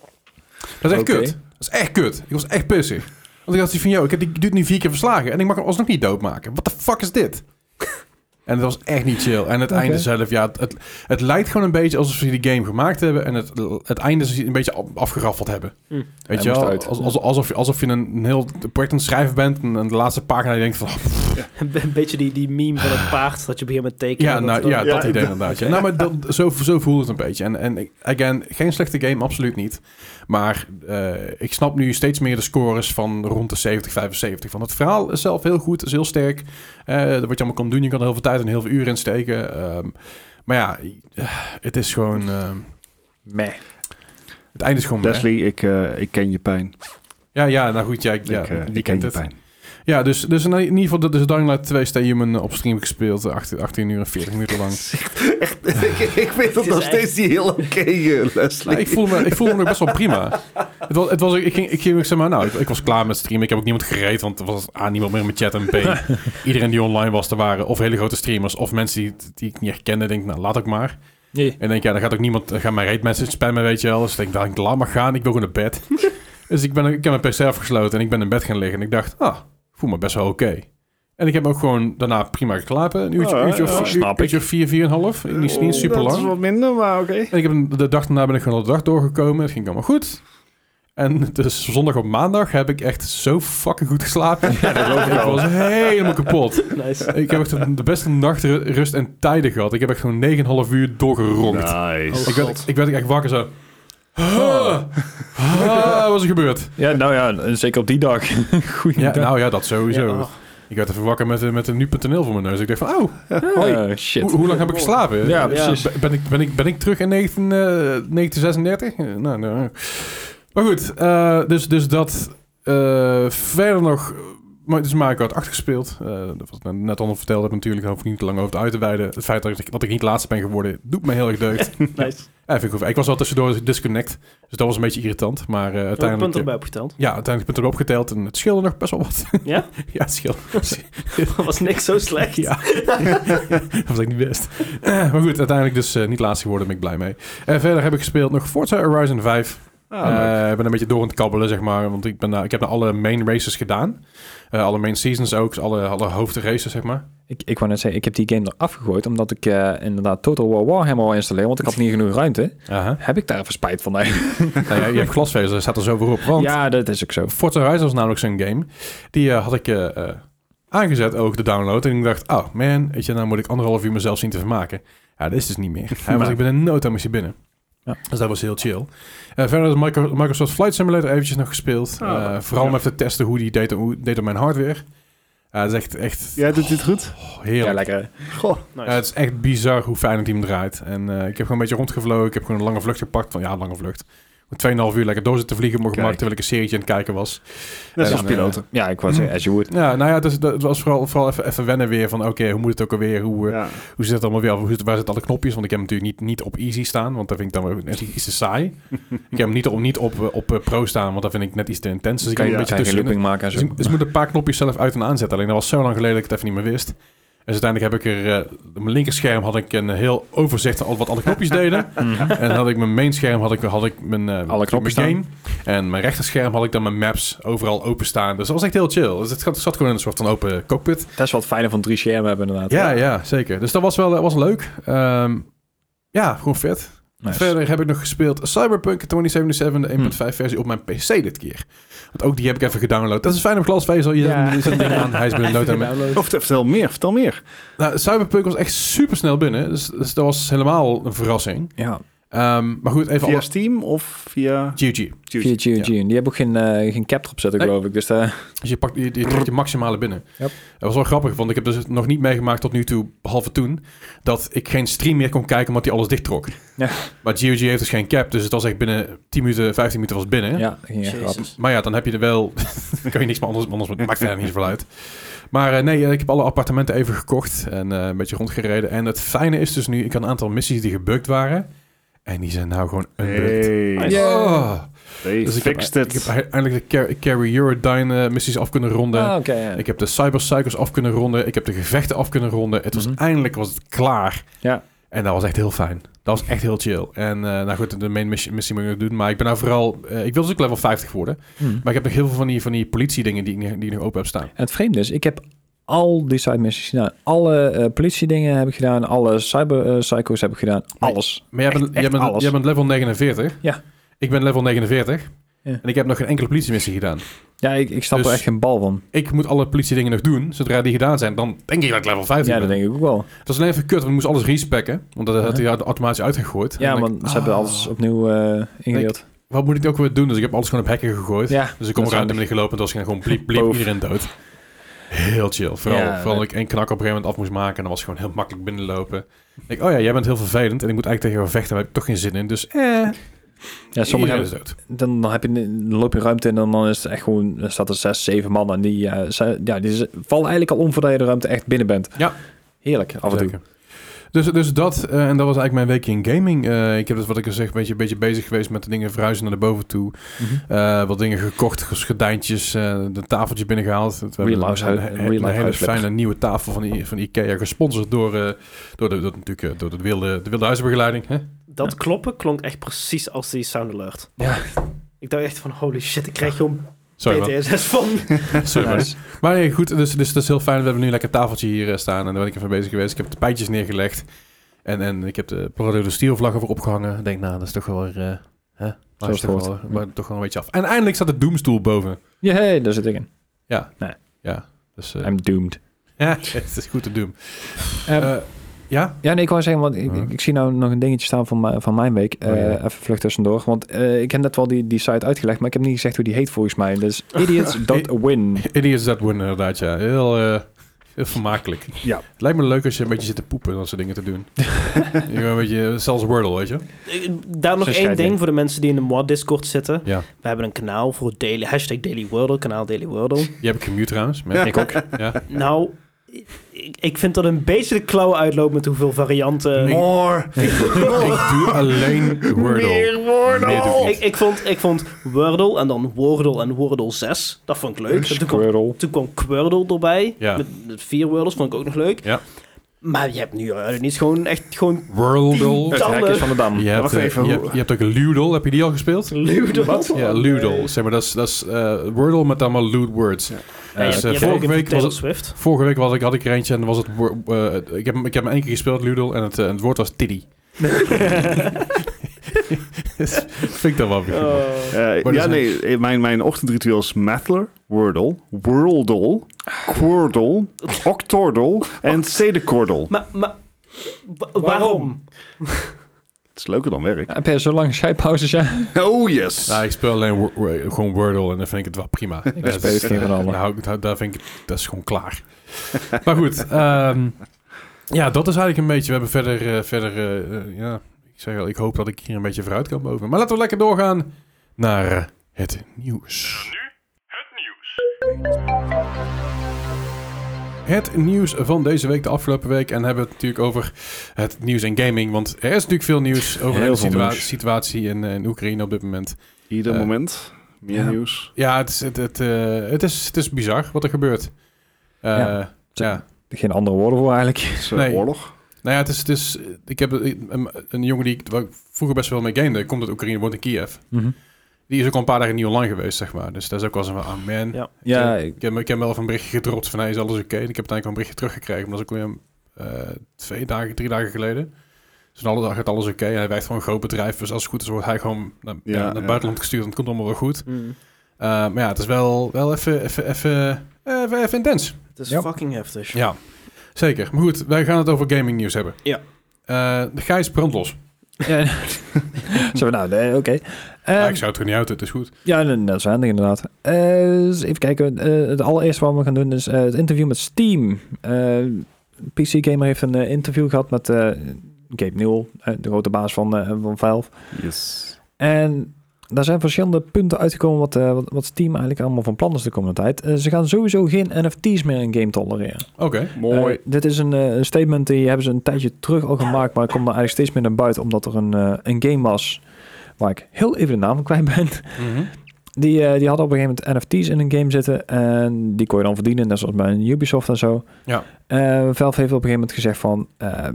Dat is echt Oké. kut. Dat is echt kut. Ik was echt pissig. Want ik dacht van, yo, ik heb die dude nu vier keer verslagen en ik mag hem alsnog niet doodmaken. What the fuck is dit? en dat was echt niet chill. En het Oké. einde zelf, ja, het, het, het lijkt gewoon een beetje alsof ze die game gemaakt hebben en het, het einde ze een beetje af- afgeraffeld hebben. Hm. Weet Hij je moest wel? uit. Als, als- alsof, je- alsof je een, een heel project aan het schrijven bent en, en de laatste pagina je denkt van, oh, Een be- beetje die, die meme van het paard dat je begint met tekenen. ja, dat nou, het ja, dan- dat Ja, idee ik- inderdaad. ja. Nou, maar dat, zo, zo voelde het een beetje. En, en again, geen slechte game, absoluut niet. Maar eh, ik snap nu steeds meer de scores van rond de 70, 75. Van het verhaal is zelf heel goed, is heel sterk. Eh, wat je allemaal kan doen, je kan er heel veel tijd en heel veel uren in steken. Ehm, maar ja, eh, het is gewoon... ehm, Meh. het einde is gewoon... meh. Leslie, ik, eh, ik ken je pijn. Ja, ja, nou goed, ja, ik, ja, ik, eh, je ik ken kent je het. pijn. Ja, dus, dus in ieder geval, dat is Dying Light 2 Stay Human op stream gespeeld. eh, 18, 18 uur en 40 minuten lang. ik, ik vind dat is nog echt- steeds niet heel oké, eh, Nou, Leslie. ik, voelde me, ik voelde me nog best wel prima. Het was, het was, ik, ging, ik ging, ik zeg maar, nou, ik, ik was klaar met streamen. Ik heb ook niemand gereed, want er was A, niemand meer in mijn chat en B, iedereen die online was, er waren of hele grote streamers of mensen die, die ik niet herkende. Denk, ik, nou, laat ook maar. Nee. En denk, ja, dan gaat ook niemand, dan gaan mijn raid message spammen, weet je wel. Dus ik denk, nou, ik laat maar gaan, ik wil gewoon naar bed. dus ik, ben, ik heb mijn pc afgesloten en ik ben in bed gaan liggen. En ik dacht, ah, ik voel me best wel oké. En ik heb ook gewoon daarna prima geklapen. Een uurtje, Ah, uurtje, of, ja, uur- snap ik. Oh. uurtje of vier, vier en een half. Niet, niet super lang. Dat is wat minder, maar oké. En ik heb een- de dag daarna ben ik gewoon de dag doorgekomen. Het ging allemaal goed. En dus zondag op maandag heb ik echt zo fucking goed geslapen. ik was helemaal kapot. Nice. Ik heb echt de- de beste nachtrust en tijden gehad. Ik heb echt zo'n 9,5 uur doorgeronkt. Nice. Oh, ik, werd, God. ik werd echt wakker zo. Ah, ah, wat is er gebeurd? Ja, nou ja, zeker op die dag. Goeie Ja, dag. nou ja, dat sowieso. Ja, oh. Ik werd even wakker met, eh, met een nu.nl voor mijn neus. Ik dacht van, oh, Eh, shit. hoe, hoe lang heb ik geslapen? Ja, Eh, precies. ben- Ben ik, ben ik, ben ik terug in 19, eh, 1936? Eh, nou, nou, nou. Maar goed, eh, dus, dus dat eh, verder nog... eh, Maar het is Mario Kart 8 gespeeld. Eh, dat wat ik net al verteld heb natuurlijk, daar hoef ik niet te lang over te uit te wijden. Het feit dat ik, dat ik niet laatste ben geworden, doet me heel erg deugd. nice. ja, vind ik, goed. ik was al tussendoor disconnect, dus dat was een beetje irritant. Maar eh, Heb een uiteindelijk... punt eh, erbij opgeteld? ja, uiteindelijk ben ik erop geteld en het scheelde nog best wel wat. Ja? ja, het scheelde. was niks zo slecht. Ja, dat was ik niet best. Eh, maar goed, uiteindelijk dus eh, niet laatste geworden, ben ik blij mee. En verder heb ik gespeeld nog Forza Horizon 5. Ah, Eh, ik ben een beetje door aan het kabbelen, zeg maar. Want ik, ben, nou- ik heb nou alle main races gedaan. Eh, alle main seasons ook. Alle, alle hoofdraces, zeg maar. Ik, ik wou net zeggen, ik heb die game eraf gegooid omdat ik eh, inderdaad Total War Warhammer al installeer, want ik had niet genoeg ruimte. Aha. Heb ik daar even spijt van eigenlijk? Nou ja, je hebt glasvezel, daar staat er zoveel op. Want Ja, dat is ook zo. Forza Horizon was namelijk zo'n game. Die eh, had ik eh, eh, aangezet, ook de download. En ik dacht, oh man, weet je, nou moet ik anderhalf uur mezelf zien te vermaken. Ja, dat is dus niet meer. Hij was, Nee. ik ben in no time was hij binnen. Ja. Dus dat was heel chill. Eh, verder had Micro- Microsoft Flight Simulator eventjes nog gespeeld. Ah, Eh, ja. vooral om even te testen hoe die deed, hoe deed op mijn hardware. Eh het is echt, echt Jij doet dit goed? oh, Ja, heerlijk. lekker. Goh. Eh, het is echt bizar hoe fijn het team draait. En eh, ik heb gewoon een beetje rondgevlogen. Ik heb gewoon een lange vlucht gepakt. Van ja, lange vlucht. Met 2,5 uur lekker door zitten vliegen op mijn gemak, Kijk. terwijl ik een serietje aan het kijken was. Net En, zoals eh, piloten. Ja, ik wou zeggen, as you would. Ja, nou ja, dus, dat was vooral, vooral even, even wennen weer van oké, hoe moet het ook alweer? Hoe, eh, ja. hoe zit het allemaal weer? Hoe, zit- waar zitten alle knopjes? Want ik heb hem natuurlijk niet, niet op easy staan, want dat vind ik dan wel net iets te saai. ik heb hem niet op, niet op, eh, op eh, pro staan, want dat vind ik net iets te intens. Dus ik kan heb je een een beetje eigen tussen. looping maken en Dus, zo. ik- dus ik moet een paar knopjes zelf uit en aanzetten. Alleen dat was zo lang geleden dat ik het even niet meer wist. Dus uiteindelijk heb ik er, eh, op mijn linkerscherm had ik een heel overzicht van al- wat alle knopjes deden. Mhm. En dan had ik mijn mainscherm, had ik, had ik mijn, eh, Alle knoppen mijn game. En mijn rechterscherm had ik dan mijn maps overal openstaan. Dus dat was echt heel chill. Dus het zat, zat gewoon in een soort van open cockpit. Dat is Mhm. wat fijner van drie schermen hebben inderdaad. Ja, ja, zeker. Dus dat was wel dat was leuk. Ehm, ja, gewoon vet. Nice. Hm. Verder heb ik nog gespeeld Cyberpunk 2077, de 1.5 versie op mijn PC dit keer. Want ook die heb ik even gedownload. Dat is fijn op glasvezel. Je Ja. zet hem- je zet een ding aan, hij is binnen no time. download. Of vertel meer, vertel meer. Nou, Cyberpunk was echt super snel binnen. Dus, dus dat was helemaal een verrassing. Ja, Ehm, maar goed, even Via alles. Steam of via... GG. via GOG. En Die hebben ook geen, eh, geen cap erop zetten, Nee. geloof ik. Dus eh, Dus je pakt je, je trekt je maximale binnen. Yep. Dat was wel grappig, want ik heb dus nog niet meegemaakt tot nu toe, behalve toen, dat ik geen stream meer kon kijken omdat hij alles dichttrok. Ja. Maar GOG heeft dus geen cap, dus het was echt binnen 10 minuten, 15 minuten was het binnen. ja, dat ging echt Jezus. grappig. Maar ja, dan heb je er wel... dan kan je niks meer anders... anders maakt verder niet zoveel uit. Maar eh, nee, eh, ik heb alle appartementen even gekocht. En eh, een beetje rondgereden. En het fijne is dus nu... Ik had een aantal missies die gebukt waren. En die zijn nou gewoon unbugged. Hey, Nice. Oh. they Dus ik heb, fixed ik it. heb eindelijk de Car- Carry Eurodyne eh, missies af kunnen ronden. Ah, oké. ja. Ik heb de cybercycles af kunnen ronden. Ik heb de gevechten af kunnen ronden. Het was Mhm. eindelijk was het klaar. Ja. En dat was echt heel fijn. Dat was echt heel chill. En eh, nou goed, de main missie, missie moet ik nog doen. Maar ik ben nou vooral... eh, ik wil dus ook level 50 worden. Hm. Maar ik heb nog heel veel van die, van die politiedingen die, ik nog- die ik nog open heb staan. En het vreemde is, ik heb al die side missies gedaan. Alle eh politiedingen heb ik gedaan. Alle cyber eh, psychos heb ik gedaan. Alles. Maar jij bent, Echt- echt jij bent, alles. jij bent level 49. Ja. Ik ben level 49. Ja. En ik heb nog geen enkele politiemissie gedaan. Ja, ik, ik snap Dus- er echt geen bal van. Ik moet alle politiedingen nog doen. Zodra die gedaan zijn, dan denk ik dat ik level 50 Ja, ben. dat denk ik ook wel. Het was alleen even kut, want ik moest alles respecken. Want dat had Ja. hij automatisch uitgegooid. En Ja, dan want denk ik, ze hebben ah, alles opnieuw eh ingedeeld. Wat moet ik ook weer doen? Dus ik heb alles gewoon op hekken gegooid. Ja, Dus ik dat kom eruit is en handig. ben ik gelopen. En toen was ik gewoon bliep, bliep Poof. iedereen dood. Heel chill. Vooral, Ja, vooral dat ik één knak op een gegeven moment af moest maken. En dan was het gewoon heel makkelijk binnenlopen. Ik denk, oh ja, jij bent heel vervelend. En ik moet eigenlijk tegen jou vechten. Daar heb ik toch geen zin in. Dus eh, Ja, sommige iedereen hebben, is dood. dan, dan, heb je, dan loop je ruimte en dan, dan is het echt gewoon, dan staat er zes, zeven man en die, eh, zijn- ja, die z- vallen eigenlijk al om voordat je de ruimte echt binnen bent. Ja. Heerlijk, af en toe. Zeker. Dus, dus dat, eh, en dat was eigenlijk mijn weekje in gaming. Eh, ik heb dus wat ik al zeg, een beetje, een beetje bezig geweest met de dingen verhuizen naar de boven toe. Mhm. Eh, wat dingen gekocht, ges- gedijntjes, eh de tafeltje binnengehaald. We hebben Real house- een, real een hele life house flipper. fijne nieuwe tafel van, I- van Ikea, gesponsord door, eh, door, de, door, natuurlijk, eh, door de, wilde, de wilde huizenbegeleiding. Hè? Dat kloppen klonk echt precies als die sound alert. Ja. Ik dacht echt van, holy shit, ik krijg gewoon Sorry man. PTSS van. Sorry man. Nice. Maar nee, goed, dus, dus dat is heel fijn. We hebben nu lekker een tafeltje hier eh, staan en daar ben ik even bezig geweest. Ik heb de pijtjes neergelegd en, en ik heb de Prado de Steel vlag erop opgehangen. Ik denk, nou, dat is toch wel... weer, eh hè? Maar is het toch wel, hoort. maar toch wel een beetje af. En eindelijk staat de Doomstoel boven. Jee, daar zit ik in. Dus eh, I'm doomed. ja, het is goed te doen. Ehm, Eh, ja? Ja, nee, ik wou zeggen, want ik, Ja. ik, ik zie nou nog een dingetje staan van, mijn- van mijn week. Oh, ja. Eh, even vlug tussendoor. Want eh, ik heb net wel die, die site uitgelegd, maar ik heb niet gezegd hoe die heet volgens mij. Dus idiots.win. Idiots that win, inderdaad, ja. Heel, eh, heel vermakelijk. Ja. Het lijkt me leuk als je een beetje zit te poepen en dat soort dingen te doen. je bent een beetje, zelfs Wordle, weet je. Eh, Daar nog Zo'n één scheiding. ding voor de mensen die in de mod Discord zitten. Ja. We hebben een kanaal voor Daily, hashtag Daily Wordle, kanaal Daily Wordle. Je hebt commute trouwens. maar- Ik ook. Ja. Nou, ik, ik vind dat een beetje de klauwen uitloopt met hoeveel varianten. Ik- More. Ik doe alleen Wordle. Meer Wordle. Meer doe ik Ik, ik, vond, ik vond Wordle en dan Wordle en Wordle 6. Dat vond ik leuk. Toen kwam, Squirrel. toen kwam Quirtle erbij. Ja. Met, met vier Wordles vond ik ook nog leuk. Ja. Maar je hebt nu eh, niet gewoon echt gewoon Worldle. Het hek is van de dam. Je hebt, wacht eh, even, je, hoe- hebt, je hebt ook Ludel. Heb je die al gespeeld? ludo. Wat? Ja, Ludel. Zeg maar, dat is, dat is eh, Wordle met allemaal lewd words. Ja. Ja, je Dus, hebt- eh, je hebt ook vorige een week was Taylor het Swift. Vorige week was ik, had ik er eentje en was het, wo- eh, ik, heb, hem- ik heb hem één keer gespeeld, Ludel, en het, eh, het woord was tiddy. Vind ik dat wel weer goed. Oh. Eh, dat ja, is nee, eh, mijn, mijn ochtendritueel is Mathler, Wordle, Worldle, Quordle, Octordle en Sedecordle. Maar, maar wa- waarom? Het is leuker dan werk. Heb je zo lang schijpauzes, ja? Oh yes! Nou, ik speel alleen wo- wo- gewoon Wordle en dan vind ik het wel prima. Ik speel het geen van allen. Nou, daar vind ik, dat is gewoon klaar. maar goed, ehm, ja, dat is eigenlijk een beetje. We hebben verder, eh, verder eh, eh, ja, ik zeg al, ik hoop dat ik hier een beetje vooruit kan boven. Maar laten we lekker doorgaan naar eh, het nieuws. Het nieuws van deze week, de afgelopen week. En hebben we het natuurlijk over het nieuws in gaming. Want er is natuurlijk veel nieuws over Heel de veel situa- nieuws. situatie in, eh, in Oekraïne op dit moment. Ieder Eh, moment meer ja. nieuws. Ja, het is, het, het, eh, het is, het is bizar wat er gebeurt. Eh, ja. Ja. Geen andere woorden voor eigenlijk. Het is eh, nee. oorlog. Nou ja, het is, het is, ik heb een, een jongen die ik, waar ik vroeger best wel mee gamede, komt uit Oekraïne, woont in Kiev. Die is ook al een paar dagen niet online geweest, zeg maar. Dus dat is ook wel zo van, ah man. Ja. Ja, Ik, ik, heb, ik heb wel even een berichtje gedropt van, hij is alles oké? En ik heb uiteindelijk wel een berichtje teruggekregen, maar dat is ook weer eh, twee dagen, drie dagen geleden. Dus dan alle dag gaat alles oké. En hij werkt voor een groot bedrijf, dus als het goed is, wordt hij gewoon naar, Ja, ja, naar het ja. buitenland gestuurd en het komt allemaal wel goed. Hmm. Eh, maar ja, het is wel, wel even, even, even, eh, even, even intens. Het is Ja. fucking heftig. Ja, zeker. Maar goed, wij gaan het over gaming nieuws hebben. Ja. Eh, Gijs, brand los. Ja. Zo, nou, nee, oké. Ehm, Ah, ik zou het er niet uit, het is goed. ja, nee, dat is handig inderdaad. Eh, eens even kijken. Eh, het allereerste wat we gaan doen is eh, het interview met Steam. Eh, PC Gamer heeft een eh, interview gehad met eh, Gabe Newell, eh, de grote baas van, eh, van Valve. Yes. En daar zijn verschillende punten uitgekomen wat, eh, wat, wat Steam eigenlijk allemaal van plan is de komende tijd. Eh, ze gaan sowieso geen NFT's meer in game tolereren. Oké. Mooi. Eh, dit is een eh, een statement die hebben ze een tijdje terug al gemaakt, maar ik kom er eigenlijk steeds meer naar buiten, omdat er een, eh, een game was waar ik heel even de naam kwijt ben. Die, eh, die hadden op een gegeven moment NFT's in een game zitten en die kon je dan verdienen, net zoals bij een Ubisoft en zo. Ja. Eh, Valve heeft op een gegeven moment gezegd van, eh,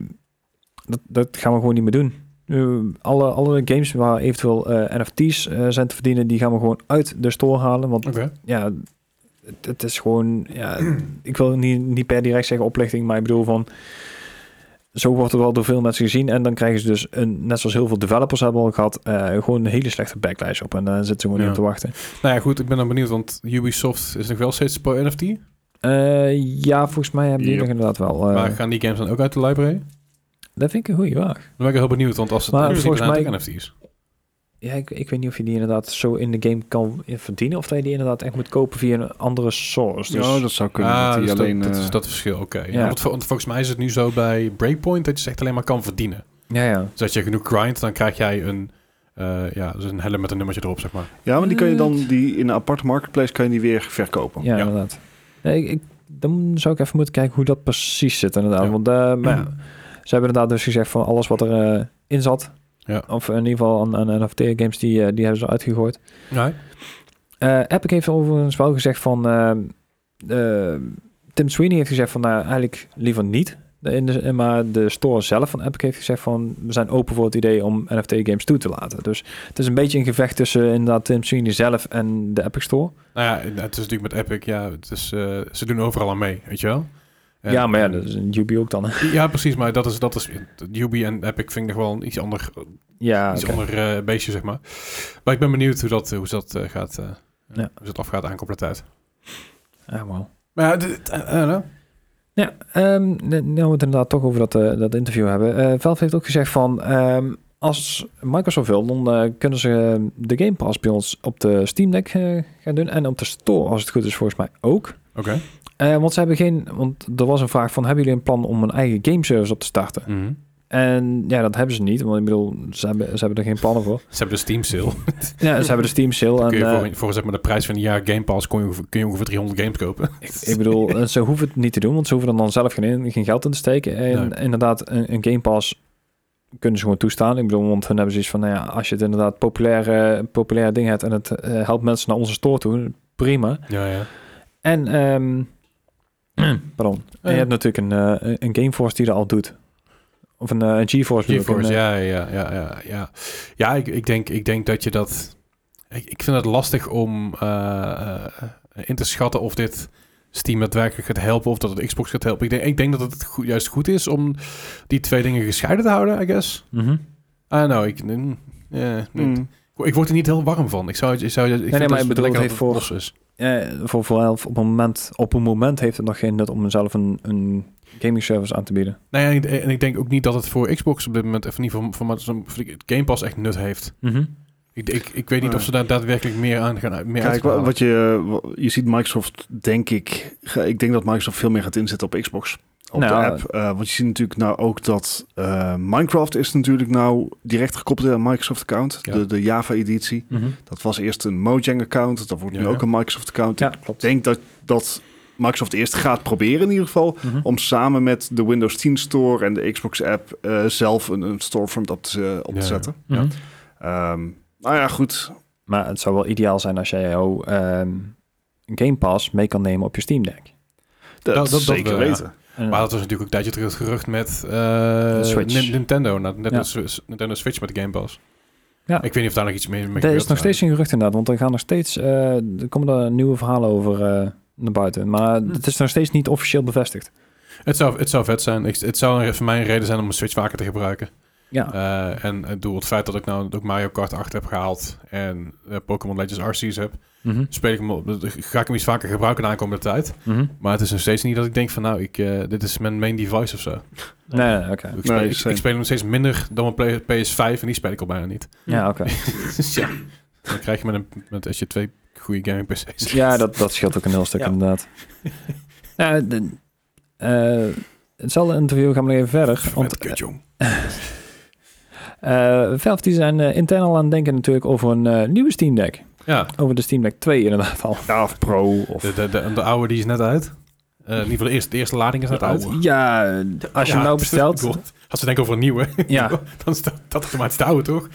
dat, dat gaan we gewoon niet meer doen. Eh, alle, alle games waar eventueel eh, NFT's eh, zijn te verdienen, die gaan we gewoon uit de store halen, want Oké. ja, het, het is gewoon, ja, ik wil niet, niet per direct zeggen oplichting, maar ik bedoel van, zo wordt er wel door veel mensen gezien en dan krijgen ze dus, een, net zoals heel veel developers hebben al gehad, eh, gewoon een hele slechte backlash op en daar zitten ze gewoon Ja. niet op te wachten. Nou ja, goed, ik ben dan benieuwd, want Ubisoft is nog wel steeds pro NFT. Eh, ja, volgens mij hebben die Yep. nog inderdaad wel. eh, maar gaan die games dan ook uit de library? Dan dat vind ik een goede vraag. ben ik heel benieuwd, want als het Maar NFT zijn, volgens zijn het mij- ook NFT's. Ja, ik, ik weet niet of je die inderdaad zo in de game kan verdienen of dat je die inderdaad echt moet kopen via een andere source. Dus, Ja, dat zou kunnen. Ah, dat die dus alleen, dat, dat eh, is dat verschil, oké. Ja. Want, vol- want volgens mij is het nu zo bij Breakpoint dat je zegt alleen maar kan verdienen. ja, ja. Dus als je genoeg grindt, dan krijg jij een, eh, ja, dus een helm met een nummertje erop, zeg maar. Ja, maar die kan je dan die, in een aparte marketplace kan je die weer verkopen. Ja, Ja. inderdaad. Nee, ik, ik- dan zou ik even moeten kijken hoe dat precies zit, inderdaad. Ja. Want eh, maar ja, ze hebben inderdaad dus gezegd van alles wat er eh, in zat. Ja. Of in ieder geval aan, aan NFT-games, die, eh, die hebben ze uitgegooid. Nee? Eh, Epic heeft overigens wel gezegd van... eh, eh, Tim Sweeney heeft gezegd van, nou, eigenlijk liever niet. In de, maar de store zelf van Epic heeft gezegd van... we zijn open voor het idee om NFT-games toe te laten. Dus het is een beetje een gevecht tussen inderdaad Tim Sweeney zelf en de Epic Store. Nou ja, het is natuurlijk met Epic, ja, het is, eh, ze doen overal aan mee, weet je wel? En- ja, dus- maar ja, dat is een Ubi ook dan. hè. Ja, precies, maar dat is, dat is Ubi en Epic vind ik nog wel een iets ander, ja, iets Ah, oké. ander eh, beestje, zeg maar. Maar ik ben benieuwd hoe dat, hoe ze dat eh, gaat, eh, Ja. hoe ze dat afgaat aankomende tijd. Ah, wow. Maar ja, dit- eh, eh, nou. Ja, ehm, n- nou we het inderdaad toch over dat, eh, dat interview hebben. Eh Valve heeft ook gezegd van... ehm, als Microsoft wil, dan eh, kunnen ze eh, de Game Pass bij ons op de Steam Deck eh, gaan doen. En op de Store, als het goed is, volgens mij ook. oké. Eh, want ze hebben geen... Want er was een vraag van... Hebben jullie een plan om een eigen gameservice op te starten? En ja, dat hebben ze niet. Want ik bedoel, ze hebben, ze hebben er geen plannen voor. Ze hebben de Steam sale. ja, ze hebben de Steam sale. En, kun je eh, voor, voor zeg maar de prijs van een jaar Game Pass kun je, ongeveer- kun je ongeveer 300 games kopen. Ik bedoel, eh, ze hoeven het niet te doen, want ze hoeven er dan zelf geen, in- geen geld in te steken. En Nee. inderdaad, een, een Game Pass kunnen ze gewoon toestaan. Ik bedoel, want hun hebben zoiets van, nou ja, als je het inderdaad populair, eh, populair ding hebt en het eh, helpt mensen naar onze store toe, prima. ja, ja. En ehm, Pardon. ja. En je hebt natuurlijk een, eh, een Gameforce die dat al doet. Of een eh, een GeForce. bedoel ik, GeForce, een, eh, ja, ja, ja, ja. Ja, ja ik, ik, denk, ik denk dat je dat... Ik, ik vind het lastig om eh, eh, in te schatten of dit Steam daadwerkelijk gaat helpen of dat het Xbox gaat helpen. Ik denk, ik denk dat het goed- juist goed is om die twee dingen gescheiden te houden, I guess. mhm. Ah, nou, ik... mm, eh, nee. Hmm. Ik word er niet heel warm van. Ik zou, ik zou, ik vind Hmm. nee, maar het ik bedoel, lekker het heeft dat voor- los is. Eh, voor vooral op een moment, op een moment heeft het nog geen nut om zelf een, een gaming service aan te bieden. Nee, en Nou ik- en ik denk ook niet dat het voor Xbox op dit moment, of in ieder geval voor, voor, voor Game Pass echt nut heeft. Ik, ik, ik weet niet of ze daar daadwerkelijk meer aan gaan uit- meer uit Kijk, gaan wa- halen. wat je, wa- je ziet Microsoft, denk ik... ga- Ik denk dat Microsoft veel meer gaat inzetten op Xbox. Op Nou, de app. Eh, want je ziet natuurlijk nou ook dat... eh, Minecraft is natuurlijk nou direct gekoppeld aan een Microsoft-account. Ja. De, de Java-editie. mhm. Dat was eerst een Mojang-account. Dat wordt nu Ja. ook een Microsoft-account. Ja, Ik klopt. denk dat, dat Microsoft eerst gaat proberen in ieder geval... Mhm. om samen met de Windows 10 Store en de Xbox-app... eh, zelf een, een storefront op te, eh, op Ja, te ja. zetten. Ja. Ehm, nou ja, goed. Maar het zou wel ideaal zijn als jij jouw ehm, Game Pass mee kan nemen op je Steam Deck. Eh, Dat, dat- dat zeker wel, ja. weten. En- Maar dat was natuurlijk ook een tijdje terug het gerucht met eh, Switch. Nin- Nintendo. Nou, net Ja. als Swi- Nintendo Switch met de Game Pass. Ja. Ik weet niet of daar nog iets mee, mee Er gebeurd is nog steeds een gerucht inderdaad, want er gaan nog steeds, eh, er komen er nieuwe verhalen over eh, naar buiten. Maar het is nog steeds niet officieel bevestigd. Het zou, het zou vet zijn. Ik, het zou een- voor mij een reden zijn om een Switch vaker te gebruiken. Ja, Eh, en het, doel, het feit dat ik nou ook Mario Kart 8 heb gehaald en eh, Pokémon Legends Arceus heb, Mhm, speel ik hem, op- dus ga ik hem iets vaker gebruiken de aankomende tijd. mhm. Maar het is nog steeds niet dat ik denk van nou, ik, eh, dit is mijn main device of zo. nee, nee, oké. Ik speel, Nee, ik, same. ik speel hem nog steeds minder dan mijn Play- PS5 en die speel ik al bijna niet. Ja, oké. Dus ja, dan krijg je met, een, met als je twee goede gaming PC's. Ja, dat, dat scheelt ook een heel stuk Ja. inderdaad. Nou, de, eh, hetzelfde interview gaan we nog even verder. Want Met kut, jong. eh Valve die zijn eh, intern al aan het denken natuurlijk over een eh, nieuwe Steam Deck. Ja, Over de Steam Deck 2 inderdaad al. Ja, of Pro. Of... de, de, de, de oude die is net uit. Eh, in ieder geval de eerste, de eerste lading is net uit. Ja, als je hem Ja, nou bestelt. God, als ze denken over een nieuwe, Ja. dan is dat, dat is maar het oude, toch?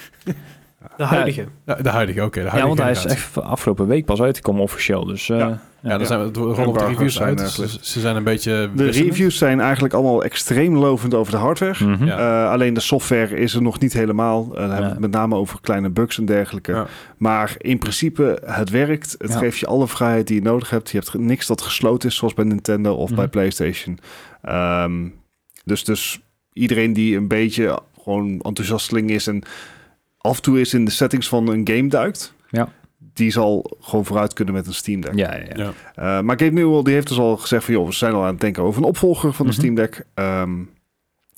De huidige. Ja, de huidige, oké. de Ja, huidige want hij is generatie. echt afgelopen week pas uitgekomen officieel. Dus eh, Ja. ja. Ja, dan zijn we we rollen op de Embargo's reviews zijn, uit. eh, dus gelist. ze, ze zijn een beetje... De wisselend. reviews zijn eigenlijk allemaal extreem lovend over de hardware. Mhm. Ja. Eh, alleen de software is er nog niet helemaal. Eh, dan hebben we Ja. het met name over kleine bugs en dergelijke. Ja. Maar in principe, het werkt. Het Ja. geeft je alle vrijheid die je nodig hebt. Je hebt ge- niks dat gesloten is, zoals bij Nintendo of bij Mhm. PlayStation. Ehm, dus, dus iedereen die een beetje gewoon enthousiasteling is en af en toe is in de settings van een game duikt, Ja. die zal gewoon vooruit kunnen met een Steam Deck. Ja, ja, ja. Ja. Eh, maar Gabe Newell die heeft dus al gezegd van... joh, we zijn al aan het denken over een opvolger van de Mhm. Steam Deck. Ehm,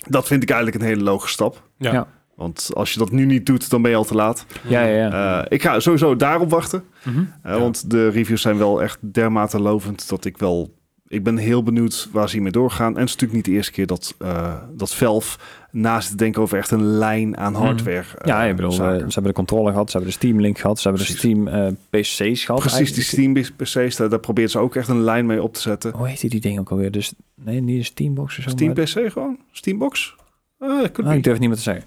dat vind ik eigenlijk een hele logische stap. Ja. Ja. Want als je dat nu niet doet, dan ben je al te laat. ja, ja, ja. Eh, ik ga sowieso daarop wachten. Mhm. Eh, Ja. Want de reviews zijn wel echt dermate lovend dat ik wel... Ik ben heel benieuwd waar ze hiermee doorgaan. En het is natuurlijk niet de eerste keer dat, eh dat Valve na zit te denken over echt een lijn aan Mhm. hardware. Ja, eh, ik bedoel, eh, zaken. ze hebben de controller gehad, ze hebben de Steam Link gehad, ze hebben de Precies. Steam eh, PC's gehad. Precies, die Steam PC's, daar, daar probeert ze ook echt een lijn mee op te zetten. Hoe heet die, die ding ook alweer? Dus, nee, niet een Steambox of zo. Steam Oh, maar- PC gewoon? Steambox? Eh could Ah, be. ik durf het niet meer te zeggen.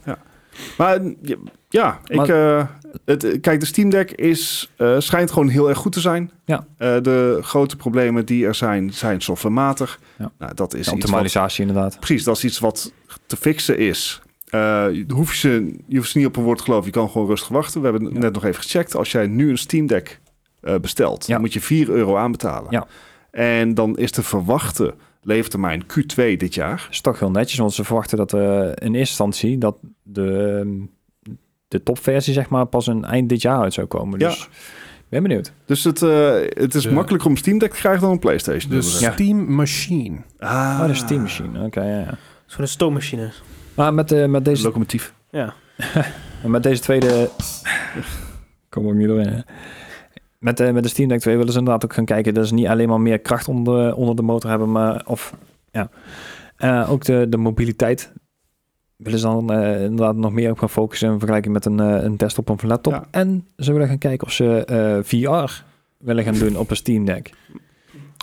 Maar ja, ja, ik, Maar- eh, het, eh, kijk, de Steam Deck is, eh, schijnt gewoon heel erg goed te zijn. Ja. Eh, de grote problemen die er zijn, zijn softwarematig. Ja. Nou, dat is Ja, iets wat, optimalisatie inderdaad. precies, dat is iets wat te fixen is. Eh, je hoef je, ze, je hoeft ze niet op een woord te geloven. Je kan gewoon rustig wachten. We hebben het Ja. net nog even gecheckt. Als jij nu een Steam Deck eh, bestelt, Ja. dan moet je 4 euro aanbetalen. Ja. En dan is de verwachte leeftermijn Q2 dit jaar. Dat is toch heel netjes, want ze verwachten dat eh, in eerste instantie dat de, ehm, de topversie zeg maar pas een eind dit jaar uit zou komen. Ja. Dus ik ben benieuwd. Dus het, eh, het is De- makkelijker om Steam Deck te krijgen dan een PlayStation. Dus De zullen Dus- we zeggen. Steam Machine. Ah, Oh, de Steam Machine. Oké, ja, ja. Zo'n stoommachine. Maar met, eh, met deze Locomotief. Ja. En met deze tweede... Kom ook niet doorheen. hè. Met, de met de Steam Deck 2 willen ze inderdaad ook gaan kijken... dat ze niet alleen maar meer kracht onder de, onder de motor hebben... maar of, ja. Eh, ook de, de mobiliteit willen ze dan eh, inderdaad nog meer op gaan focussen... in vergelijking met een, eh, een desktop of een laptop. Ja. En ze willen gaan kijken of ze eh, VR willen gaan doen op een Steam Deck.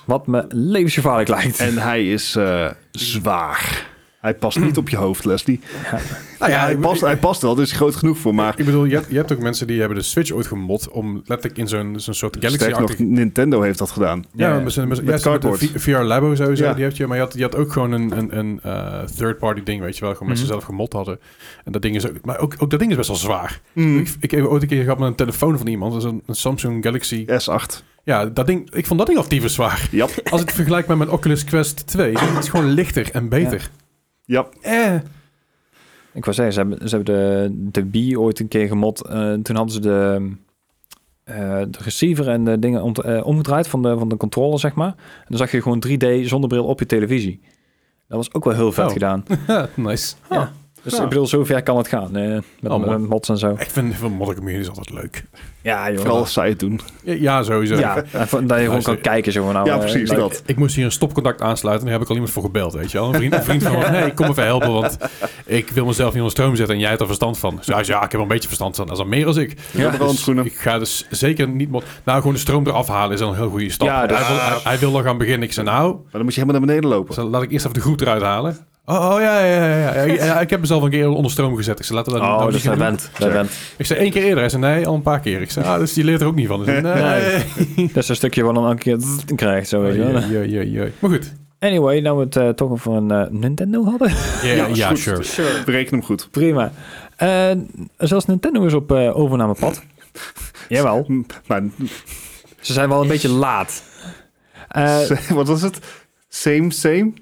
Wat me levensgevaarlijk lijkt. En hij is eh, zwaar. Hij past niet op je hoofd, Leslie. Nou ja, Ah, Ja, hij ik- past, hij past wel, daar is hij groot genoeg voor. Maar Ik bedoel, je hebt, je hebt ook mensen die hebben de Switch ooit gemod om letterlijk in zo'n zo'n soort sterker nog, Galaxy-achtige... Nintendo heeft dat gedaan. Ja, Ja, met zijn- met- met ja, zo'n- cardboard. de V- VR Labo sowieso, Ja. die heb je. Maar je had, je had ook gewoon een, een, een eh, third-party ding, weet je wel. Gewoon mensen Mhm. zelf gemod hadden. En dat ding is ook... Maar ook, ook dat ding is best wel zwaar. Mm. Ik, ik heb ooit een keer gehad met een telefoon van iemand. Dat is een, een Samsung Galaxy. Ja. S8. dat ding... Ik vond dat ding al tyfus zwaar. Jap. Als ik het vergelijk met mijn Oculus Quest 2, dat is gewoon lichter en beter. Jap. Eh. Ik wou zeggen, ze hebben, ze hebben de, de B ooit een keer gemot. Eh, toen hadden ze de, eh, de receiver en de dingen ont- eh, omgedraaid van de, van de controller, zeg maar. En dan zag je gewoon 3D zonder bril op je televisie. Dat was ook wel heel vet Oh. gedaan. nice. Ja. Dus Ja. ik bedoel, zover kan het gaan. eh, met Oh, mooi. met mods en zo. Ik vind van modder communities altijd leuk. Ja, joh. Vooral als zij het doen. Ja, ja, sowieso. Ja, en van- dat je gewoon kan kijken. Zo, van, nou, Ja, eh, precies, nou, dat. Ik moest hier een stopcontact aansluiten en daar heb ik al iemand voor gebeld, weet je wel. Een vriend, een vriend van me, nee, ik kom even helpen, want ik wil mezelf niet onder stroom zetten en jij hebt er verstand van. Dus hij zei, ja, ik heb er een beetje verstand van, dat is dan meer als ik. Ja, Dus handschoenen. ik ga dus zeker niet... mo- Nou, gewoon de stroom eraf halen is dan een heel goede stap. Ja, dus- hij, wil, hij, hij wil nog gaan beginnen. Ik zei, nou, Maar dan moet je helemaal naar beneden lopen. dus laat ik eerst even de groep eruit halen. Oh, oh ja, ja, ja, ja. Ik, ja, ik heb mezelf een keer onder stroom gezet. Ik zei, laten we dat Oh, nou dat niet is gaan dat doen. bent. Dat bent. Ik zei, één keer eerder. Hij zei, nee, al een paar keer. Ik zei, ah, dus die leert er ook niet van. Dus, nee. Dat is een stukje wat dan elke keer krijgt. Zo, weet je wel. Oei, oei, oei, oei. Maar goed. Anyway, nou we het eh, toch over een eh, Nintendo hadden. Ja, ja, Ja, is goed. sure. Sure. Bereken hem goed. Prima. Eh, zelfs Nintendo is op eh, overnamepad. Jawel. Hm, Nou, Ze zijn wel een beetje laat. Eh, s- wat was het? Same, same,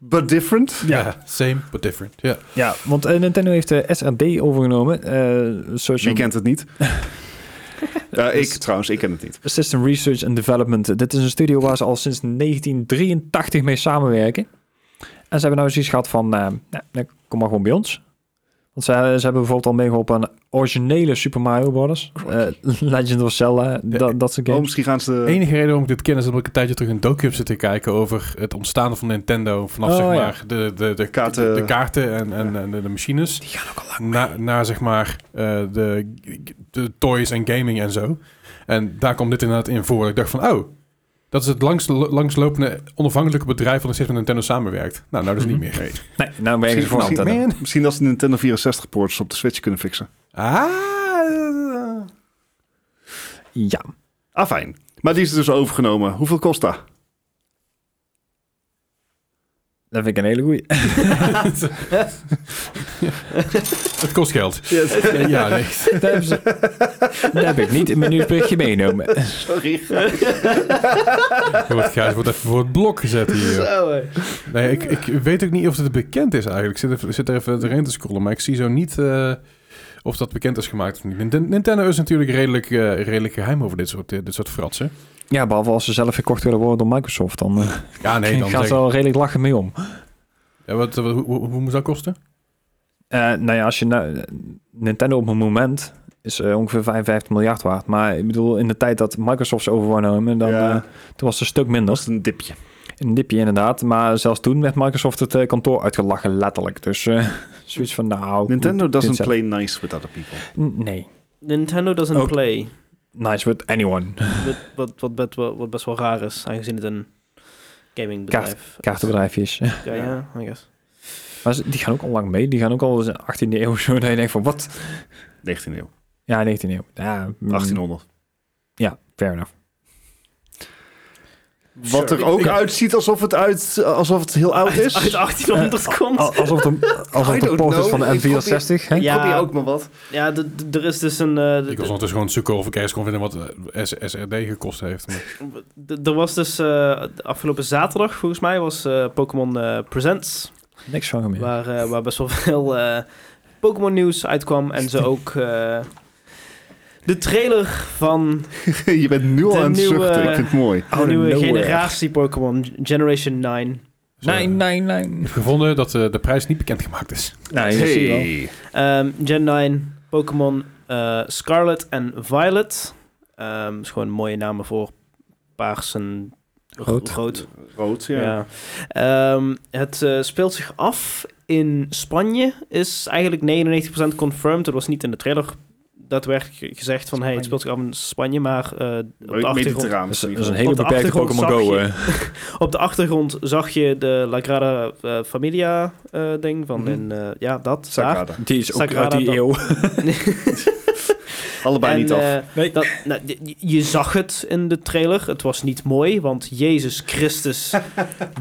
but different. Ja. same, but different. Ja. ja, want eh, Nintendo heeft de SRD overgenomen. eh, Wie Social kent het niet? Eh, ik trouwens, ik ken het niet. System Research and Development. Dit is een studio waar ze al sinds 1983 mee samenwerken. En ze hebben nou zoiets gehad van, eh, nou, nou, kom maar gewoon bij ons. Want ze, ze hebben bijvoorbeeld al meegeholpen aan originele Super Mario Bros. eh, Legend of Zelda, da- dat soort Oh, games. misschien gaan ze... De enige reden waarom ik dit ken is dat ik een tijdje terug een docu heb zitten kijken over het ontstaan van Nintendo vanaf Oh, zeg ja. maar de, de, de, kaarten. de, de kaarten en, en, en de, de machines. Die gaan ook al lang na, Naar zeg maar eh, de, de toys en gaming en zo. En daar kwam dit inderdaad in voor. Ik dacht van, oh, dat is het langst, langslopende onafhankelijke bedrijf dat nog steeds met Nintendo samenwerkt. Nou, nou dus niet meer. Nee, nou ben je misschien, voor misschien, Nintendo. misschien dat ze de Nintendo 64 ports op de Switch kunnen fixen. Ah, Ja. Ah, fijn. Maar die is dus overgenomen. Hoeveel kost dat? Dat vind ik een hele goeie. het kost geld. Ja, nee. Dat hebben ze- dat heb ik niet in mijn nieuwsberichtje meenomen. Sorry. Wordt Gijs wordt even voor het blok gezet hier. Zo, hè. Nee, ik, ik weet ook niet of het bekend is eigenlijk. Ik zit, even, zit er even doorheen te scrollen, maar ik zie zo niet eh, of dat bekend is gemaakt of niet. Nint- Nintendo is natuurlijk redelijk, eh, redelijk geheim over dit soort, dit soort fratsen. Ja, behalve als ze zelf gekocht willen worden door Microsoft, dan eh, Ja, nee, dan gaan zeg ze wel redelijk lachen mee om. ja, wat, wat- hoe, hoe, hoe moest dat kosten? Eh, nou ja, als je nou, Nintendo op een moment is eh, ongeveer 55 miljard waard. Maar ik bedoel, in de tijd dat Microsoft ze overwonnen, dan Ja. eh, toen was het een stuk minder. Dat is een dipje. Een dipje inderdaad. Maar zelfs toen werd Microsoft het eh, kantoor uitgelachen, letterlijk. Dus eh, zoiets van, nou... Nintendo dit doesn't zijn- play nice with other people. N- Nee. Nintendo doesn't Ook- play. Nice with anyone. Wat, wat, wat, bet- wat, wat best wel raar is, aangezien het een gamingbedrijf is. Kaartenbedrijfjes. Ja, ja, I guess. Maar ze- die gaan ook al lang mee. Die gaan ook al in de 18e eeuw zo. Dat je denkt van, wat? 19e eeuw. Ja, 19e eeuw. Ja, mm, 1800. Ja, fair enough. Wat er ook uitziet alsof het, uit, alsof het heel oud is. Uit 1800 komt. Al- Alsof de, alsof I de don't port is know. van de Ik N64. hè? Ja. Probeer ook maar wat. Ja, d- d- er is dus een... eh, d- Ik was ondertussen gewoon zoeken of ik ergens kon vinden wat eh, S- SRD gekost heeft. Maar- d- d- er was dus eh, afgelopen zaterdag, volgens mij, was eh, Pokémon eh, Presents. Niks van meer. Waar, eh, waar best wel veel eh, Pokémon nieuws uitkwam. En ze ook eh, de trailer van Je bent nu al De aan het nieuwe- zuchten. Ik vind het mooi. Oh, de Out of nieuwe nowhere. generatie Pokémon, G- Generation 9. Zo, Nee, eh, nee, nee. Ik heb gevonden dat eh, de prijs niet bekendgemaakt is. Nee, dat zie je wel. Ehm, Gen 9, Pokémon eh, Scarlet en Violet. Ehm is gewoon mooie namen voor paars en Rood. rood. Rood, ja. Ja. Ehm, het eh, speelt zich af in Spanje. Is eigenlijk 99% confirmed. Dat was niet in de trailer daadwerkelijk gezegd van... hey, het speelt zich af in Spanje, maar eh, op, de achtergrond, Mediterraan. Dat is, misschien dat is een wel. hele Op de beperkte achtergrond Pokémon zag Go. je- eh. op de achtergrond zag je de Lagrada eh, Familia eh, ding van Mhm. in... eh, ja, dat, daar. Sagrada. Die is ook Sagrada uit die dan. eeuw. Allebei En, niet af. eh, dat, nou, je- je zag het in de trailer. Het was niet mooi, want Jezus Christus,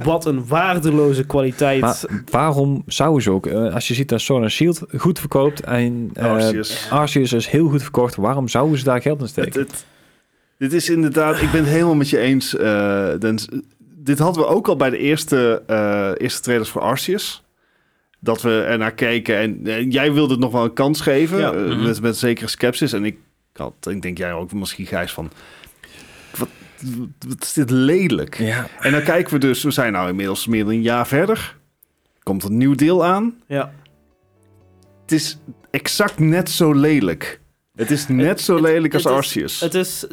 wat een waardeloze kwaliteit. Maar waarom zou ze ook? eh, als je ziet dat Sword and Shield goed verkoopt en eh, Oh, Arceus. Arceus is heel goed verkocht, waarom zouden ze daar geld in Het, steken? het- dit is inderdaad, ik ben het helemaal met je eens. eh, Dennis. dit hadden we ook al bij de eerste, eh, eerste trailers voor Arceus. Dat we ernaar keken en, en jij wilde het nog wel een kans geven. Ja. eh, Mhm. met, met zekere sceptisch. En ik had, ik denk jij ook misschien Gijs van. Wat, wat is dit lelijk? ja, En dan kijken we dus, we zijn nou inmiddels meer dan een jaar verder. Komt een nieuw deel aan. ja. Het is exact net zo lelijk. Het is net zo lelijk als het is- Arceus. Het is...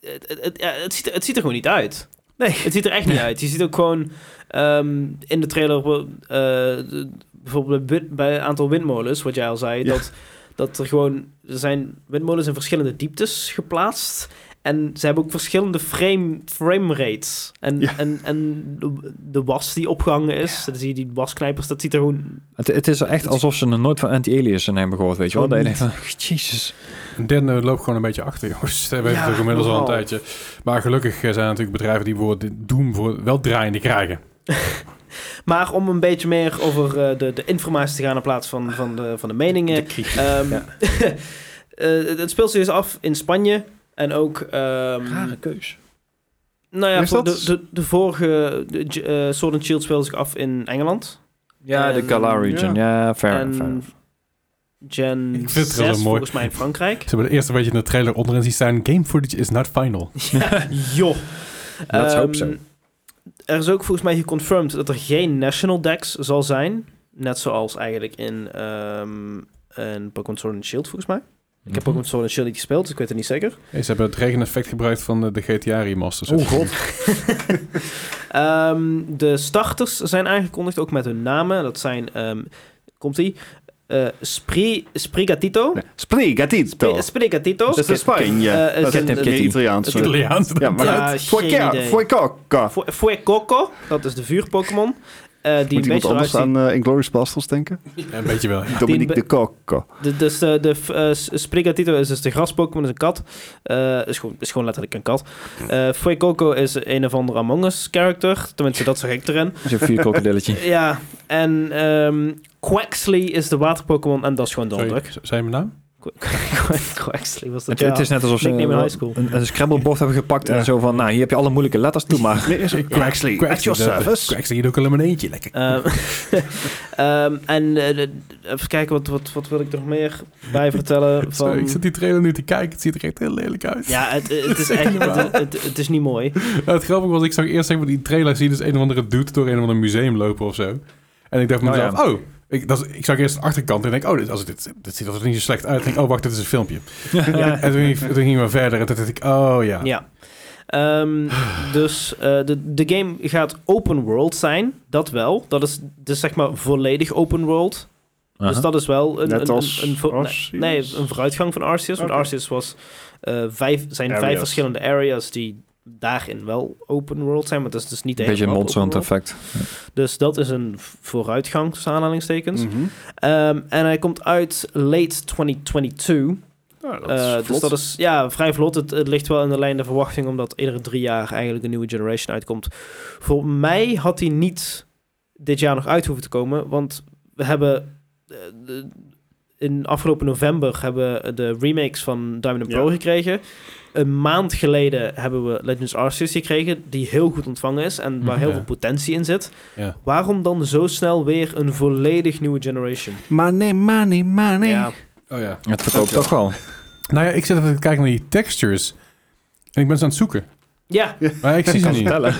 Het, het, het, ja, het ziet, er- het ziet er gewoon niet uit. Nee. Het ziet er echt niet uit. Je ziet ook gewoon ehm, in de trailer... eh, de- bijvoorbeeld bij- bij een aantal windmolens, wat jij al zei... Ja. Dat, dat er gewoon... Er zijn windmolens in verschillende dieptes geplaatst... En ze hebben ook verschillende frame, frame rates. En, Ja. en, en de, de was die opgehangen is. Dan zie je die wasknijpers. Dat ziet er gewoon... het, het is echt alsof ze nog nooit van anti-aliasen hebben gehoord, weet je wel. Oh, Gewoon Dat je denkt van, jezus. Den eh, loopt gewoon een beetje achter, jongens. We hebben Ja, het toch inmiddels al een nogal. tijdje. Maar gelukkig eh, zijn er natuurlijk bedrijven die bijvoorbeeld Doom voor wel draaiende krijgen. Maar om een beetje meer over eh, de, de informatie te gaan... in plaats van, van, de, van de meningen... Ehm, Ja. eh, het- het speelt zich dus af in Spanje. En ook... ehm, keus. nou ja, Is voor dat? de, de, de vorige de, J- eh, Sword and Shield speelde zich af in Engeland. Ja, Ehm, de En- Mm, Galar region. Ja, fair, en fair enough. Gen Ik vind het wel 6 mooi. volgens mij in Frankrijk. Ze hebben de eerste wat je in de trailer onderin ziet staan. Game footage is not final. ja, joh. Let's Ehm, hope so. Er is ook volgens mij geconfirmed dat er geen National Dex zal zijn. Net zoals eigenlijk in, ehm in Pokémon Sword and Shield volgens mij. Ik Mhm. heb Pokémon Sword and Shield niet gespeeld, dus ik weet het niet zeker. Hey, ze hebben het regeneffect gebruikt van eh, de GTA remasters. Oh god. Ehm, de starters zijn aangekondigd, ook met hun namen. Dat zijn, ehm, komt-ie, Eh, Spri, Sprigatito. Nee. Sprigatito. Sp- Sprigatito. Dat is in Spanje. Eh, eh, dat is Ketty, meer Ketty. Italiaans. Het Italiaans. Ja, maar Ja, het- geen Fueca- idee. Fuecoca. Fue- Fuecoco, dat is de vuur-Pokémon. Eh, die Moet een iemand beetje anders eruit aan eh, Inglourious Bastards denken? Ja, een beetje wel. ja. Dominique be- de Coco. De, dus de, de eh, S- Sprigatito is dus de gras-Pokémon, is een kat. Eh, is, gewoon, is gewoon letterlijk een kat. Eh Fuecoco is een of andere Among Us-character. Tenminste, dat zag ik erin. Zo'n vier krokodilletje. Ja, en ehm Quaxley is de water-Pokémon en dat is gewoon Sorry, donderdruk. z- zei je mijn naam? Quaxley was Het, dat, ja. het is net alsof ze Nickname in een, high school. een, een scrabblebord hebben gepakt Ja. dus en zo van, nou, hier heb je alle moeilijke letters, toe maar. Quaxley, at your dat- service. Quaxley, doe ik alleen maar eentje. Lekker. Ehm, ehm, en eh, de- even kijken, wat, wat, wat wil ik er nog meer bij Eh, vertellen? Zo, Van, ik zit die trailer nu te kijken. Het ziet er echt heel lelijk uit. ja, het, het is echt het, het, het is niet mooi. Nou, het grappige was, ik zag eerst zeg maar, die trailer zien dus een of andere dude door een of ander museum lopen of zo. En ik dacht van Oh, mezelf, oh, ik, dat, is- ik zag eerst de achterkant en denk, oh, dit, als het- dit, dit ziet er niet zo slecht uit. Ik denk, oh, wacht, dit is een filmpje. Ja. En toen ging, toen gingen we verder en toen dacht ik, oh ja. Ja. Ehm, dus eh, de, de game gaat open world zijn, dat wel. Dat is dus zeg maar volledig open world. Dus dat is wel een, Net een, als een, een vo- Arceus? nee, een vooruitgang van Arceus. Want Oké. Arceus was, eh, vijf, zijn vijf Areas. verschillende areas die daarin wel open world zijn. Maar dat is dus niet Een beetje een helemaal open Monsanto world. effect. Dus dat is een v- vooruitgang, tussen aanhalingstekens. Mhm. Ehm, en hij komt uit late 2022. Ja, dat Eh, is dus vlot. dat is ja, vrij vlot. Het, het ligt wel in de lijn der verwachting, omdat iedere drie jaar eigenlijk een nieuwe generation uitkomt. Voor mij had hij niet dit jaar nog uit hoeven te komen, want we hebben eh, de- in afgelopen november hebben we de remakes van Diamond and Ja. Pearl gekregen. Een maand geleden hebben we Legends Arceus gekregen, die heel goed ontvangen is en waar Mhm. heel Ja. veel potentie in zit. Ja. Waarom dan zo snel weer een volledig nieuwe generation? Money, money, money. Ja. Oh ja. Het verkoopt toch wel. Nou ja, ik zit even te kijken naar die textures. En ik ben ze aan het zoeken. ja, Maar ik zie ze niet. Vertellen.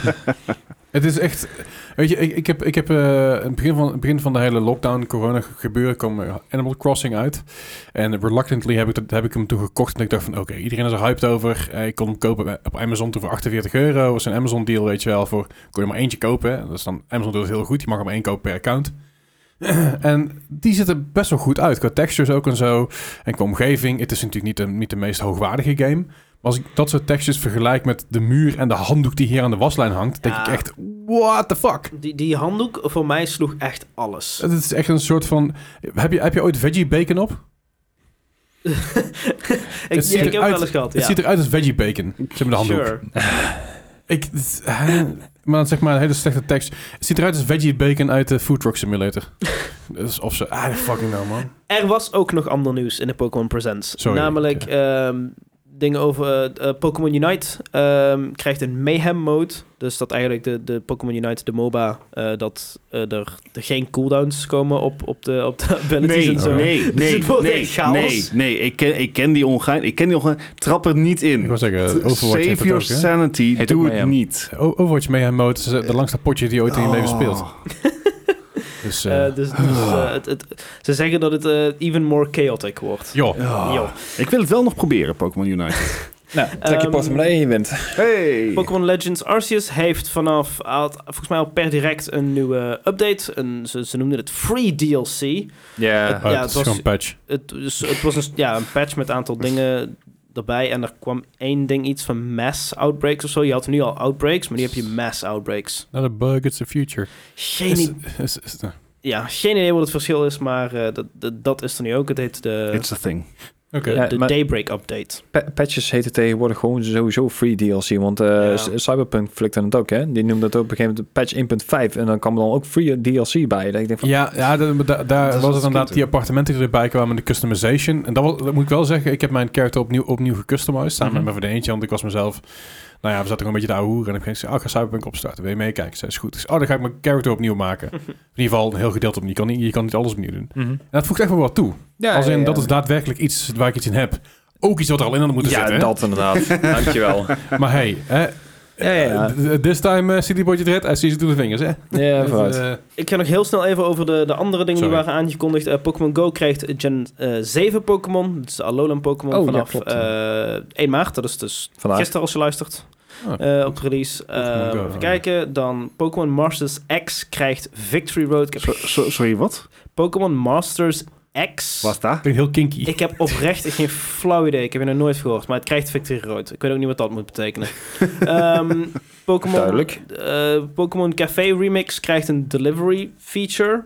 Het is echt... Weet je, ik, ik heb, ik heb eh, in het begin van, in het begin van de hele lockdown, corona gebeuren, kwam eh, Animal Crossing uit. En reluctantly heb ik, dat, heb ik hem toen gekocht. En ik dacht van, oké, iedereen is er hyped over. Eh, ik kon hem kopen bij- op Amazon toen voor 48 euro. was een Amazon deal, weet je wel. Voor, kon je maar eentje kopen. hè. Dat is dan, Amazon doet het heel goed. Je mag hem één kopen per account. en die ziet er best wel goed uit. Qua textures ook en zo. En qua omgeving. Het is natuurlijk niet de, niet de meest hoogwaardige game. Maar als ik dat soort textures vergelijk met de muur en de handdoek die hier aan de waslijn hangt, denk Ja. ik echt, what the fuck? Die, die handdoek voor mij sloeg echt alles. Het is echt een soort van... Heb je, heb je ooit veggie bacon op? ziet ik, ja, ik heb het eruit- wel eens gehad. Het ja. ziet eruit als veggie bacon. Zeg maar de handdoek. Sure. Ik, het is- hè, maar dan zeg maar een hele slechte tekst. Het ziet eruit als veggie bacon uit de Food Truck Simulator. dus of ze... Ah, fucking nou, man. Er was ook nog ander nieuws in de Pokémon Presents. Sorry, Namelijk ik, ehm, dingen over eh, eh, Pokémon Unite ehm, krijgt een Mayhem mode. Dus dat eigenlijk de, de Pokémon Unite, de MOBA, eh, dat eh, er, er geen cooldowns komen op, op, de, op de abilities Nee, en Oh, zo. nee, Dus nee, het wordt nee, echt chaos. nee, nee. Ik ken, ik ken die ongein. Ik ken die ongein. Trap er niet Ik in. wou zeggen, Overwatch heeft Save het your ook, hè? sanity. Heet ook Doe mee, het ja. niet. O- Overwatch Mayhem Mode is eh, de langste potje die je ooit in je leven Oh. speelt. Dus, eh, Eh, dus dus, eh, het, het- ze zeggen dat het eh, even more chaotic wordt. joh. Ja. Yo. Ik wil het wel nog proberen, Pokémon Unite. Nou, trek je Ehm, portemonnee, je wint. Hey! Pokémon Legends Arceus heeft vanaf, had volgens mij al per direct een nieuwe update. Een, ze, ze noemden het free DLC. Ja. Oh, ja, het het is was- gewoon een patch. het, dus het was een, ja, een patch met een aantal dingen erbij. En er kwam één ding, iets van mass outbreaks of zo. Je had nu al outbreaks, maar nu heb je mass outbreaks. Not a bug, it's a future. Geen, Is- i- is- is- eh, ja, geen idee wat het verschil is, maar eh, dat, dat, dat is er nu ook. Het heet de, It's a thing. Oké. de, Ja, de maar- Daybreak Update. Pa- patches heten tegenwoordig gewoon sowieso free DLC. Want eh, Ja. C- Cyberpunk flikte het ook, hè? Die noemde het ook op een gegeven moment patch 1.5. En dan kwam er dan ook free DLC bij. Dat ik denk van, Ja, ja da- da- Dat daar was is het wat inderdaad schieten. die appartementen die erbij kwamen en de customization. En dat, was, dat moet ik wel zeggen, ik heb mijn character opnieuw, opnieuw gecustomized. Samen met Mhm. mijn vriendinnetje, want ik was mezelf... Nou ja, we zaten gewoon een beetje te ouwe hoeren. En ik ging zeggen, oh, ik ga Cyberpunk opstarten. Wil je meekijken? Ik zei, is goed. Ik zei, oh, dan ga ik mijn character opnieuw maken. In ieder geval een heel gedeelte opnieuw. Je kan niet, je kan niet alles opnieuw doen. Mhm. En dat voegt echt wel wat toe. ja, Als in, ja, dat ja. is daadwerkelijk iets waar ik iets in heb. Ook iets wat er al in had moeten Ja, zitten. hè? dat inderdaad. Dankjewel. Maar hey, hè, Ja, ja, ja. eh, this time eh, City Boy Red, I see it through the fingers, hè? Ja, Dat, vooruit. eh, Ik ga nog heel snel even over de, de andere dingen Sorry. die waren aangekondigd. Eh, Pokémon Go krijgt Gen eh, 7 Pokémon. Dat is de Alolan Pokémon Oh, ja, vanaf klopt. eh, 1 maart. Dat is dus Vandaag. Gisteren als je luistert Ah. eh, op release. Eh, Go, even ja. kijken. Dan Pokémon Masters X krijgt Victory Road. Ik heb So- so- sorry, wat? Pokémon Masters X. Was daar? klinkt heel kinky. Ik heb oprecht geen flauw idee. Ik heb het nog nooit gehoord. Maar het krijgt Victory Road. Ik weet ook niet wat dat moet betekenen. Ehm, Pokémon, Duidelijk. eh, Pokémon Café Remix krijgt een delivery feature.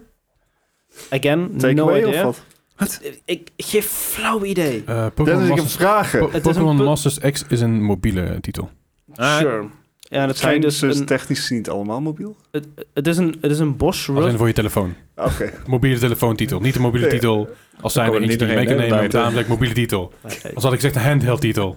Again, Take no away of idea. wat? Ik geef flauw idee. Eh, Dennis, Pokémon ik heb Masters, vragen. Po- Het is Pokémon een po- Masters X is een mobiele titel. Ah. Sure. Ja, dat zijn Zijn dus ze een, technisch niet allemaal mobiel? het, het is een, het is een Bosch Als Run in voor je telefoon. Oké. Mobiele telefoontitel. Niet een mobiele Nee. titel. Als zijn Kom er er eentje die niet je mee doorheen, kan hè, nemen. buiten. Daarom zeg ik mobiele titel. Oké. Als had ik gezegd een handheld titel.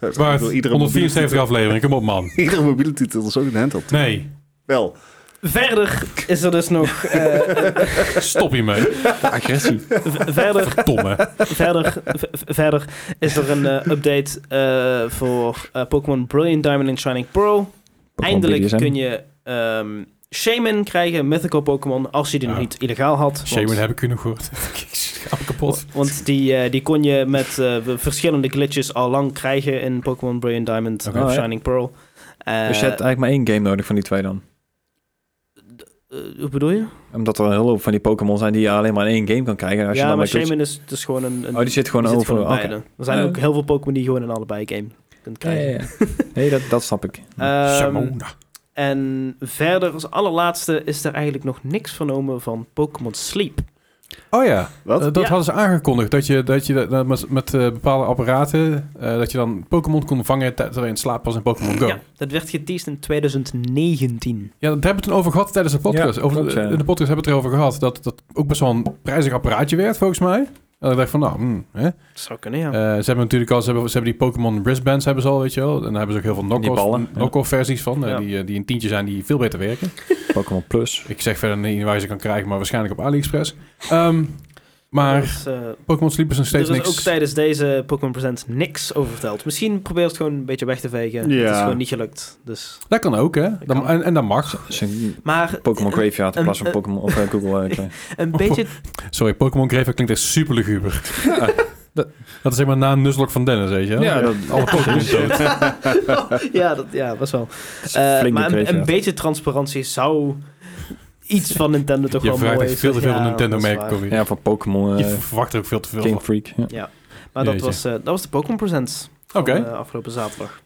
Ik Waar bedoel, iedere 174 aflevering. Kom op man. mobiele- Iedere mobiele titel is ook een handheld. Nee, Wel, Verder is er dus nog. eh, stop hiermee. Agressie. v- verder, Verdomme. verder, v- verder is er een eh, update eh, voor eh, Pokémon Brilliant Diamond en Shining Pearl. Eindelijk kun je ehm, Shaman krijgen, Mythical Pokémon, als je die nog Ja. niet illegaal had. Shaman want, heb ik genoeg gehoord. Ik schaam me kapot. want die, eh, die kon je met eh, verschillende glitches al lang krijgen in Pokémon Brilliant Diamond Oké. of Oh, ja. Shining Pearl. Eh, Dus je hebt eigenlijk maar één game nodig van die twee dan. eh, hoe bedoel je? Omdat er een hele hoop van die Pokémon zijn die je alleen maar in één game kan krijgen. En Als je Ja, dan maar met- Shaman is, dus gewoon een... een Oh, die zit gewoon die zit over. gewoon in beide. Er zijn Ja. ook heel veel Pokémon die je gewoon in allebei game kunt Ja, krijgen. ja, ja. Nee, dat, dat snap ik. Ehm, Shamona. en verder, als allerlaatste, is er eigenlijk nog niks vernomen van Pokémon Sleep. Oh ja, wat? Ah, Eh, dat Ja. hadden ze aangekondigd. Dat je, dat je dat- dat met, met eh, bepaalde apparaten... eh, dat je dan Pokémon kon vangen ter- terwijl je in slaap was in Pokémon Go. Ja, dat werd geteased in 2019. Ja, daar hebben we het toen over gehad tijdens de podcast. Ja, over, klopt, ja. In de podcast hebben we het erover gehad dat dat ook best wel een prijzig apparaatje werd, volgens mij. En ik dacht van, nou, hmm, hè. Dat zou kunnen, ja. Eh, ze hebben natuurlijk al, ze hebben, ze hebben die Pokémon wristbands hebben ze al, weet je wel. En daar hebben ze ook heel veel knock-off ballen, ja. knock versies van, eh, Ja. die, eh, die een tientje zijn die veel beter werken. Pokémon Plus. Ik zeg verder niet waar je ze kan krijgen, maar waarschijnlijk op AliExpress. Ehm, maar Dus, eh, Pokémon Sleep is nog steeds er is niks. ook tijdens deze Pokémon Presents niks over verteld. Misschien probeer het gewoon een beetje weg te vegen. Ja. Het is gewoon niet gelukt. Dus. Dat kan ook, hè. Dan, kan. en, en dat mag. Dat is een Maar Pokémon een, Graveyard in een- plaats van een- Pokémon of eh, Google. eh, Play. een Oh. beetje... Sorry, Pokémon Graveyard klinkt echt super luguber. dat, dat is zeg maar na een Nuzlocke van Dennis, weet je wel. Ja, dat Alle Pokémon dood. ja, dat, ja, best wel. dat is Eh, flink maar de een, een Graveyard. beetje transparantie zou iets van Nintendo toch Je wel vraagt mooi echt veel te heeft. veel van Ja, Nintendo dat is merken, waar. Corrie. Ja, van Pokémon, eh, Je verwacht er ook veel te veel Game van. Freak. Ja. Maar dat Jeetje. was, eh, dat was de Pokémon Presents Oké, van, eh, afgelopen zaterdag.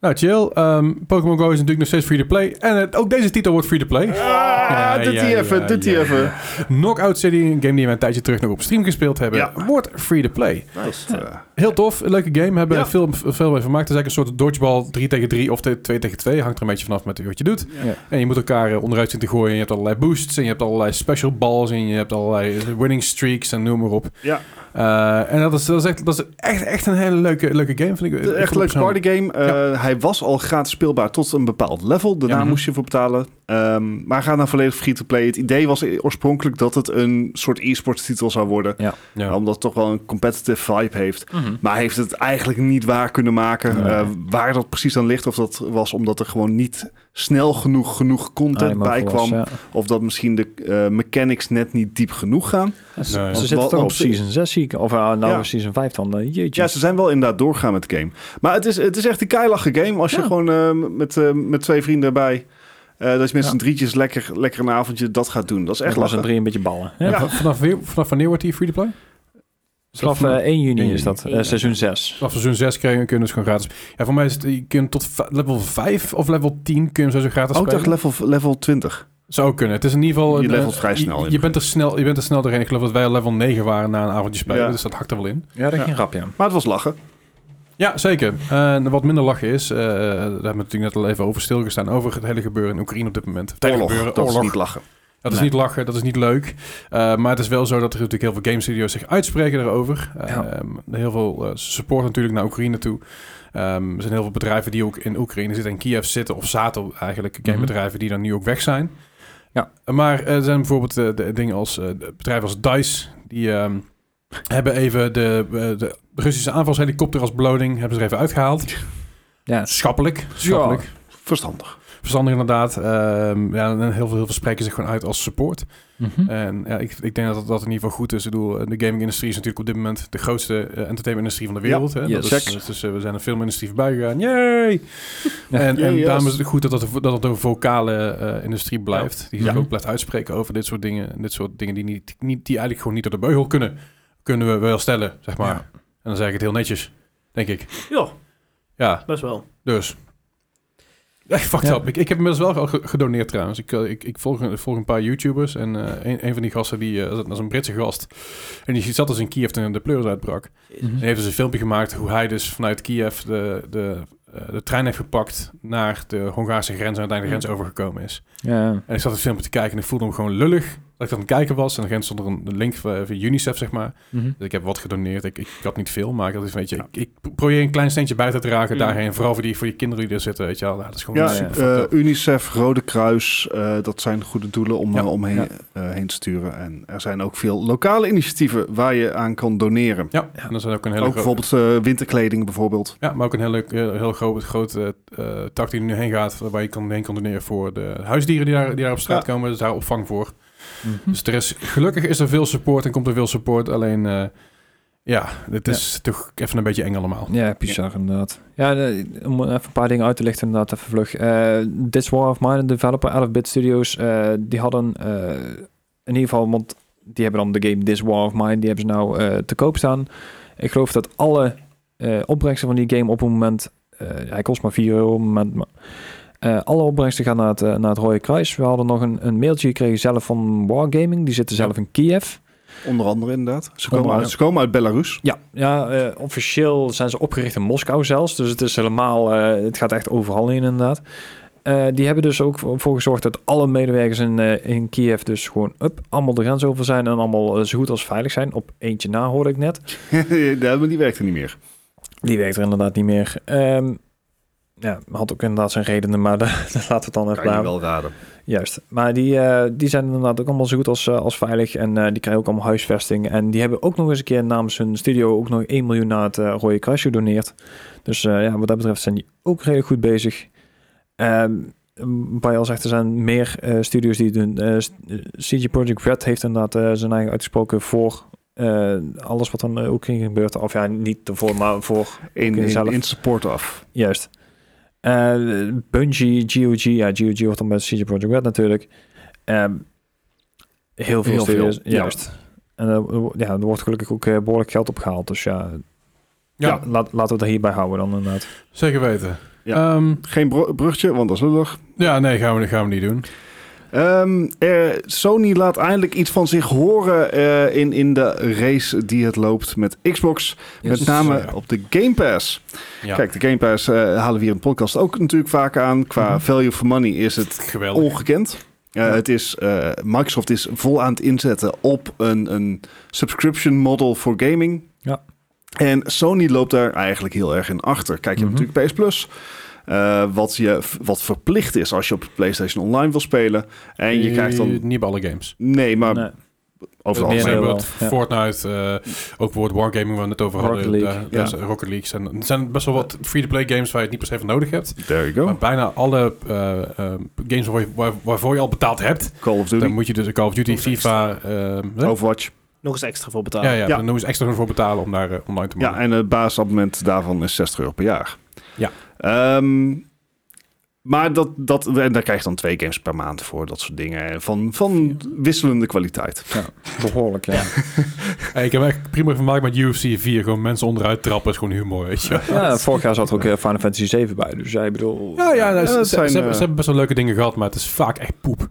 nou chill. Ehm, Pokémon Go is natuurlijk nog steeds free-to-play. En eh, ook deze titel wordt free-to-play. Ah, doet hij even, doet hij even. Knockout City, een game die we een tijdje terug nog op stream gespeeld hebben, Ja. wordt free-to-play. Nice. Eh, Heel tof, een leuke game. Hebben Ja. veel, veel mee vermaakt. Het is eigenlijk een soort dodgeball 3 tegen 3 of 2 tegen 2. Hangt er een beetje vanaf met wat je doet. Ja. En je moet elkaar eh, onderuit zien te gooien. En je hebt allerlei boosts en je hebt allerlei special balls en je hebt allerlei winning streaks en noem maar op. Ja. Eh, en dat is, dat is, echt, dat is echt, echt een hele leuke, leuke game, vind ik. Ik Echt vond een het leuke persoonlijk- partygame. Eh, Hij was al gratis speelbaar tot een bepaald level. Daarna Ja. moest je voor betalen. Ehm, maar gaat naar volledig free-to-play. Het idee was oorspronkelijk dat het een soort e-sports titel zou worden. Ja. Omdat het toch wel een competitive vibe heeft. Mhm. Maar hij heeft het eigenlijk niet waar kunnen maken. Nee. eh, waar dat precies aan ligt. Of dat was omdat er gewoon niet snel genoeg genoeg content Animal bij Cross, kwam. ja. Of dat misschien de eh, mechanics net niet diep genoeg gaan. Ze, Nee. ze Wel- zitten toch op want- season 6 zie ik. Of eh, nou Ja. season 5 dan. eh, jeetje. Ja, ze zijn wel inderdaad doorgaan met de game. Maar het is, het is echt een keilache game. Als je Ja. gewoon eh, met, eh, met twee vrienden erbij... eh, dat je met Ja. z'n drietjes lekker, lekker een avondje dat gaat doen. Dat is echt echt was een lachen. drie een beetje ballen. hè? Ja. V- Vanaf, weer- vanaf wanneer wordt die free-to-play? Vanaf eh, 1 juni is dat. eh, 1 juni. seizoen 6. Vanaf seizoen 6 krijgen, kunnen dus gewoon gratis. Ja, voor mij is het, je kunt tot v- level 5 of level 10 kun je hem zo gratis Ook spelen. Oh, dacht level, level 20. Zou ook kunnen. Het is in ieder geval... Je een, levelt eh, vrij snel je, in. Je bent, er snel, je bent er snel doorheen. Ik geloof dat wij al level 9 waren na een avondje spelen. Ja. Dus dat hakt er wel in. Ja, dat Ja. ging rap, ja. Maar het was lachen. Ja, zeker. En wat minder lachen is... eh, daar hebben we natuurlijk net al even over stilgestaan. Over het hele gebeuren in Oekraïne op dit moment. Het hele Oorlog, gebeuren, dat is oorlog. niet lachen. Dat is Nee. niet lachen, dat is niet leuk. Eh, maar het is wel zo dat er natuurlijk heel veel game studios zich uitspreken daarover. Ja. Ehm, heel veel eh, support natuurlijk naar Oekraïne toe. Ehm, er zijn heel veel bedrijven die ook in Oekraïne zitten, in Kiev zitten of zaten eigenlijk. Gamebedrijven die dan nu ook weg zijn. Mhm. Ja. Maar eh, er zijn bijvoorbeeld eh, de dingen als eh, de bedrijven als DICE, die ehm, hebben even de, eh, de Russische aanvalshelikopter als beloning, hebben ze er even uitgehaald. Ja, Schappelijk, schappelijk. Verstandig. Verstandig inderdaad. Ehm, ja, en heel veel, heel veel spreken zich gewoon uit als support. Mhm. Hm. En ja, ik, ik denk dat dat dat in ieder geval goed is. Ik bedoel, eh, de gaming-industrie is natuurlijk op dit moment de grootste eh, entertainment-industrie van de wereld. hè? yes. dat is, Check. dat is, eh, we zijn een filmindustrie voorbij gegaan. Yay! Ja. En, en Yay, daarom yes. is het goed dat dat, een vo- dat het een vocale eh, industrie blijft. Die zich Ja. ook blijft uitspreken over dit soort dingen. En dit soort dingen die, niet, niet, die eigenlijk gewoon niet door de beugel kunnen. Kunnen we wel stellen, zeg maar. Ja. En dan zeg ik het heel netjes, denk ik. Ja, Ja, best wel. dus. Echt fucked Ja. up. Ik, ik heb inmiddels wel ge- gedoneerd trouwens. Ik, eh, ik, ik, volg, ik volg een paar YouTubers en eh, een, een van die gasten, die, eh, dat is een Britse gast. En die zat dus in Kiev toen de pleurs uitbrak. Mhm. En heeft dus een filmpje gemaakt hoe hij dus vanuit Kiev de, de, eh, de trein heeft gepakt naar de Hongaarse grens en uiteindelijk de grens overgekomen is. Ja. En ik zat het filmpje te kijken en ik voelde hem gewoon lullig dat ik aan het kijken was. En dan stond er een een link van van UNICEF, zeg maar. Mhm. Dus ik heb wat gedoneerd. Ik, ik had niet veel, maar ik, had iets van, weet je, ik, ik probeer een klein steentje bij te dragen Ja. daarheen. Vooral voor die, voor die kinderen die er zitten, weet je wel. Ja, dat is gewoon Mm. Ja, super. eh, fucked eh, up. UNICEF, Rode Kruis, eh, dat zijn goede doelen om Ja, eh, omheen ja. eh, heen te sturen. En er zijn ook veel lokale initiatieven waar je aan kan doneren. ja, en dan zijn ook een hele Ook grote... bijvoorbeeld eh, winterkleding bijvoorbeeld. Ja, maar ook een hele, heel, heel groot, groot eh, eh, tak die er nu heen gaat, waar je kan, heen kan doneren voor de huisdieren die daar, die daar op straat komen. Dus daar opvang voor. Hm. Mhm. Dus er is, gelukkig is er veel support en komt er veel support. Alleen, eh, ja, het is toch even een beetje eng allemaal. Ja, bizar inderdaad. Ja, eh, om even een paar dingen uit te lichten inderdaad, even vlug. Eh This War of Mine, de developer 11-bit studios, eh, die hadden eh, in ieder geval, want die hebben dan de game This War of Mine, die hebben ze nou eh, te koop staan. Ik geloof dat alle eh, opbrengsten van die game op het moment, eh, hij kost maar 4 euro op het moment, maar eh, alle opbrengsten gaan naar het, eh, naar het Rode Kruis. We hadden nog een, een mailtje gekregen zelf van Wargaming, die zitten zelf in Kiev. Onder andere inderdaad. Ze Onder komen, uit, andere. ze komen uit Belarus. Ja, ja eh, officieel zijn ze opgericht in Moskou zelfs. Dus het is helemaal, eh, het gaat echt overal in inderdaad. Eh, die hebben dus ook voor voor gezorgd dat alle medewerkers in, eh, in Kiev dus gewoon up, allemaal de grens over zijn en allemaal eh, zo goed als veilig zijn. Op eentje na hoorde ik net. Ja, maar die werkte niet meer. Die werkt er inderdaad niet meer. Ehm, ja, had ook inderdaad zijn redenen, maar daar, daar laten we het dan even Kan je bij. wel raden. Juist. Maar die, eh, die zijn inderdaad ook allemaal zo goed als, eh, als veilig. En eh, die krijgen ook allemaal huisvesting. En die hebben ook nog eens een keer namens hun studio ook nog 1 miljoen naar het eh, Rode Kruis gedoneerd. Dus eh, ja, wat dat betreft zijn die ook redelijk goed bezig. Ehm waar je al zegt, er zijn meer eh, studios die het doen. Eh, s- eh, CG Project Red heeft inderdaad eh, zijn eigen uitgesproken voor eh, alles wat dan ook in gebeurt. Of ja, niet ervoor, maar voor In, Kun je in, zelf- in support af. Juist. Eh Bungie, GOG, ja, GOG wordt dan bij CG Project Red natuurlijk. Ehm, Heel veel Heel veel, studios, ja. juist. En eh, wo- ja, er wordt gelukkig ook eh, behoorlijk geld opgehaald. Dus ja, Ja, ja, laat, laten we het er hierbij houden dan inderdaad. zeker weten. Ja. Ja, Geen bro- brugtje, want dat is lullig. ja nee, gaan we, gaan we niet doen. Ehm, eh, Sony laat eindelijk iets van zich horen eh, in, in de race die het loopt met Xbox. Yes. Met name Ja. op de Game Pass. Ja, Kijk, de Game Pass eh, halen we hier in de podcast ook natuurlijk vaak aan. Qua Mhm. value for money is het geweldig. ongekend. Eh, Ja. het is, eh, Microsoft is vol aan het inzetten op een, een subscription model voor gaming. Ja. En Sony loopt daar eigenlijk heel erg in achter. Kijk, je Mhm. hebt natuurlijk PS Plus. eh, wat, je, wat verplicht is als je op PlayStation Online wil spelen. En je krijgt dan... Eh, Niet bij alle games. Nee, maar Nee. overal. meer Ze dan hebben wel, het ja. Fortnite, eh, ook World Wargaming waar we het over Rocket hadden. League, daar- ja. daar zijn Rocket League. zijn- Er zijn best wel wat free-to-play games waar je het niet per se van nodig hebt. There you Maar go. bijna alle eh, eh, games waar je- waar- waarvoor je al betaald hebt, Call of dan Duty, moet je dus Call of Duty, Nog eens FIFA... ehm, hè? Overwatch. Nog eens extra voor betalen. ja, ja, Ja. dan moet je extra voor betalen om daar eh, online te maken. Ja, en het basisabonnement daarvan is 60 euro per jaar. Ja. Ehm, maar dat, dat, en daar krijg je dan twee games per maand voor, dat soort dingen. Van, van wisselende kwaliteit. Behoorlijk, ja. Hey, ik heb echt prima vermaakt met UFC 4. Gewoon mensen onderuit trappen is gewoon humor, weet je. Ja, vorig jaar zat er ook eh, Final Fantasy 7 bij. Dus jij bedoel, Ja, ja, nou, Ja, ze, dat ze- zijn, ze hebben, eh, ze hebben best wel leuke dingen gehad, maar het is vaak echt poep.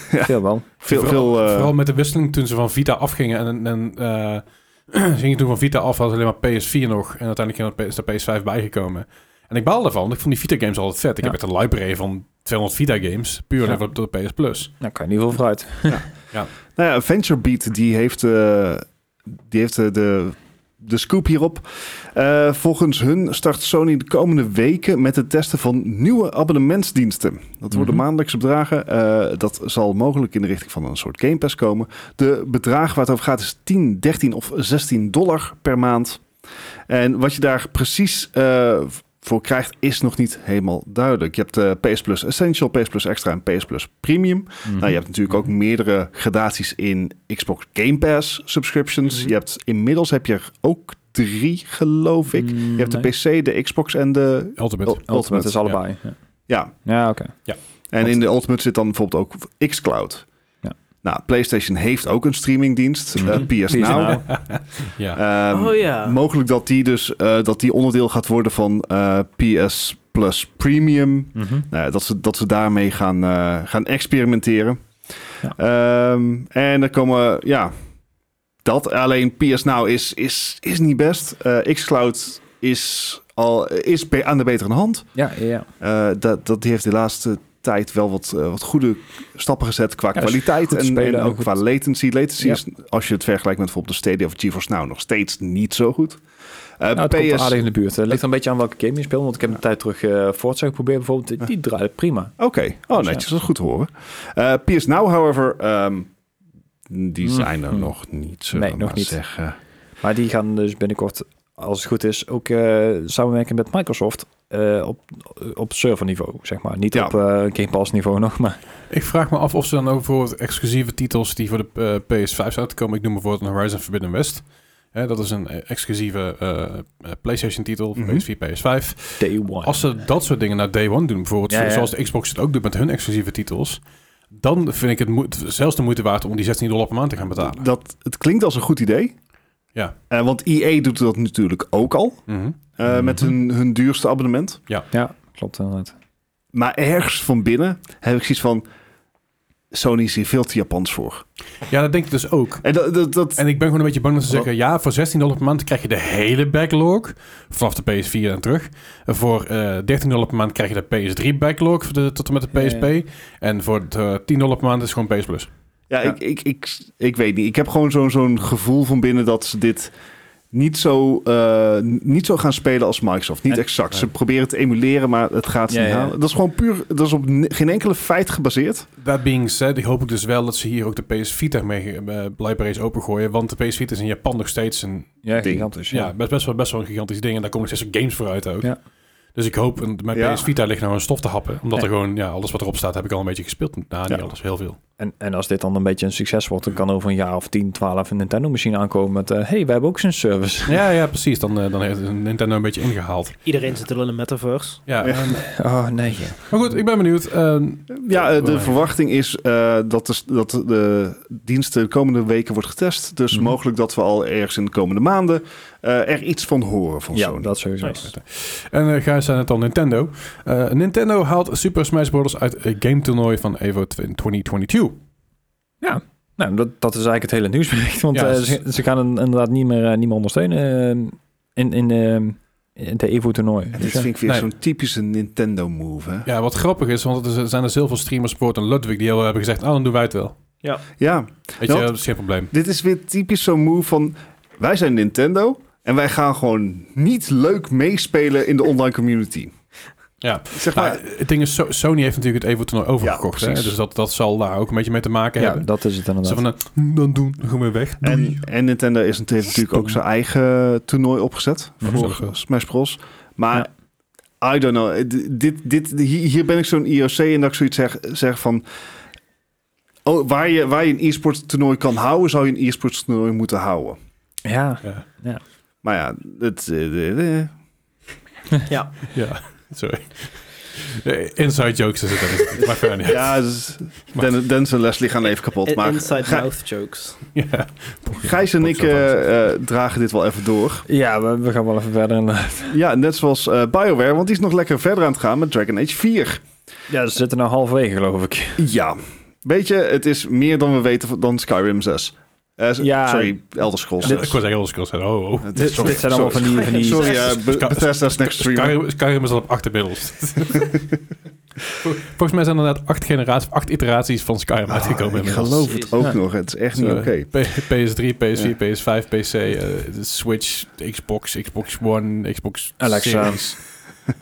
veel wel. Veel, veel eh, Vooral met de wisseling toen ze van Vita afgingen. En, en eh, ze gingen toen van Vita af, hadden ze alleen maar PS4 nog. En uiteindelijk is er PS5 bijgekomen. En ik baalde ervan, want ik vond die Vita-games altijd vet. Ik Ja. heb echt een library van 200 Vita-games, puur Ja. alleen op de PS Plus. Nou, kan je niet veel vooruit. Nou ja, VentureBeat die heeft, eh, die heeft eh, de, de scoop hierop. Eh, volgens hun start Sony de komende weken met het testen van nieuwe abonnementsdiensten. Dat worden Mhm. maandelijkse bedragen. Eh, dat zal mogelijk in de richting van een soort Game Pass komen. De bedrag waar het over gaat is 10, 13 of 16 dollar per maand. En wat je daar precies eh, voor krijgt is nog niet helemaal duidelijk. Je hebt eh, PS Plus Essential, PS Plus Extra en PS Plus Premium. Mhm. Nou, je hebt natuurlijk ook meerdere gradaties in Xbox Game Pass subscriptions. Mhm. Je hebt inmiddels heb je er ook drie, geloof ik. Je hebt de PC, de Xbox en de Ultimate. Ul- Mm, Ultimate, is allebei. Ja, Ja, Ja, oké. en in de Ultimate zit dan bijvoorbeeld ook xCloud. Ja. Mhm. Nou, PlayStation heeft ook een streamingdienst, eh, PS, Die is Now. nou- Ja. Ehm, Oh ja. Mogelijk dat die dus eh, dat die onderdeel gaat worden van eh, PS Plus Premium. Mhm. Nou, ja, dat, ze, dat ze daarmee gaan, eh, gaan experimenteren. Ehm, en dan komen, ja, dat alleen PS Now is, is, is niet best. Eh, xCloud is, al, is be- aan de betere hand. ja, ja, ja. Eh, dat, dat die heeft de laatste tijd wel wat, eh, wat goede stappen gezet qua Ja, dus kwaliteit goed en, spelen en en ook goed- qua latency. Latency Ja. is, als je het vergelijkt met bijvoorbeeld de Stadia of GeForce Now, nog steeds niet zo goed. Eh, Nou, het komt wel PS... aardig in de buurt. Het ligt er een beetje aan welke game je speelt. Want ik heb een tijd terug eh Forza geprobeerd bijvoorbeeld. Die draaide prima. Oké, oh Dus ja. netjes, dat is goed te horen. Eh PS Now, however, ehm, die Mm. zijn er Mm. nog niet, zullen Nee, we nog maar niet. zeggen. Maar die gaan dus binnenkort, als het goed is, ook eh, samenwerken met Microsoft. eh, op, op serverniveau, zeg maar. Niet Ja. op eh Game Pass niveau nog, maar... Ik vraag me af of ze dan ook bijvoorbeeld exclusieve titels die voor de eh, PS5 zouden te komen. Ik noem bijvoorbeeld een Horizon Forbidden West. Hè, dat is een eh, exclusieve eh, eh, PlayStation titel, Mhm. PS4, PS5. Day one. Als ze dat soort dingen naar day one doen, bijvoorbeeld Ja, ja. zoals de Xbox het ook doet met hun exclusieve titels, dan vind ik het moe- zelfs de moeite waard om die 16 dollar per maand te gaan betalen. Dat, het klinkt als een goed idee. Ja. Eh, want EA doet dat natuurlijk ook al, eh, Mhm. met hun, hun duurste abonnement. Ja, klopt inderdaad. Maar ergens van binnen heb ik zoiets van, Sony is hier veel te Japans voor. Ja, dat denk ik dus ook. En dat, dat, dat- En ik ben gewoon een beetje bang dat ze Wat? zeggen, ja, voor 16 dollar per maand krijg je de hele backlog, vanaf de PS4 en terug. En Voor eh 13 dollar per maand krijg je de PS3 backlog voor de- tot en met de Ja, PSP. En voor de 10 dollar per maand is gewoon PS Plus. ja, Ja. Ik, ik, ik, ik weet niet. Ik heb gewoon zo'n zo'n gevoel van binnen dat ze dit niet zo, eh, niet zo gaan spelen als Microsoft. Niet En- exact. Ze proberen het te emuleren, maar het gaat ze Ja, niet ja. halen. Dat is gewoon puur, dat is op ne- geen enkele feit gebaseerd. Dat being said, ik hoop ik dus wel dat ze hier ook de PS Vita mee eh, blijkbaar eens opengooien. Want de PS Vita is in Japan nog steeds een Ja, Ding. gigantisch. Dus Ja, best, best, wel, best wel een gigantisch ding. En daar komen nog steeds ook games voor uit ook. Ja. Dus ik hoop, en mijn Ja. PS Vita ligt nou een stof te happen. Omdat Ja. er gewoon, ja, alles wat erop staat heb ik al een beetje gespeeld. Nou, niet Ja. alles, heel veel. En, en als dit dan een beetje een succes wordt, dan kan over een jaar of 10, 12 een Nintendo-machine aankomen met... eh, hey, we hebben ook zo'n service. Ja, ja, precies. Dan, eh, dan heeft Nintendo een beetje ingehaald. Iedereen zit er wel in een metaverse. Ja. ehm, Ja. Oh, nee. Maar goed, ik ben benieuwd. Ehm, Ja, eh, Oh, de Belangrijk. verwachting is eh, dat, de, dat de dienst de komende weken wordt getest. Dus Mhm. mogelijk dat we al ergens in de komende maanden eh, er iets van horen van Ja, Sony. dat sowieso. Nice. En eh Gijs zei het al, Nintendo. Eh, Nintendo haalt Super Smash Bros. uit het game toernooi van EVO 2022. Nou, dat, dat is eigenlijk het hele nieuwsbericht. Want Ja, eh, het is- ze, ze gaan in- inderdaad niet meer, eh, niet meer ondersteunen eh, in, in, eh, in de EVO-toernooi. En Dus dit ja. vind ik weer Nee. zo'n typische Nintendo move. Hè? Ja. Ja, wat grappig is, want er zijn er zoveel streamers, Poort en Ludwig, die heel hebben gezegd, ah, dan doen wij het wel. Weet Ja, je, want- dat is geen probleem. dit is weer typisch zo'n move van wij zijn Nintendo en wij gaan gewoon niet leuk meespelen in de online community. Ja. Zeg maar, Nou, het ding is, So- Sony heeft natuurlijk het EVO toernooi overgekocht. hè? precies. Dus dat, dat zal daar ook een beetje mee te maken ja, hebben. dat is het inderdaad. Zo van, eh, hm, dan doen, dan gaan we weg. en, en Nintendo is natuurlijk- heeft natuurlijk ook zijn eigen toernooi opgezet Mhm. voor Smash Bros. Maar I don't know. eh, d- Dit, dit, hier, hier ben ik zo'n IOC en dat ik zoiets zeg, zeg van... Oh, waar, je, waar je een e-sports toernooi kan houden, zou je een e-sports toernooi moeten houden. Ja, Ja. Maar ja, het, eh, eh, ja, sorry. Eh, Inside jokes is het, dat is het. Maar verder niet. ja, dus Den- Dennis en Leslie gaan even kapot. In- Maar Inside Gij- mouth jokes. Ja. Gijs en ik eh, eh, dragen dit wel even door. ja we, we gaan wel even verder. eh, inderdaad. Ja, net zoals eh, BioWare, want die is nog lekker verder aan het gaan met Dragon Age 4. Ja, ze zitten nou halverwege, geloof ik. Ja. Weet je, het is meer dan we weten van- dan Skyrim 6. Eh, s- Ja. Sorry, Elder Scrolls Ja, ik 6. was zeggen, anders kan ik zeggen, oh, oh. Het is- Dit, sorry, dit zijn allemaal van sorry. die... Van die Sorry, eh, Be- Sky- Bethesda's Next Stream. Skyrim, Skyrim is al op acht inmiddels. Volgens mij zijn er inderdaad acht generaties, acht iteraties van Skyrim Ah, uitgekomen. ik inmiddels. geloof het Jezus. ook Ja. nog. Het is echt niet Zo, oké. P- PS3, PS4, Ja. PS5, PC, eh, de Switch, de Xbox, Xbox One, Xbox Alexa. Series.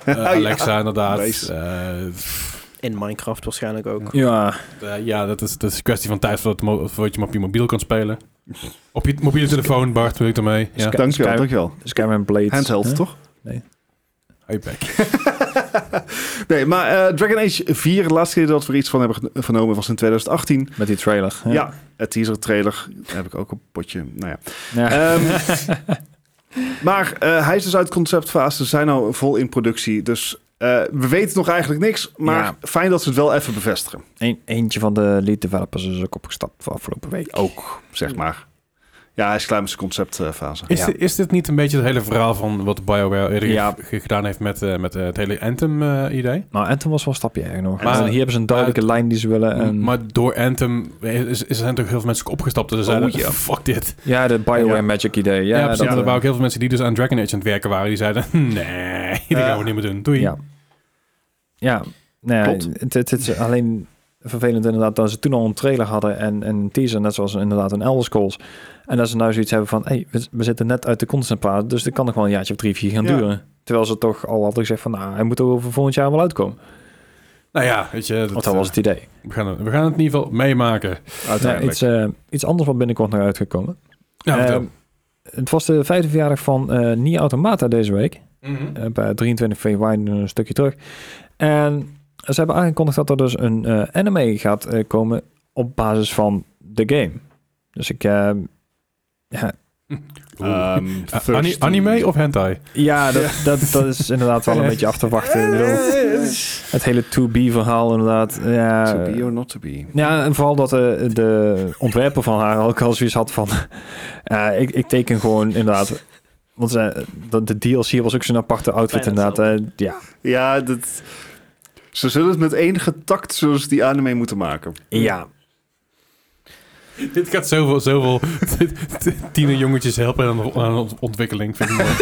Eh, Ja. Alexa, inderdaad. Nice. Eh, pff, In Minecraft waarschijnlijk ook. Ja, eh, ja, dat is, dat is een kwestie van tijd voordat mo- voordat je hem op je mobiel kan spelen. Op je mobiele telefoon, Bart, wil ik ermee. Ja, Sky- Dankjewel, Sky- dankjewel. Skyrim Blades. Handheld, Huh? toch? iPad. nee, maar eh, Dragon Age 4, de laatste keer dat we er iets van hebben geno- vernomen was in 2018. Met die trailer. Ja, Ja. het teaser trailer. Daar heb ik ook een potje. Nou ja. Ja. Ehm, maar eh, hij is dus uit conceptfase. Ze zijn nou vol in productie. Dus eh, we weten nog eigenlijk niks. Maar Ja. fijn dat ze het wel even bevestigen. Eén- eentje van de lead developers is ook opgestapt voor afgelopen week. Ook, zeg maar. Ehm, Ja, hij is klaar met zijn conceptfase. Is, Ja. dit, is dit niet een beetje het hele verhaal van wat BioWare eerder Ja. ge- gedaan heeft met, eh, met eh, het hele eh, Anthem-idee? Nou, en toen was wel een stapje erg nog. Maar- Maar, hier hebben ze een duidelijke lijn die ze willen. En, maar door Anthem is, is, zijn toch heel veel mensen ook opgestapt. Dus ze Oh, zeiden, ja. fuck dit. ja, de Bioware Ja. Magic idee. Ja, Ja, precies. dat, En er eh, waren ook heel veel mensen die dus aan Dragon Age aan het werken waren. Die zeiden, nee, dat gaan we niet meer doen. Doei. Ja. Ja, nou ja, Klopt. het, het is alleen vervelend inderdaad dat ze toen al een trailer hadden en, en een teaser, net zoals inderdaad een Elder Scrolls. En dat ze nou zoiets hebben van, hey, we, we zitten net uit de conceptfase, dus dat kan nog wel een jaartje of drie, vier gaan Ja. duren. Terwijl ze toch al hadden gezegd van, nou, hij moet ook over volgend jaar wel uitkomen. Nou ja, weet je. dat, Want dat was het idee. eh, we, gaan, het- we gaan het in ieder geval meemaken. Ja, Uiteindelijk. iets, eh, iets anders wat binnenkort nog uitgekomen. Ja, Eh, vertel. het was de vijfde verjaardag van eh Nier Automata deze week. Mhm. Eh, bij 23 februari een stukje terug. En ze hebben aangekondigd dat er dus een eh, anime gaat eh, komen op basis van de game. Dus ik... eh, ja, Oeh. Ehm, Eh, first- ani- anime of hentai? ja dat, dat, dat is inderdaad wel een beetje af te wachten. Ik bedoel, Eh, het hele 2B-verhaal inderdaad. Ja, To be or not to be. Ja, en vooral dat eh, de ontwerper van haar ook al zoiets had van... eh, ik, ik teken gewoon inderdaad... Want ze, de, de DLC was ook zo'n aparte outfit Bijna inderdaad. eh, ja. Ja, dat... Ze zullen het met enige tact zullen ze die anime moeten maken. ja, Dit gaat zoveel, zoveel tienerjongetjes helpen aan de- aan de ontwikkeling. Vind ik mooi.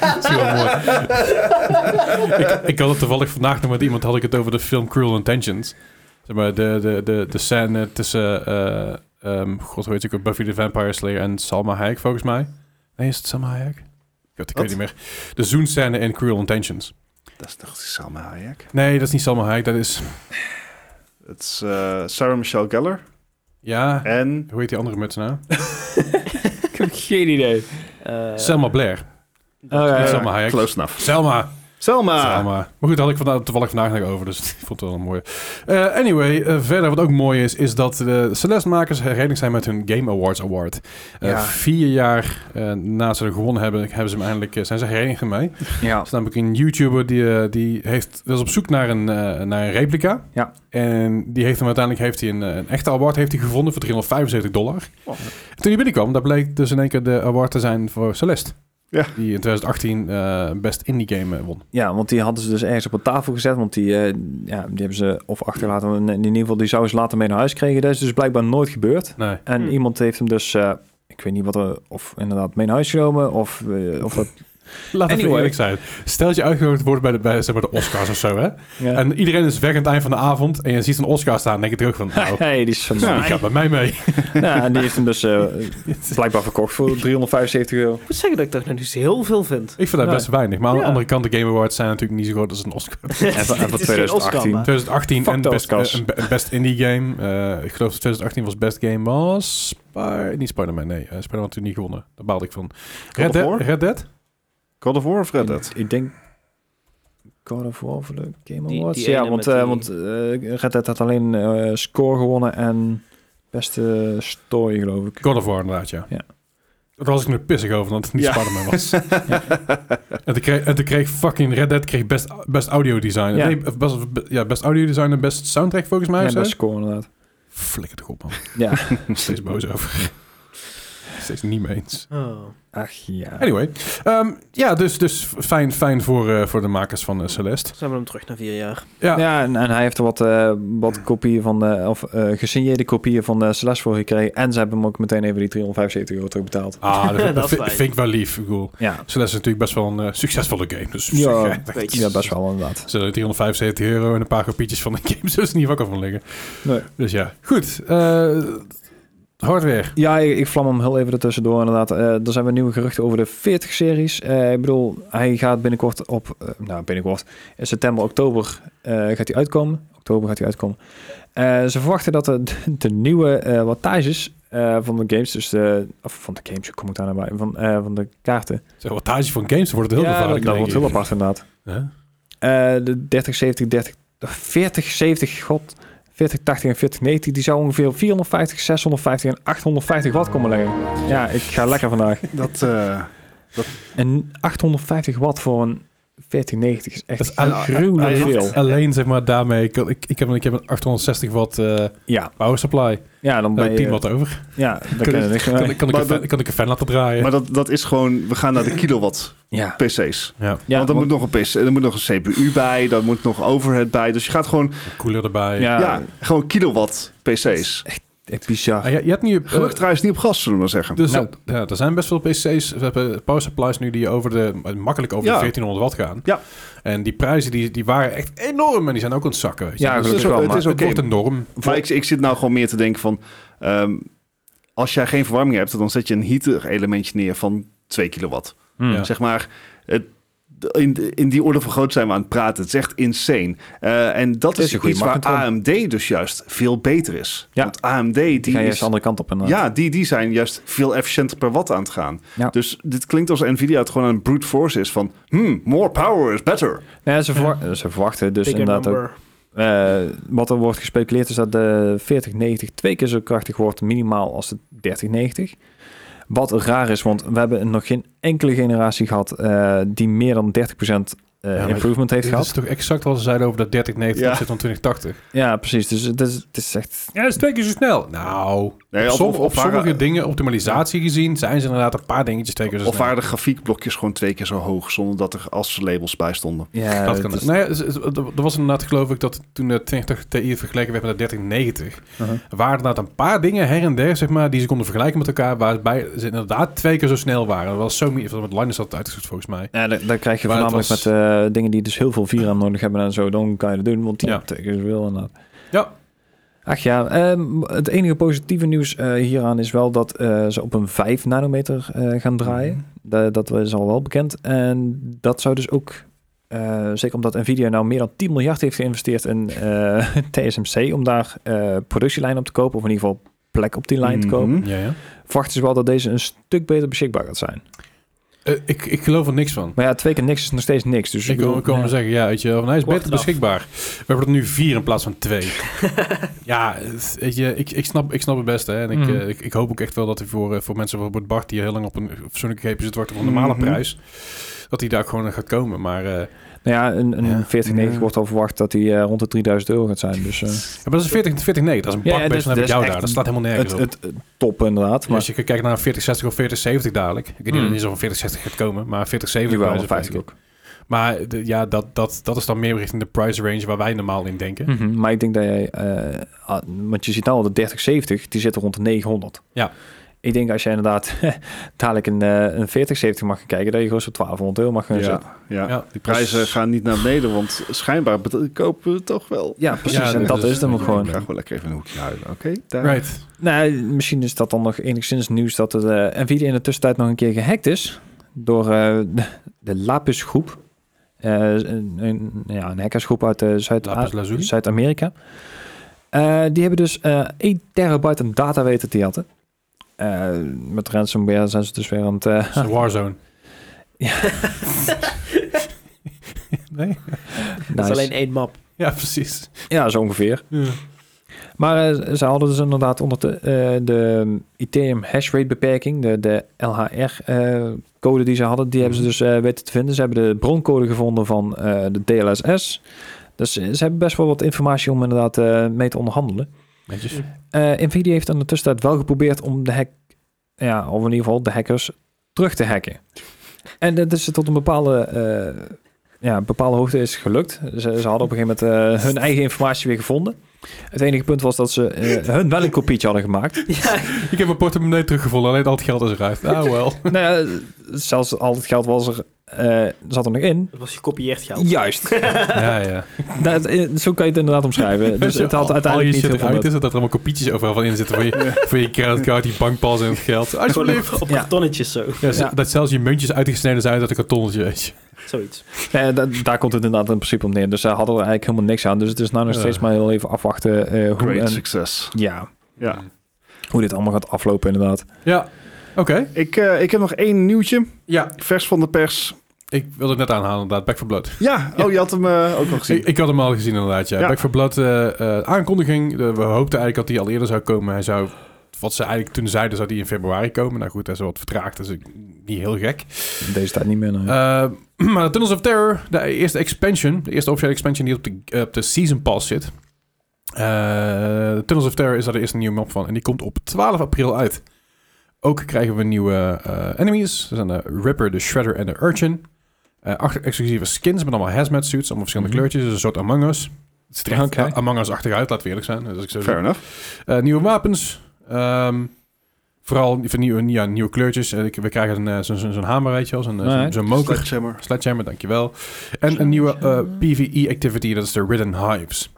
Dat is heel mooi. ik, ik had het toevallig vandaag nog met iemand, had ik het over de film Cruel Intentions. Zeg maar, de, de, de, de scène tussen, eh ehm god weet ik ook, Buffy the Vampire Slayer en Salma Hayek volgens mij. Nee, is het Salma Hayek? God, ik Wat? weet niet meer. De zoenscène in Cruel Intentions. Dat is toch Salma Hayek? Nee, dat is niet Salma Hayek, dat is... Het is eh, Sarah Michelle Gellar. Ja, En hoe heet die andere muts nou? ik heb geen idee. Eh, Selma Blair. dat- Oké. Niet Eh, Salma Hayek. Close enough. Selma! Selma! Ah. Ja, maar. maar goed, daar had ik vandaag, toevallig vandaag nog over, dus ik vond het wel een mooie. Eh, anyway, eh, verder wat ook mooi is, is dat de Celeste-makers herenigd zijn met hun Game Awards Award. Eh, Ja. Vier jaar eh, na ze er gewonnen hebben, hebben ze hem eindelijk, eh, zijn ze herenigd ermee. Ja. Er is namelijk een YouTuber die, eh, die heeft, was op zoek naar een, eh, naar een replica. Ja. En die heeft hem uiteindelijk heeft hij een, eh, een echte award heeft hij gevonden voor 375 dollar. Oh. En toen hij binnenkwam, dat bleek dus in één keer de award te zijn voor Celeste. Ja. Die in 2018 eh, best indie game eh, won. ja, want die hadden ze dus ergens op een tafel gezet. Want die, eh, ja, die hebben ze of achterlaten. In, in ieder geval, die zouden ze later mee naar huis krijgen. Dat is dus blijkbaar nooit gebeurd. Nee. En Hmm. iemand heeft hem dus, eh, ik weet niet wat er, of inderdaad mee naar huis genomen, of, eh, of dat. Laat het Anyway. eerlijk zijn. Stel dat je uitgenodigd wordt bij de, bij, zeg maar de Oscars of zo, hè? Ja. En iedereen is weg aan het eind van de avond en je ziet een Oscar staan, denk je terug van, nou, Hey, die is van die mij. gaat bij mij mee. Ja, en die heeft hem dus eh, blijkbaar verkocht voor 375 euro. Ik moet zeggen dat ik dat nog niet zo heel veel vind. Ik vind dat Nee. best weinig, maar aan de Ja. andere kant, de Game Awards zijn natuurlijk niet zo groot als een Oscar. Even, even Dit is geen 2018. Oscar, maar- 2018 Fuck en de best, Oscars. eh, een be- best Indie Game. Eh, ik geloof dat 2018 was Best Game was... Spy- niet Spider-Man, nee. eh, Spider-Man had toen niet gewonnen. Daar baalde ik van. Red, of Dead- War? Red Dead? God of War of Red Ik- Dead? Ik, denk God of War voor de Game Die- Awards. die ja, ene want, met eh, die- want eh, Red Dead had alleen eh, score gewonnen en beste story, geloof ik. God of War inderdaad, ja. Ja. Daar was ik nu pissig over, dat het niet Ja. Spider-Man was. en, toen kreeg, en toen kreeg fucking Red Dead kreeg best, best audio design. Ja. Nee, best, be- ja, best audio design en best soundtrack volgens mij. En of zo. best score, inderdaad. Flikker toch op, man. Ja. Steeds boos over. Steeds niet mee eens. Oh. Ach ja. Anyway, ehm, ja, dus, dus fijn, fijn voor, eh, voor de makers van eh, Celeste. Zijn we hem terug na vier jaar. Ja. Ja, en, en hij heeft er wat, eh, wat kopieën van, de, of eh, gesigneerde kopieën van de Celeste voor gekregen. En ze hebben hem ook meteen even die 375 euro terugbetaald. Ah, dat, Dat dat is vind, fijn. vind ik wel lief. Ik bedoel, Ja, Celeste is natuurlijk best wel een eh, succesvolle game. Dus op Ja, zich, eh, dat- weet je. ja best wel inderdaad. Ze hebben 375 euro en een paar kopietjes van de game. Zullen ze niet wakker van liggen. Nee. Dus ja, goed. eh, hardware. Ja, ik, ik vlam hem heel even ertussendoor inderdaad. Eh er zijn weer nieuwe geruchten over de 40-series. Eh, ik bedoel, hij gaat binnenkort op... eh, nou, binnenkort. In september, oktober eh, gaat hij uitkomen. Oktober gaat hij uitkomen. Eh, ze verwachten dat de, de nieuwe eh wattages eh, van de games... Dus de, of van de games, hoe kom ik daar nou bij? Van, eh, van de kaarten. Zo, wattage van games wordt het heel ja, dat, gevaarlijk. dat denk wordt ik. heel apart inderdaad. Hè? Eh, de 30, 70, 30, 40, 70, god. 40, 80 en 40, 90, die zou ongeveer 450, 650 en 850 watt komen leggen. Ja, ik ga lekker vandaag. Dat, eh, En 850 watt voor een 4090 is Dat echt is aan- gruwelijk aan- veel. Alleen zeg maar daarmee. Ik, ik, ik, heb, een- ik heb een 860 watt eh, Ja, power supply. ja, Daar dan ben heb ik 10 je... watt over. Ja, dan kan je niks meer Kan, mee. ik- kan, ik, Maar een fan, dat- kan ik een fan laten draaien? maar dat, dat is gewoon, we gaan naar de kilowatt Ja, PC's. ja, ja, want er want- moet nog een PC, er moet nog een CPU bij, daar moet nog overhead bij. Dus je gaat gewoon, cooler erbij. ja, ja, gewoon kilowatt PC's. echt bizar. Ah, je, je hebt nu... eh, Gelukkig trouwens niet op gas, zullen we maar zeggen. Dus Nou. eh, ja, er zijn best veel PC's, we hebben power supplies nu die over de, makkelijk over Ja. de 1400 watt gaan. Ja. En die prijzen die, die waren echt enorm en die zijn ook aan het zakken. Weet je. Ja, Dus gelukkig het is- wel, het maar... is ook- het wordt een norm. maar ik, ik zit nou gewoon meer te denken van, ehm, als jij geen verwarming hebt, dan zet je een heater elementje neer van 2 kilowatt. Hmm. Ja. Zeg maar, het, in, in die orde van grootte zijn we aan het praten. Het is echt insane. Eh, en dat Het is is, een goede iets waar markt, hoor. AMD dus juist veel beter is. Ja. Want AMD, die, Die ga je is- juist de andere kant op. En, eh, Ja, die, die zijn juist veel efficiënter per watt aan het gaan. Ja. Dus dit klinkt als Nvidia het gewoon een brute force is van... Hmm, more power is better. nee, ze, verwa- ze verwachten dus Bigger inderdaad ook number. Eh, wat er wordt gespeculeerd is dat de 4090 twee keer zo krachtig wordt minimaal als de 3090. Wat raar is, want we hebben nog geen enkele generatie gehad eh, die meer dan 30% eh, Ja, maar improvement heeft Dit is gehad. toch exact wat ze zeiden over dat 3090 Ja. ja. van 2080. Ja, precies. Dus het is, het is echt... Ja, dat is twee keer zo snel. Nou, Nee, op, of- som- of- op of sommige waren- dingen, optimalisatie gezien, zijn ze inderdaad een paar dingetjes twee keer zo Of snel. waren de grafiekblokjes gewoon twee keer zo hoog... zonder dat er as-labels bij stonden? Ja, dat kan het is- nou ja, z- z- er was inderdaad geloof ik dat toen de 2080 Ti vergeleken werd met de 3090, Uh-huh. waren inderdaad een paar dingen her en der, zeg maar, die ze konden vergelijken met elkaar, waarbij ze inderdaad twee keer zo snel waren. Dat was zo meer, met Linus had het uitgezocht volgens mij. Ja, dan, dan krijg je Maar het voornamelijk was- met eh, dingen die dus heel veel VRAM nodig hebben en zo. Dan kan je dat doen, want die Ja. betekent wel inderdaad. Ja. Ach ja, ehm, het enige positieve nieuws eh, hieraan is wel dat eh, ze op een 5 nanometer eh, gaan Mhm. draaien. Da- dat is al wel bekend. En dat zou dus ook, eh, zeker omdat Nvidia nou meer dan 10 miljard heeft geïnvesteerd in eh, TSMC, om daar eh productielijnen op te kopen, of in ieder geval plek op die lijn te kopen, Mhm. Ja, ja. verwachten ze wel dat deze een stuk beter beschikbaar gaat zijn. Eh, ik, ik geloof er niks van. Maar ja, twee keer niks is nog steeds niks. Dus Ik wil bedoel, ik wil maar ja. zeggen, ja, weet je wel, van, hij is Kort beter eraf. beschikbaar. We hebben er nu vier in plaats van twee. ja, het- weet je, ik, ik, snap, ik snap het best. Hè. En ik, Mhm. eh, ik, ik hoop ook echt wel dat hij voor, eh, voor mensen bijvoorbeeld Bart... die heel lang op een persoonlijke GP zit wachten voor een normale Mhm. prijs... dat hij daar ook gewoon gaat komen. Maar, eh, Nou ja, een, een Ja. 4090 Ja. wordt al verwacht dat hij eh, rond de 3000 euro gaat zijn. Dus eh, maar dat is een 40, 40 nee, dat is een Ja, ja, bakbeest. dat is- dan heb dat ik is jou echt daar. Dat staat helemaal nergens het, op. het, het top inderdaad. Maar Maar als je kijkt naar een 4060 of 4070 dadelijk. Ik weet niet Mm. eens of een 4060 gaat komen, maar een 4070 jawel, bij een wijze van 50 ook. spreken. Maar de- ja, dat, dat, dat is dan meer richting de price range waar wij normaal in denken. Mhm, Maar ik denk dat jij, eh, ah, want je ziet nou al de 3070, die zit rond de 900. Ja. Ik denk als jij inderdaad dadelijk een, eh, een 4070 mag gaan kijken, dat je gewoon zo'n 1200 euro mag gaan Ja, zetten. ja. Ja, die dus- Prijzen gaan niet naar beneden, want schijnbaar bet- kopen we toch wel. Ja, precies. Ja, en dat dat is- is hem ook ja, gewoon. Ik ga gewoon lekker even een hoekje huilen, oké? Daar. Right. Nou, misschien is dat dan nog enigszins nieuws dat het, eh, Nvidia in de tussentijd nog een keer gehackt is door eh, de, de Lapis groep. Eh, een, een, ja, een hackersgroep uit eh, Zuid- Lapis lazuli. Zuid-Amerika. Eh, die hebben dus eh 1 terabyte aan data weten te jatten. Eh, met ransomware zijn ze dus weer aan het... eh, Dat is een Warzone. Ja. nee? Dat nice. is alleen één map. Ja, precies. Ja, zo ongeveer. Ja. Maar eh, ze hadden dus inderdaad onder de, eh, de Ethereum hash rate beperking, de, de LHR-code eh, die ze hadden, die hebben ze dus eh, weten te vinden. Ze hebben de broncode gevonden van eh, de DLSS. Dus eh, ze hebben best wel wat informatie om inderdaad eh, mee te onderhandelen. Netjes. Eh, Nvidia heeft in de tussentijd wel geprobeerd om de hack, ja, of in ieder geval de hackers terug te hacken. En dat is tot een bepaalde, eh, ja, bepaalde hoogte is gelukt. Ze, ze hadden op een gegeven moment eh, hun eigen informatie weer gevonden. Het enige punt was dat ze eh, hun wel een kopietje hadden gemaakt. Ja, Ik heb mijn portemonnee teruggevonden, alleen al het geld is eruit. Ah, wel. nou ja, zelfs al het geld was er, eh, zat er nog in. dat was gekopieerd geld. Juist. ja, ja. Dat, eh, zo kan je het inderdaad omschrijven. Dus het had Al je uiteindelijk niet shit heel veel eruit is, nut. dat er allemaal kopietjes overal van in zitten. Voor je, voor je creditcard, die bankpas en het geld. Gewoon Alsjeblieft. op, op Ja. kartonnetjes zo. Ja, Ja. Dat zelfs je muntjes uitgesneden zijn uit een kartonnetje. weet je. Zoiets. Nee, Eh, da- daar komt het inderdaad in principe op neer. Dus ze hadden er eigenlijk helemaal niks aan. Dus het is nou nog Ja. steeds maar heel even afwachten eh, hoe, Great en, success. ja, Ja. hoe dit allemaal gaat aflopen inderdaad. Ja, oké. Ik, eh, ik heb nog één nieuwtje, Ja, vers van de pers. ik wilde het net aanhalen inderdaad. Back for Blood. Ja, oh, je had hem eh, ook nog gezien. Ik, ik had hem al gezien inderdaad, ja. Ja. Back for Blood, eh, eh, aankondiging. Eh, we hoopten eigenlijk dat hij al eerder zou komen. Hij zou, wat ze eigenlijk toen zeiden, zou hij in februari komen. Nou goed, hij is wat vertraagd, dus ik, niet heel gek. Deze tijd niet meer. nou nee. Eh, maar Tunnels of Terror, de eerste expansion, de eerste officiële expansion die op de, eh, op de Season Pass zit. Eh, Tunnels of Terror is daar de eerste nieuwe map van en die komt op 12 april uit. Ook krijgen we nieuwe eh, enemies. Dat zijn de Ripper, de Shredder en de Urchin. Eh, acht exclusieve skins met allemaal hazmat suits, allemaal verschillende Mhm. kleurtjes. Dus een soort Among Us. Het ziet er echt Oké. A- Among Us-achtig uit, laten we eerlijk zijn. Dus ik zou Fair enough. eh, nieuwe wapens. Ehm, vooral van nieuwe, ja, nieuwe kleurtjes. Eh, ik- we krijgen een, eh, zo'n zo'n- zo'n hamer, weet je wel. Zo'n eh, zo'n- Alright. zo'n moker. Sledgehammer. Sledgehammer, dankjewel. En een nieuwe eh, PvE-activity, dat is de Ridden Hives.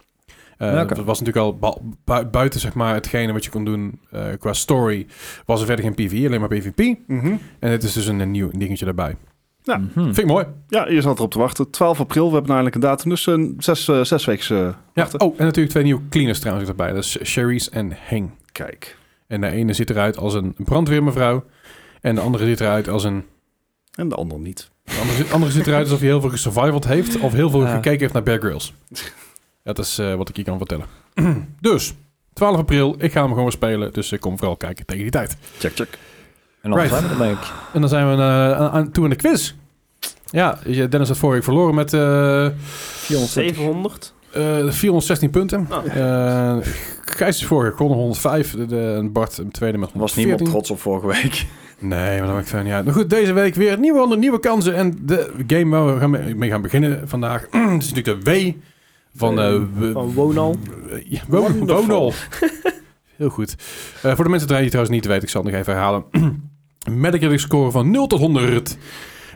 Eh, Oké. Dat was natuurlijk al ba- bui- buiten zeg maar, hetgene wat je kon doen eh, qua story. Was er verder geen PvE, alleen maar PvP. Mhm. En dit is dus een, een nieuw dingetje daarbij. ja. Mhm. Vind ik mooi. Ja, je zat erop te wachten. 12 april, we hebben nou eindelijk een datum. Dus een zes, eh, zes weken eh, Ja. wachten. Oh, en natuurlijk twee nieuwe cleaners trouwens erbij. Dat is Cherise en Heng. Kijk. En de ene ziet eruit als een brandweermevrouw. En de andere ziet eruit als een En de ander niet. De andere, ziet- andere ziet eruit alsof hij heel veel gesurvivald heeft... of heel veel Ja. gekeken heeft naar Bear Grylls. Dat is eh, wat ik je kan vertellen. dus, 12 april, ik ga hem gewoon weer spelen... dus ik kom vooral kijken tegen die tijd. Check, check. en anders right. zijn we er, denk ik. En dan zijn we eh, aan, aan toe aan de quiz. Ja, je- Dennis had vorige week verloren met eh, eh, 700. 416 punten. Ah. Eh Gijs is vorige kon 105 de, de- en Bart een tweede met Er was niemand 114. trots op vorige week. Nee, maar dat maakt verder niet uit. Maar goed, deze week weer nieuwe handen, nieuwe kansen. En de game waar we gaan mee, mee gaan beginnen vandaag is natuurlijk de W van... eh, w- Van Wonal. Ja, Wo- Wonderful. Wonal. Heel goed. Eh, voor de mensen die het trouwens niet weten, ik zal het nog even herhalen. Metacritic score van 0 tot 100.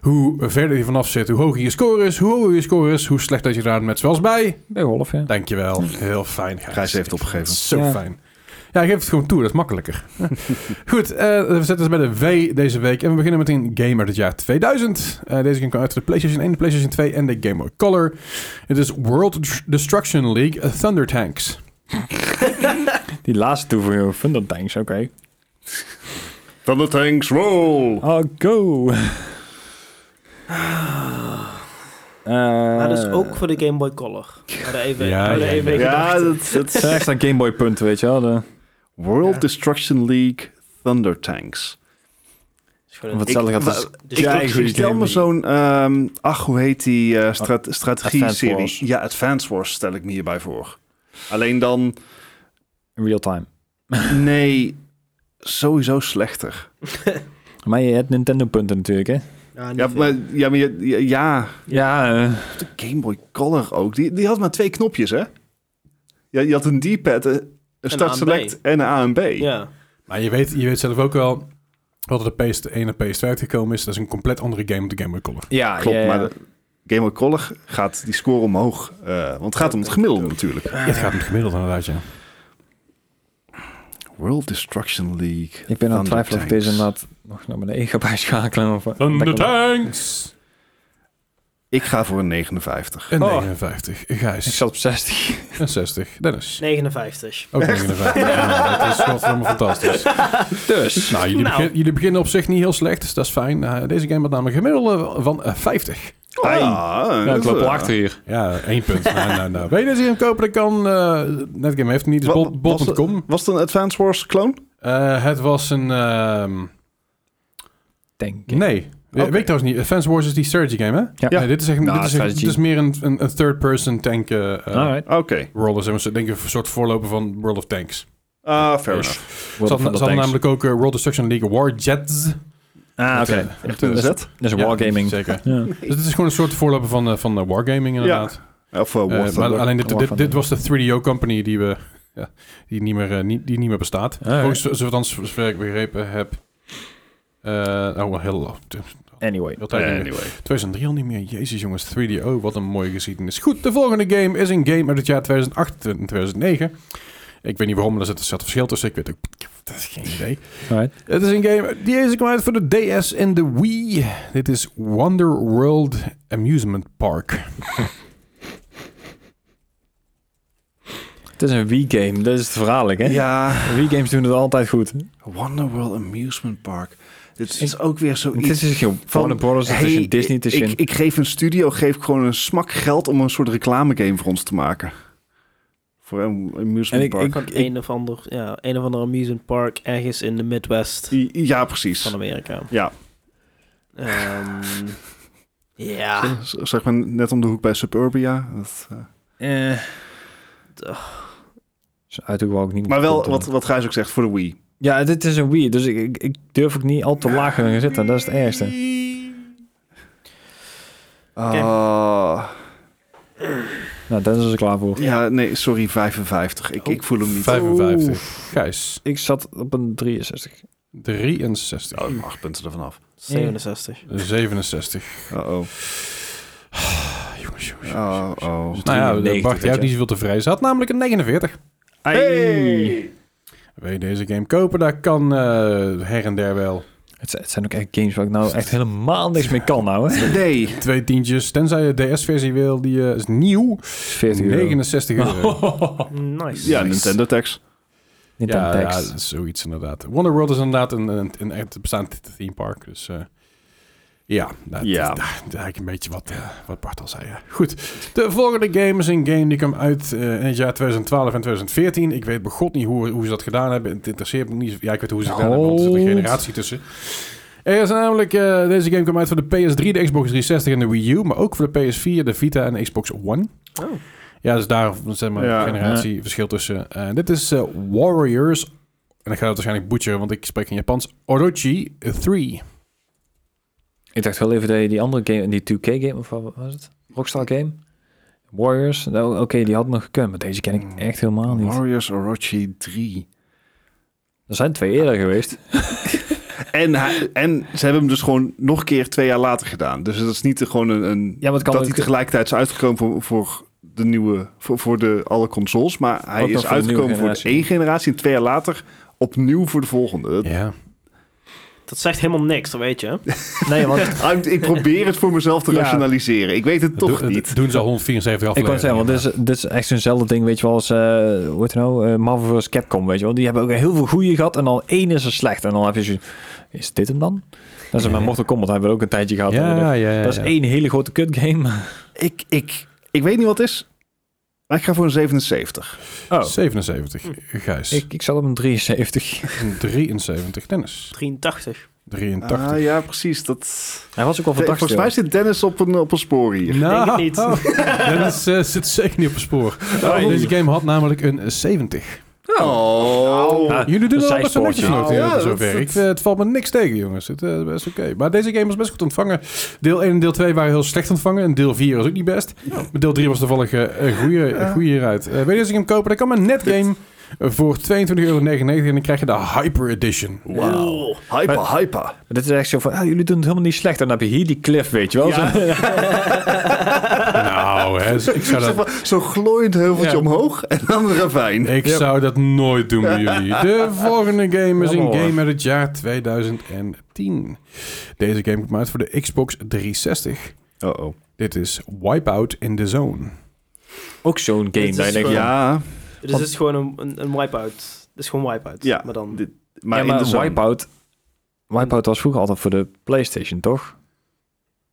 Hoe verder je vanaf zit, hoe hoger je score is, hoe hoger je score is, hoe slecht dat je daar met zoals bij. Bij Wolf, ja. Dankjewel. Heel fijn. Gijs. Gijs heeft opgegeven. Zo Ja. fijn. Ja, geef het gewoon toe, dat is makkelijker. Goed, eh, we zetten ze bij de W deze week. En we beginnen met een game uit het jaar 2000. Eh, deze game kwam uit voor de PlayStation 1, de PlayStation 2 en de Game Boy Color. Het is World Dr- Destruction League eh, Thunder Tanks. Die laatste toevoeging, Thunder Tanks, oké. Thunder Tanks, roll! Oh, go! Ah. Maar dat is Eh, ook voor de Game Boy Color. Maar daar even, Ja, ja, ja, even ja. Ja, gedachten. dat, dat Het zijn echt aan Gameboy punten, weet je wel. De, World Ja. Destruction League Thunder Tanks. Is gewoon wat een- Ik- hetzelfde gaat wa- als... dus ik, ik- ik stel me zo'n, ehm, ach, hoe heet die eh, strat- strategie-serie? Advance Wars. Ja, Advance Wars stel ik me hierbij voor. Alleen dan, in real time. nee, sowieso slechter. Maar je hebt Nintendo punten natuurlijk, hè? Ja, niet Ja, veel. maar, ja, maar je- ja, ja, Ja, eh, de Game Boy Color ook. Die, die had maar twee knopjes, hè? Ja, je had een D-pad, eh, een A start en select en een A en B. ja. Maar je weet, je weet zelf ook wel wat er de PS1 en PS2 uitgekomen is. Dat is een compleet andere game op de Game Boy Color. ja, Klopt, ja, ja. maar de Game Boy Color gaat die score omhoog. eh, want het gaat om het gemiddelde natuurlijk. Ja, het gaat om het gemiddelde inderdaad, ja. World Destruction League. Ik ben aan Thunder het twijfelen of ik Tanks. deze nou- inderdaad nog naar beneden ga bijschakelen. Of, eh, dat Thunder ik- Tanks! Ik ga voor een 59. En Oh. 59. Ik Gijs. zat op 60. En 60. Dennis. 59. Ook 59. Ja, dat is gewoon helemaal fantastisch. Dus. Nou, jullie, Nou. begin- jullie beginnen op zich niet heel slecht, dus dat is fijn. Eh, deze game had namelijk een gemiddelde van eh, 50. Ah, dat ik is, loop eh, wel achter hier. Ja, één punt. nou, nou, nou. Weet je dat je hem kopen? Dat kan. eh Netgame heeft hem niet, dus Wa- bol- was het- bol.com. Was het een Advance Wars clone? Eh, het was een... ehm, Denk ik. nee. Eh, Oké. Weet ik trouwens niet. Advance Wars is die strategy game, hè? Ja. Nee, dit is echt... Nou, dit, is echt- strategy. dit is meer een, een, een third-person tank... eh eh, Alright. Oké. World of Tanks. Denk ik een soort voorloper van World of Tanks. Ah, fair Ish. enough. Ze hadden- ze hadden namelijk ook eh, World Destruction League War Jets. Ah, oké. Echt een zet. Dat is Ja, wargaming. Zeker. Ja. Dus het is gewoon een soort voorloper van, eh, van eh, wargaming inderdaad. Of eh, Eh, War maar Thunder. alleen dit, War dit, Thunder. dit was de 3DO company die we ja, die niet meer eh, niet, die niet meer bestaat. Alright. Volgens zoals zover ik begrepen heb. eh oh, wel heel lang. Anyway. Heel tijd niet Eh, meer. Anyway. 2003 al niet meer. Jezus jongens, 3DO, wat een mooie geschiedenis. Goed, de volgende game is een game uit het jaar 2008 en 2009. Ik weet niet waarom, daar zit er zat verschil tussen. Ik weet ook, dat is geen idee. Alright. Het is een game, die is uit voor de DS en de Wii. Dit is Wonder World Amusement Park. Het is een Wii-game. Dat is het verhaal, hè? Ja, Wii-games doen het altijd goed. Wonderworld Amusement Park. Dit is Ik- ook weer Het zoiets is geen Warner Brothers, het is hey, een Disney, ik- het is ik, een... ik geef een studio geef ik gewoon een smak geld om een soort reclamegame voor ons te maken. Voor een En amusement ik- park. ik- Van een of ander, ja, een of ander amusement park ergens in de Midwest I- ja, precies. van Amerika. Ja. Ehm, ja. Z- Zeg maar net om de hoek bij Suburbia. Dat, eh. Eh. Zo'n uithoek Dus wou ik niet Maar wel, moeten wat, doen. wat Gijs ook zegt, voor de Wii. Ja, dit is een Wii, dus ik, ik, ik durf ook niet al te laag gaan zitten. Dat is het ergste. Ah, Nou, daar is ik klaar voor. ja, nee, sorry, 55. Ik, ik voel hem niet. 55. Gijs, Ik zat op een 63. 63. Oh, acht punten ervan af. 67. 67. Uh-oh. Ah, Jongens, jongens. Oh, oh. Nou ja, 93, Bart, jij weet hebt je. niet zoveel te vrezen. Ze had namelijk een 49. Hey! Wil je deze game kopen? Daar kan eh, her en der wel Het, zijn- het zijn ook echt games waar ik nou echt helemaal niks mee kan nou, hè? Nee. twee tientjes. Tenzij je DS-versie wil, die eh, is nieuw. 40 euro. 69 euro. Nice. Ja, Nintendo Tax. Nintendo Ja, ja, Text. dat is zoiets inderdaad. Wonder World is inderdaad een, een, een echt bestaand theme park. Dus eh, ja, dat Ja. dat- dat is eigenlijk een beetje wat, eh, wat Bart al zei. ja. Goed, de volgende game is een game die kwam uit eh, in het jaar 2012 en 2014. Ik weet begot niet hoe, hoe ze dat gedaan hebben. Het interesseert me niet. zo- Ja, ik weet hoe ze het gedaan hebben, want er zit een Hold. generatie tussen. Er is namelijk, eh, deze game kwam uit voor de PS3, de Xbox 360 en de Wii U. Maar ook voor de PS4, de Vita en de Xbox One. Oh. Ja, dus daar zeg maar Ja. een generatieverschil tussen. Eh, dit is eh, Warriors. En ik ga het waarschijnlijk butcheren, want ik spreek in Japans. Orochi 3. Ik dacht wel even dat je die andere game, die 2K-game, of wat was het? Rockstar Game? Warriors? Nou, oké, die had nog gekund, maar deze ken ik echt helemaal Oh, niet. Warriors Orochi 3. Er zijn twee eerder geweest. En, hij- en ze hebben hem dus gewoon nog een keer twee jaar later gedaan. Dus dat is niet gewoon een... een Ja, maar het kan dat ook- eh, hij tegelijkertijd is uitgekomen voor, voor de nieuwe... Voor, voor de, alle consoles. Maar hij Ook nog is voor de nieuwe uitgekomen voor de generatie. één generatie. En twee jaar later opnieuw voor de volgende. Dat- Ja. Dat zegt helemaal niks, dat weet je. hè? Nee, want Ik- Ik probeer het voor mezelf te Ja. rationaliseren. Ik weet het toch Doe- niet. Doen ze al 174 ik kan afleveringen. zeggen, want dit is, dit is echt zo'nzelfde ding, weet je wel, als, eh hoe heet het nou, Eh, Marvel vs. Capcom, weet je wel. Die hebben ook heel veel goeie gehad en dan één is er slecht. En dan heb je zo, is dit hem dan? Dat is Ja, mijn ja. Mortal Kombat hebben we ook een tijdje gehad. ja, ja. Dat is één hele grote kut game. Ik, ik, ik weet niet wat het is. Maar ik ga voor een 77. Oh, 77, Gijs. ik, ik zat op een 73. Een 73, Dennis. 83. 83. Ah, ja, precies. Dat... Hij was ook wel fantastisch. Volgens mij zit Dennis op een, op een spoor hier. Nou, Denk het niet. Dennis eh, zit zeker niet op het spoor. Oh. Deze game had namelijk een 70. Oh. Ah, Jullie doen dat een wel best wel netjes zijspoortje. nog, eh, Ja, voor dat- zover. dat- Ik, eh, het valt me niks tegen, jongens. Het eh, is best oké. Maar deze game was best goed ontvangen. Deel 1 en deel 2 waren heel slecht ontvangen. En deel 4 was ook niet best. Maar deel 3 was toevallig eh, een goede, een goede hieruit. Eh, wil je deze game kopen? Dan kan maar net game voor 22,99 euro. En dan krijg je de Hyper Edition. Nou. Wauw. Hyper, hyper. Dit is echt zo van, ah, jullie doen het helemaal niet slecht. En dan heb je hier die cliff, weet je wel. Ja. Zo- Nou, hè, ik zou dat... Zo van- Zo'n glooiend heuveltje Ja. omhoog en dan een ravijn. Ik zou dat nooit doen bij jullie. De volgende game is Jammer, een hoor. game uit het jaar 2010. Deze game komt uit voor de Xbox 360. Oh-oh. Dit is Wipeout in the Zone. Ook zo'n game. is Dat je denkt, gewoon- ja, Ja, Dus het is gewoon een, een, een wipeout. Het is gewoon wipeout. Ja. Maar dan... Dit- maar, maar, in de zone. Wipeout... Wipeout was vroeger altijd voor de Playstation, toch?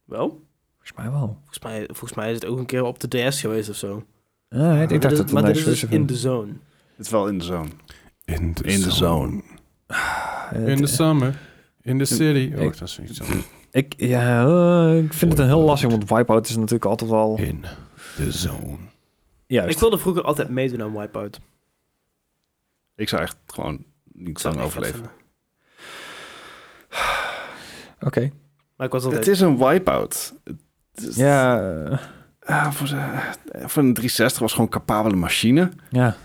Wel? Volgens mij wel. Volgens mij, volgens mij is het ook een keer op de DS geweest of zo. Ja, ik Maar dacht dit- dat het maar een dit is dus exclusive in de zone. Het is wel in de zone. In the, In the zone. Eh, In the het- summer. In the city. Oh, Ik- dat is iets anders. Ik, ja, eh, ik vind het een heel lastig, want Wipeout is natuurlijk altijd wel... In the zone. Juist. Ik wilde vroeger altijd meedoen aan wipeout. Ik zou echt gewoon niet Zou lang ik echt vet overleven. vinden. Oké. Maar ik was altijd... Het is een wipeout. Ja, eh, Ah, voor, de- voor een 360 was gewoon een capabele machine. ja.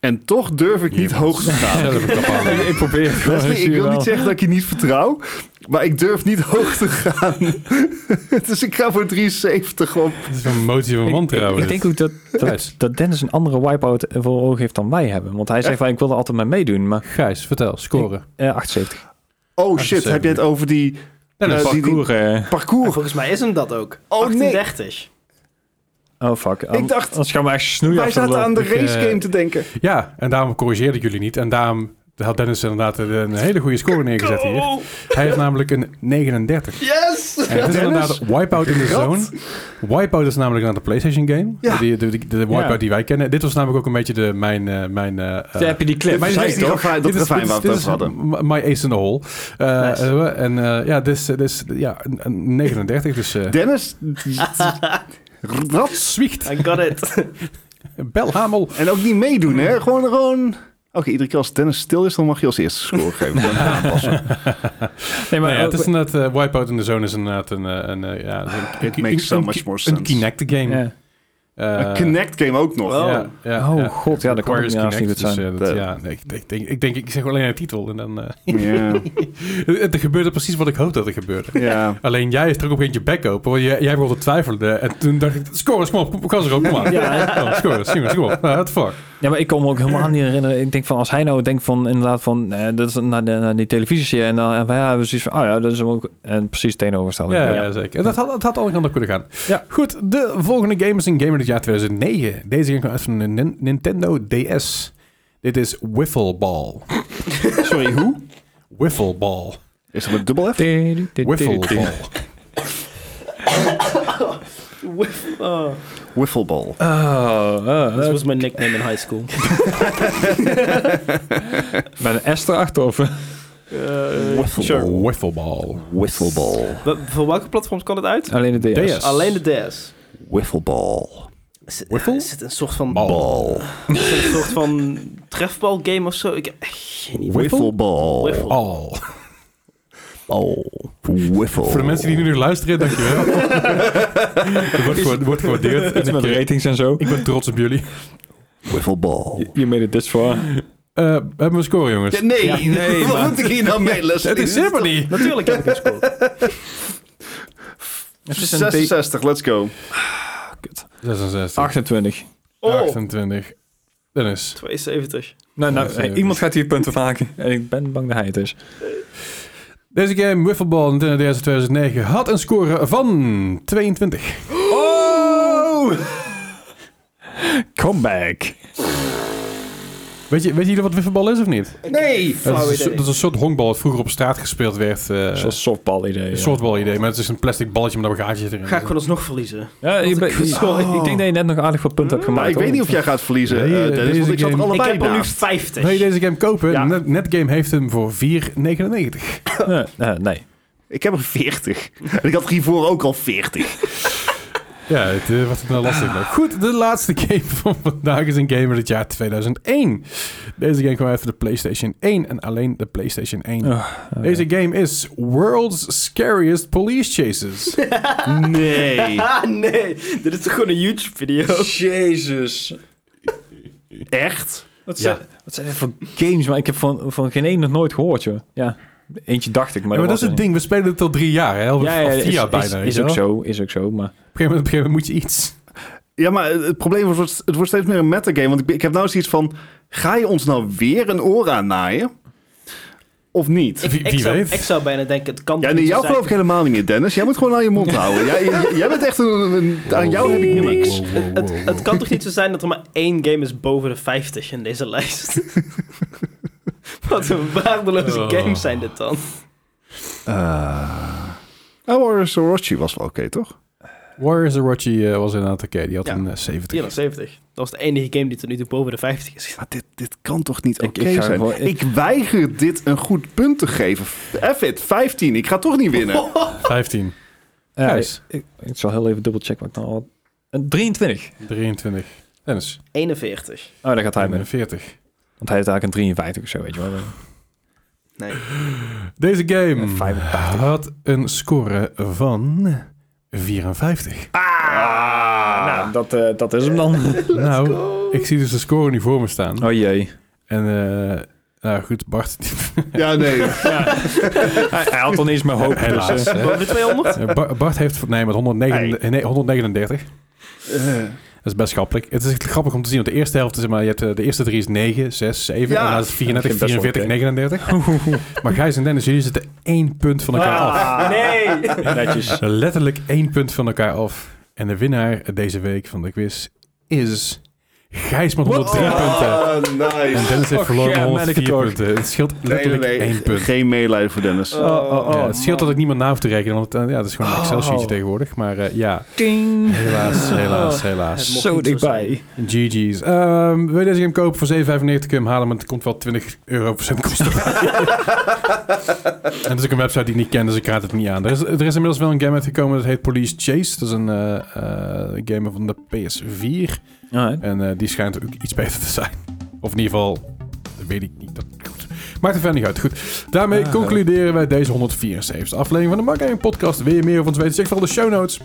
En toch durf ik niet Jemens. hoog te gaan. dat heb ik al aan. ik probeer het gewoon. Leslie, zie ik je wil wel. niet zeggen dat ik je niet vertrouw, maar ik durf niet hoog te gaan. dus ik ga voor 73 op. Het is een motie van wantrouwen. Ik, ik denk ook dat, dat, Gijs. dat Dennis een andere wipeout voor ogen heeft dan wij hebben. Want hij zegt van, ik wil er altijd mee meedoen, maar Gijs, vertel, scoren. eh 78. Oh shit, heb je het over die Dennis, Eh, die- die- Parcours, eh, Maar parcours? volgens mij is hem dat ook. Oh, nee. 38. oh fuck. Ik dacht- Anders gaan we echt snoeien. Wij af van de zaten aan de ik, eh, race game te denken. Ja, en daarom corrigeerde ik jullie niet. En daarom had Dennis inderdaad een hele goede score neergezet hier. Oh, Hij heeft namelijk een 39. Yes! En het is inderdaad Wipeout in the Rat. Zone. Wipeout is namelijk naar de PlayStation game. Ja. Die, de, de, de Wipeout Ja. die wij kennen. Dit was namelijk ook een beetje de, mijn... eh, mijn eh, Daar heb je die clip. maar Zij dit is is die toch- ravijn, dat dit is- ravijn dit waar is- we dit het is over hadden. m- My ace in the hole. Eh, Nice. eh, En eh, ja, dit is, dit is ja, een- een 39. Dus eh Dennis, rats. zwiegt. I got it. Belhamel. En ook niet meedoen, hè? Gewoon, gewoon... Oké, iedere keer als Dennis stil is, dan mag je als eerste score geven. Dan aanpassen. Nee, maar Nou ja, het ook- is inderdaad... eh, Wipeout in the Zone is inderdaad een... eh, een, eh, ja, een- Ah, It een- makes so een- much more Een sense. Kinect game. ja. Eh, Een Connect game ook nog. Wow. Ja, ja, Oh ja. god, ja, dat kan ook Requires niet haast niet Kinect, goed zijn. dus, eh, dat- Eh. ja, nee, ik, ik denk, ik denk, ik zeg alleen een titel en dan... eh, Ja, Het, er gebeurde precies wat ik hoopte dat er gebeurde. ja. Alleen jij trok op een beetje bek open, want jij, jij begon te twijfelen. En toen dacht ik, score eens, kom op, kom- kom eens erop, kom aan. Ja. Kom, score eens, jongens, kom op. Nou, what the fuck? Ja, maar ik kon me ook helemaal niet herinneren. Ik denk van, als hij nou denkt van, inderdaad van, eh, dat is naar, de, naar die televisie en dan en wij hebben zoiets van, oh ja, dat is hem ook, en precies tegenovergestelde. Ja, ja, zeker. En dat had, dat had alle kanten op kunnen gaan. Oh, Ja. Goed, de volgende game is een game uit het jaar 2009. Deze game kwam uit van de Nin- Nintendo DS. Dit is Wiffle Ball. Sorry, hoe? Wiffle Ball. Is dat met dubbel F? Wiffle Ball. Oh, Wiffleball. Oh, oh, dat dat was mijn nickname in high school. Met een S erachter of? Eh, sure. Wiffle Ball. Wiffleball. Wa- Voor welke platforms kan het uit? Alleen de DS. DS. Alleen de DS. Wiffleball. Is- Wiffle? Is het een soort van, Bal. Ball. is het een soort van trefbal game of zo? Ik heb echt geen idee. Wiffleball. Wiffle. Ball. Oh. Wiffle. Voor de mensen die nu nog luisteren, dankjewel. Het wordt gewa- wordt gewaardeerd. En ik, eh, ratings en zo. ik ben trots op jullie. Wiffleball. Je made it this far. Eh, we hebben een score, jongens. nee, nee, wat maar- moet ik hier nou mee, Leslie? Het is helemaal niet. Natuurlijk heb ik een score. Het is een 66, let's go. 66. 28. Oh, 28. Dennis. 72. Nou, nou, Ja, hey, iemand gaat hier punten maken. En ik ben bang dat hij het is. Deze game, Wiffleball Nintendo DS uit 2009, had een score van 22. Oh! Comeback. Weet je, weet je wat wiffenbal is of niet? Nee! Dat Flauw is, een idee. soort- dat is een soort honkbal dat vroeger op straat gespeeld werd. eh, Een soort softball idee. een soort bal idee, maar het is een plastic balletje met een gaatje erin. Ga ik gewoon alsnog verliezen. Ja, je Wat bent- een kut. Sorry, ik denk dat je net nog aardig wat punten hebt Maar gemaakt. ik weet hoor. niet of jij gaat verliezen, eh, Nee, Dennis, want deze ik zat game- er Ik allebei heb er nu naast. 50. Wil je deze game kopen? Ja. Net, Netgame heeft hem voor 4,99. Nee, eh, nee. Ik heb er 40. En ik had er hiervoor ook al 40. Ja, het eh, wordt nou lastig. Maar goed, de laatste game van vandaag is een game uit het jaar 2001. Deze game kwam uit voor de PlayStation 1 en alleen de PlayStation 1. Ah, Oké. Deze game is World's Scariest Police Chases. Nee. Ah, nee. Dit is toch gewoon een YouTube-video? Jezus. Echt? Wat Ja. zijn, wat zijn dit voor games? Maar ik heb van, van geen één nog nooit gehoord, joh. Ja, eentje dacht ik, maar, Maar, maar dat is het ding, we spelen het al drie jaar, hè? Al, Ja, al ja, vier is, jaar bijna. is, weet is je ook wel. zo, is ook zo, maar... Op een gegeven moment, op een gegeven moment moet je iets. Ja, maar het het probleem is, het wordt- het wordt steeds meer een metagame. Want ik, ben- ik heb nou zoiets van, ga je ons nou weer een oor aannaaien? Of niet? Wie- ik, wie zou, weet. ik zou bijna denken, het kan Ja, toch nee, niet zo jou zijn. geloof ik helemaal niet meer, Dennis. Jij moet gewoon aan je mond houden. Jij, jij- jij bent echt een, een- Aan jou heb ik niks. Wow, wow, wow, Het, wow. het kan toch niet zo zijn dat er maar één game is boven de 50 in deze lijst? Wat een waardeloze Oh. games zijn dit dan. Eh, oh, maar Sorochi was wel oké, toch? Warriors Orochi eh, was inderdaad oké, die had Ja. een eh, 70. 74. Dat was de enige game die tot nu toe boven de 50 is. Maar dit, dit kan toch niet Ik- oké ik ga zijn? gewoon- ik... ik- weiger dit een goed punt te geven. F it, 15. Ik ga toch niet winnen. 15, Ja, Gijs. ik, ik- ik zal heel even dubbelchecken wat ik nou al... een 23. 23. Dennis, 41. Oh, daar gaat hij mee. 41. Want hij is eigenlijk een 53 of zo, weet je wel. Nee. Deze game 85. had een score van 54. Ah, nou, dat, eh, dat is hem dan. nou, ik zie dus de score nu voor me staan. oh jee. En eh, nou goed, Bart, Ja, nee. Hij, hij had dan eens maar hoop. helaas. hè. Boven de 200? Eh, Ba- Bart heeft, nee, met 139, nee, 139. Eh, Dat is best grappig. Het is echt grappig om te zien, want de eerste helft is, maar je hebt, eh, de eerste drie is 9, 6, 7, Ja. en daarna is het 34, Ik vind het best 44, wel 39. maar Gijs en Dennis, jullie zitten één punt van Ah. elkaar af. Nee. Netjes. Letterlijk één punt van elkaar af. En de winnaar deze week van de quiz is Gijs met 103 Oh. punten. Ah, En nice. Dennis heeft Och, verloren met ja, merk het 104 ook. punten. Het scheelt letterlijk één punt. Geen meelijden voor Dennis. Oh, oh, oh. Ja, het scheelt dat ik niemand na hoef te rekenen, want eh, ja, het is gewoon een Excel-sheetje tegenwoordig. Maar eh, ja, Ding. helaas, Oh. helaas, Het helaas. mocht Zo niet dichtbij. GG's. Ehm, wil je deze game kopen voor 7,95? Kun je hem halen, maar het komt wel 20 euro procent kosten. en dat is ook een website die ik niet ken, dus ik raad het niet aan. Er is, er is inmiddels wel een game uitgekomen, dat heet Police Chase. Dat is een eh, eh, game van de PS4. Alright. En eh, die schijnt ook iets beter te zijn. Of in ieder geval, dat weet ik niet. Dat, goed. Maakt er verder niet uit. Goed. Daarmee Ah. concluderen wij deze 174 aflevering van de Mark Gaming Podcast. Wil je meer over ons weten? Check vooral de show notes.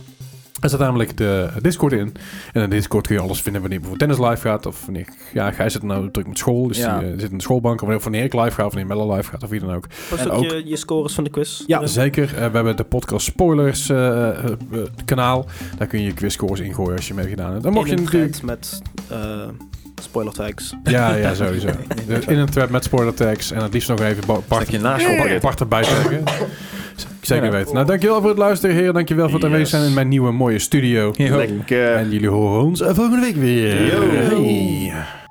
Er staat namelijk de Discord in. En in de Discord kun je alles vinden wanneer bijvoorbeeld Dennis live gaat. Of wanneer, ja, Gijs zit nou druk met school. Dus Ja. die eh, zit in de schoolbank. Of wanneer, of wanneer ik live ga. Of wanneer Mella live gaat. Of wie dan ook. Post En ook ook- je, je scores van de quiz. Dus Ja, zeker. Eh, we hebben de podcast spoilers eh, eh, eh, kanaal. Daar kun je je quizscores ingooien als je meegedaan hebt. Dan mocht je natuurlijk natuurlijk... met eh, spoiler tags. Ja, ja, sowieso. Dus in een thread met spoiler tags en het liefst nog even Bart- Bart, Stukje naast op. Bart, Bart erbij zeggen. Z- Zeker weten. Nou, dankjewel voor het luisteren, heren. Dankjewel voor het aanwezig zijn in mijn nieuwe mooie studio. Yo. Lekker. En jullie horen ons eh, volgende week eh, weer. Yo. Hey.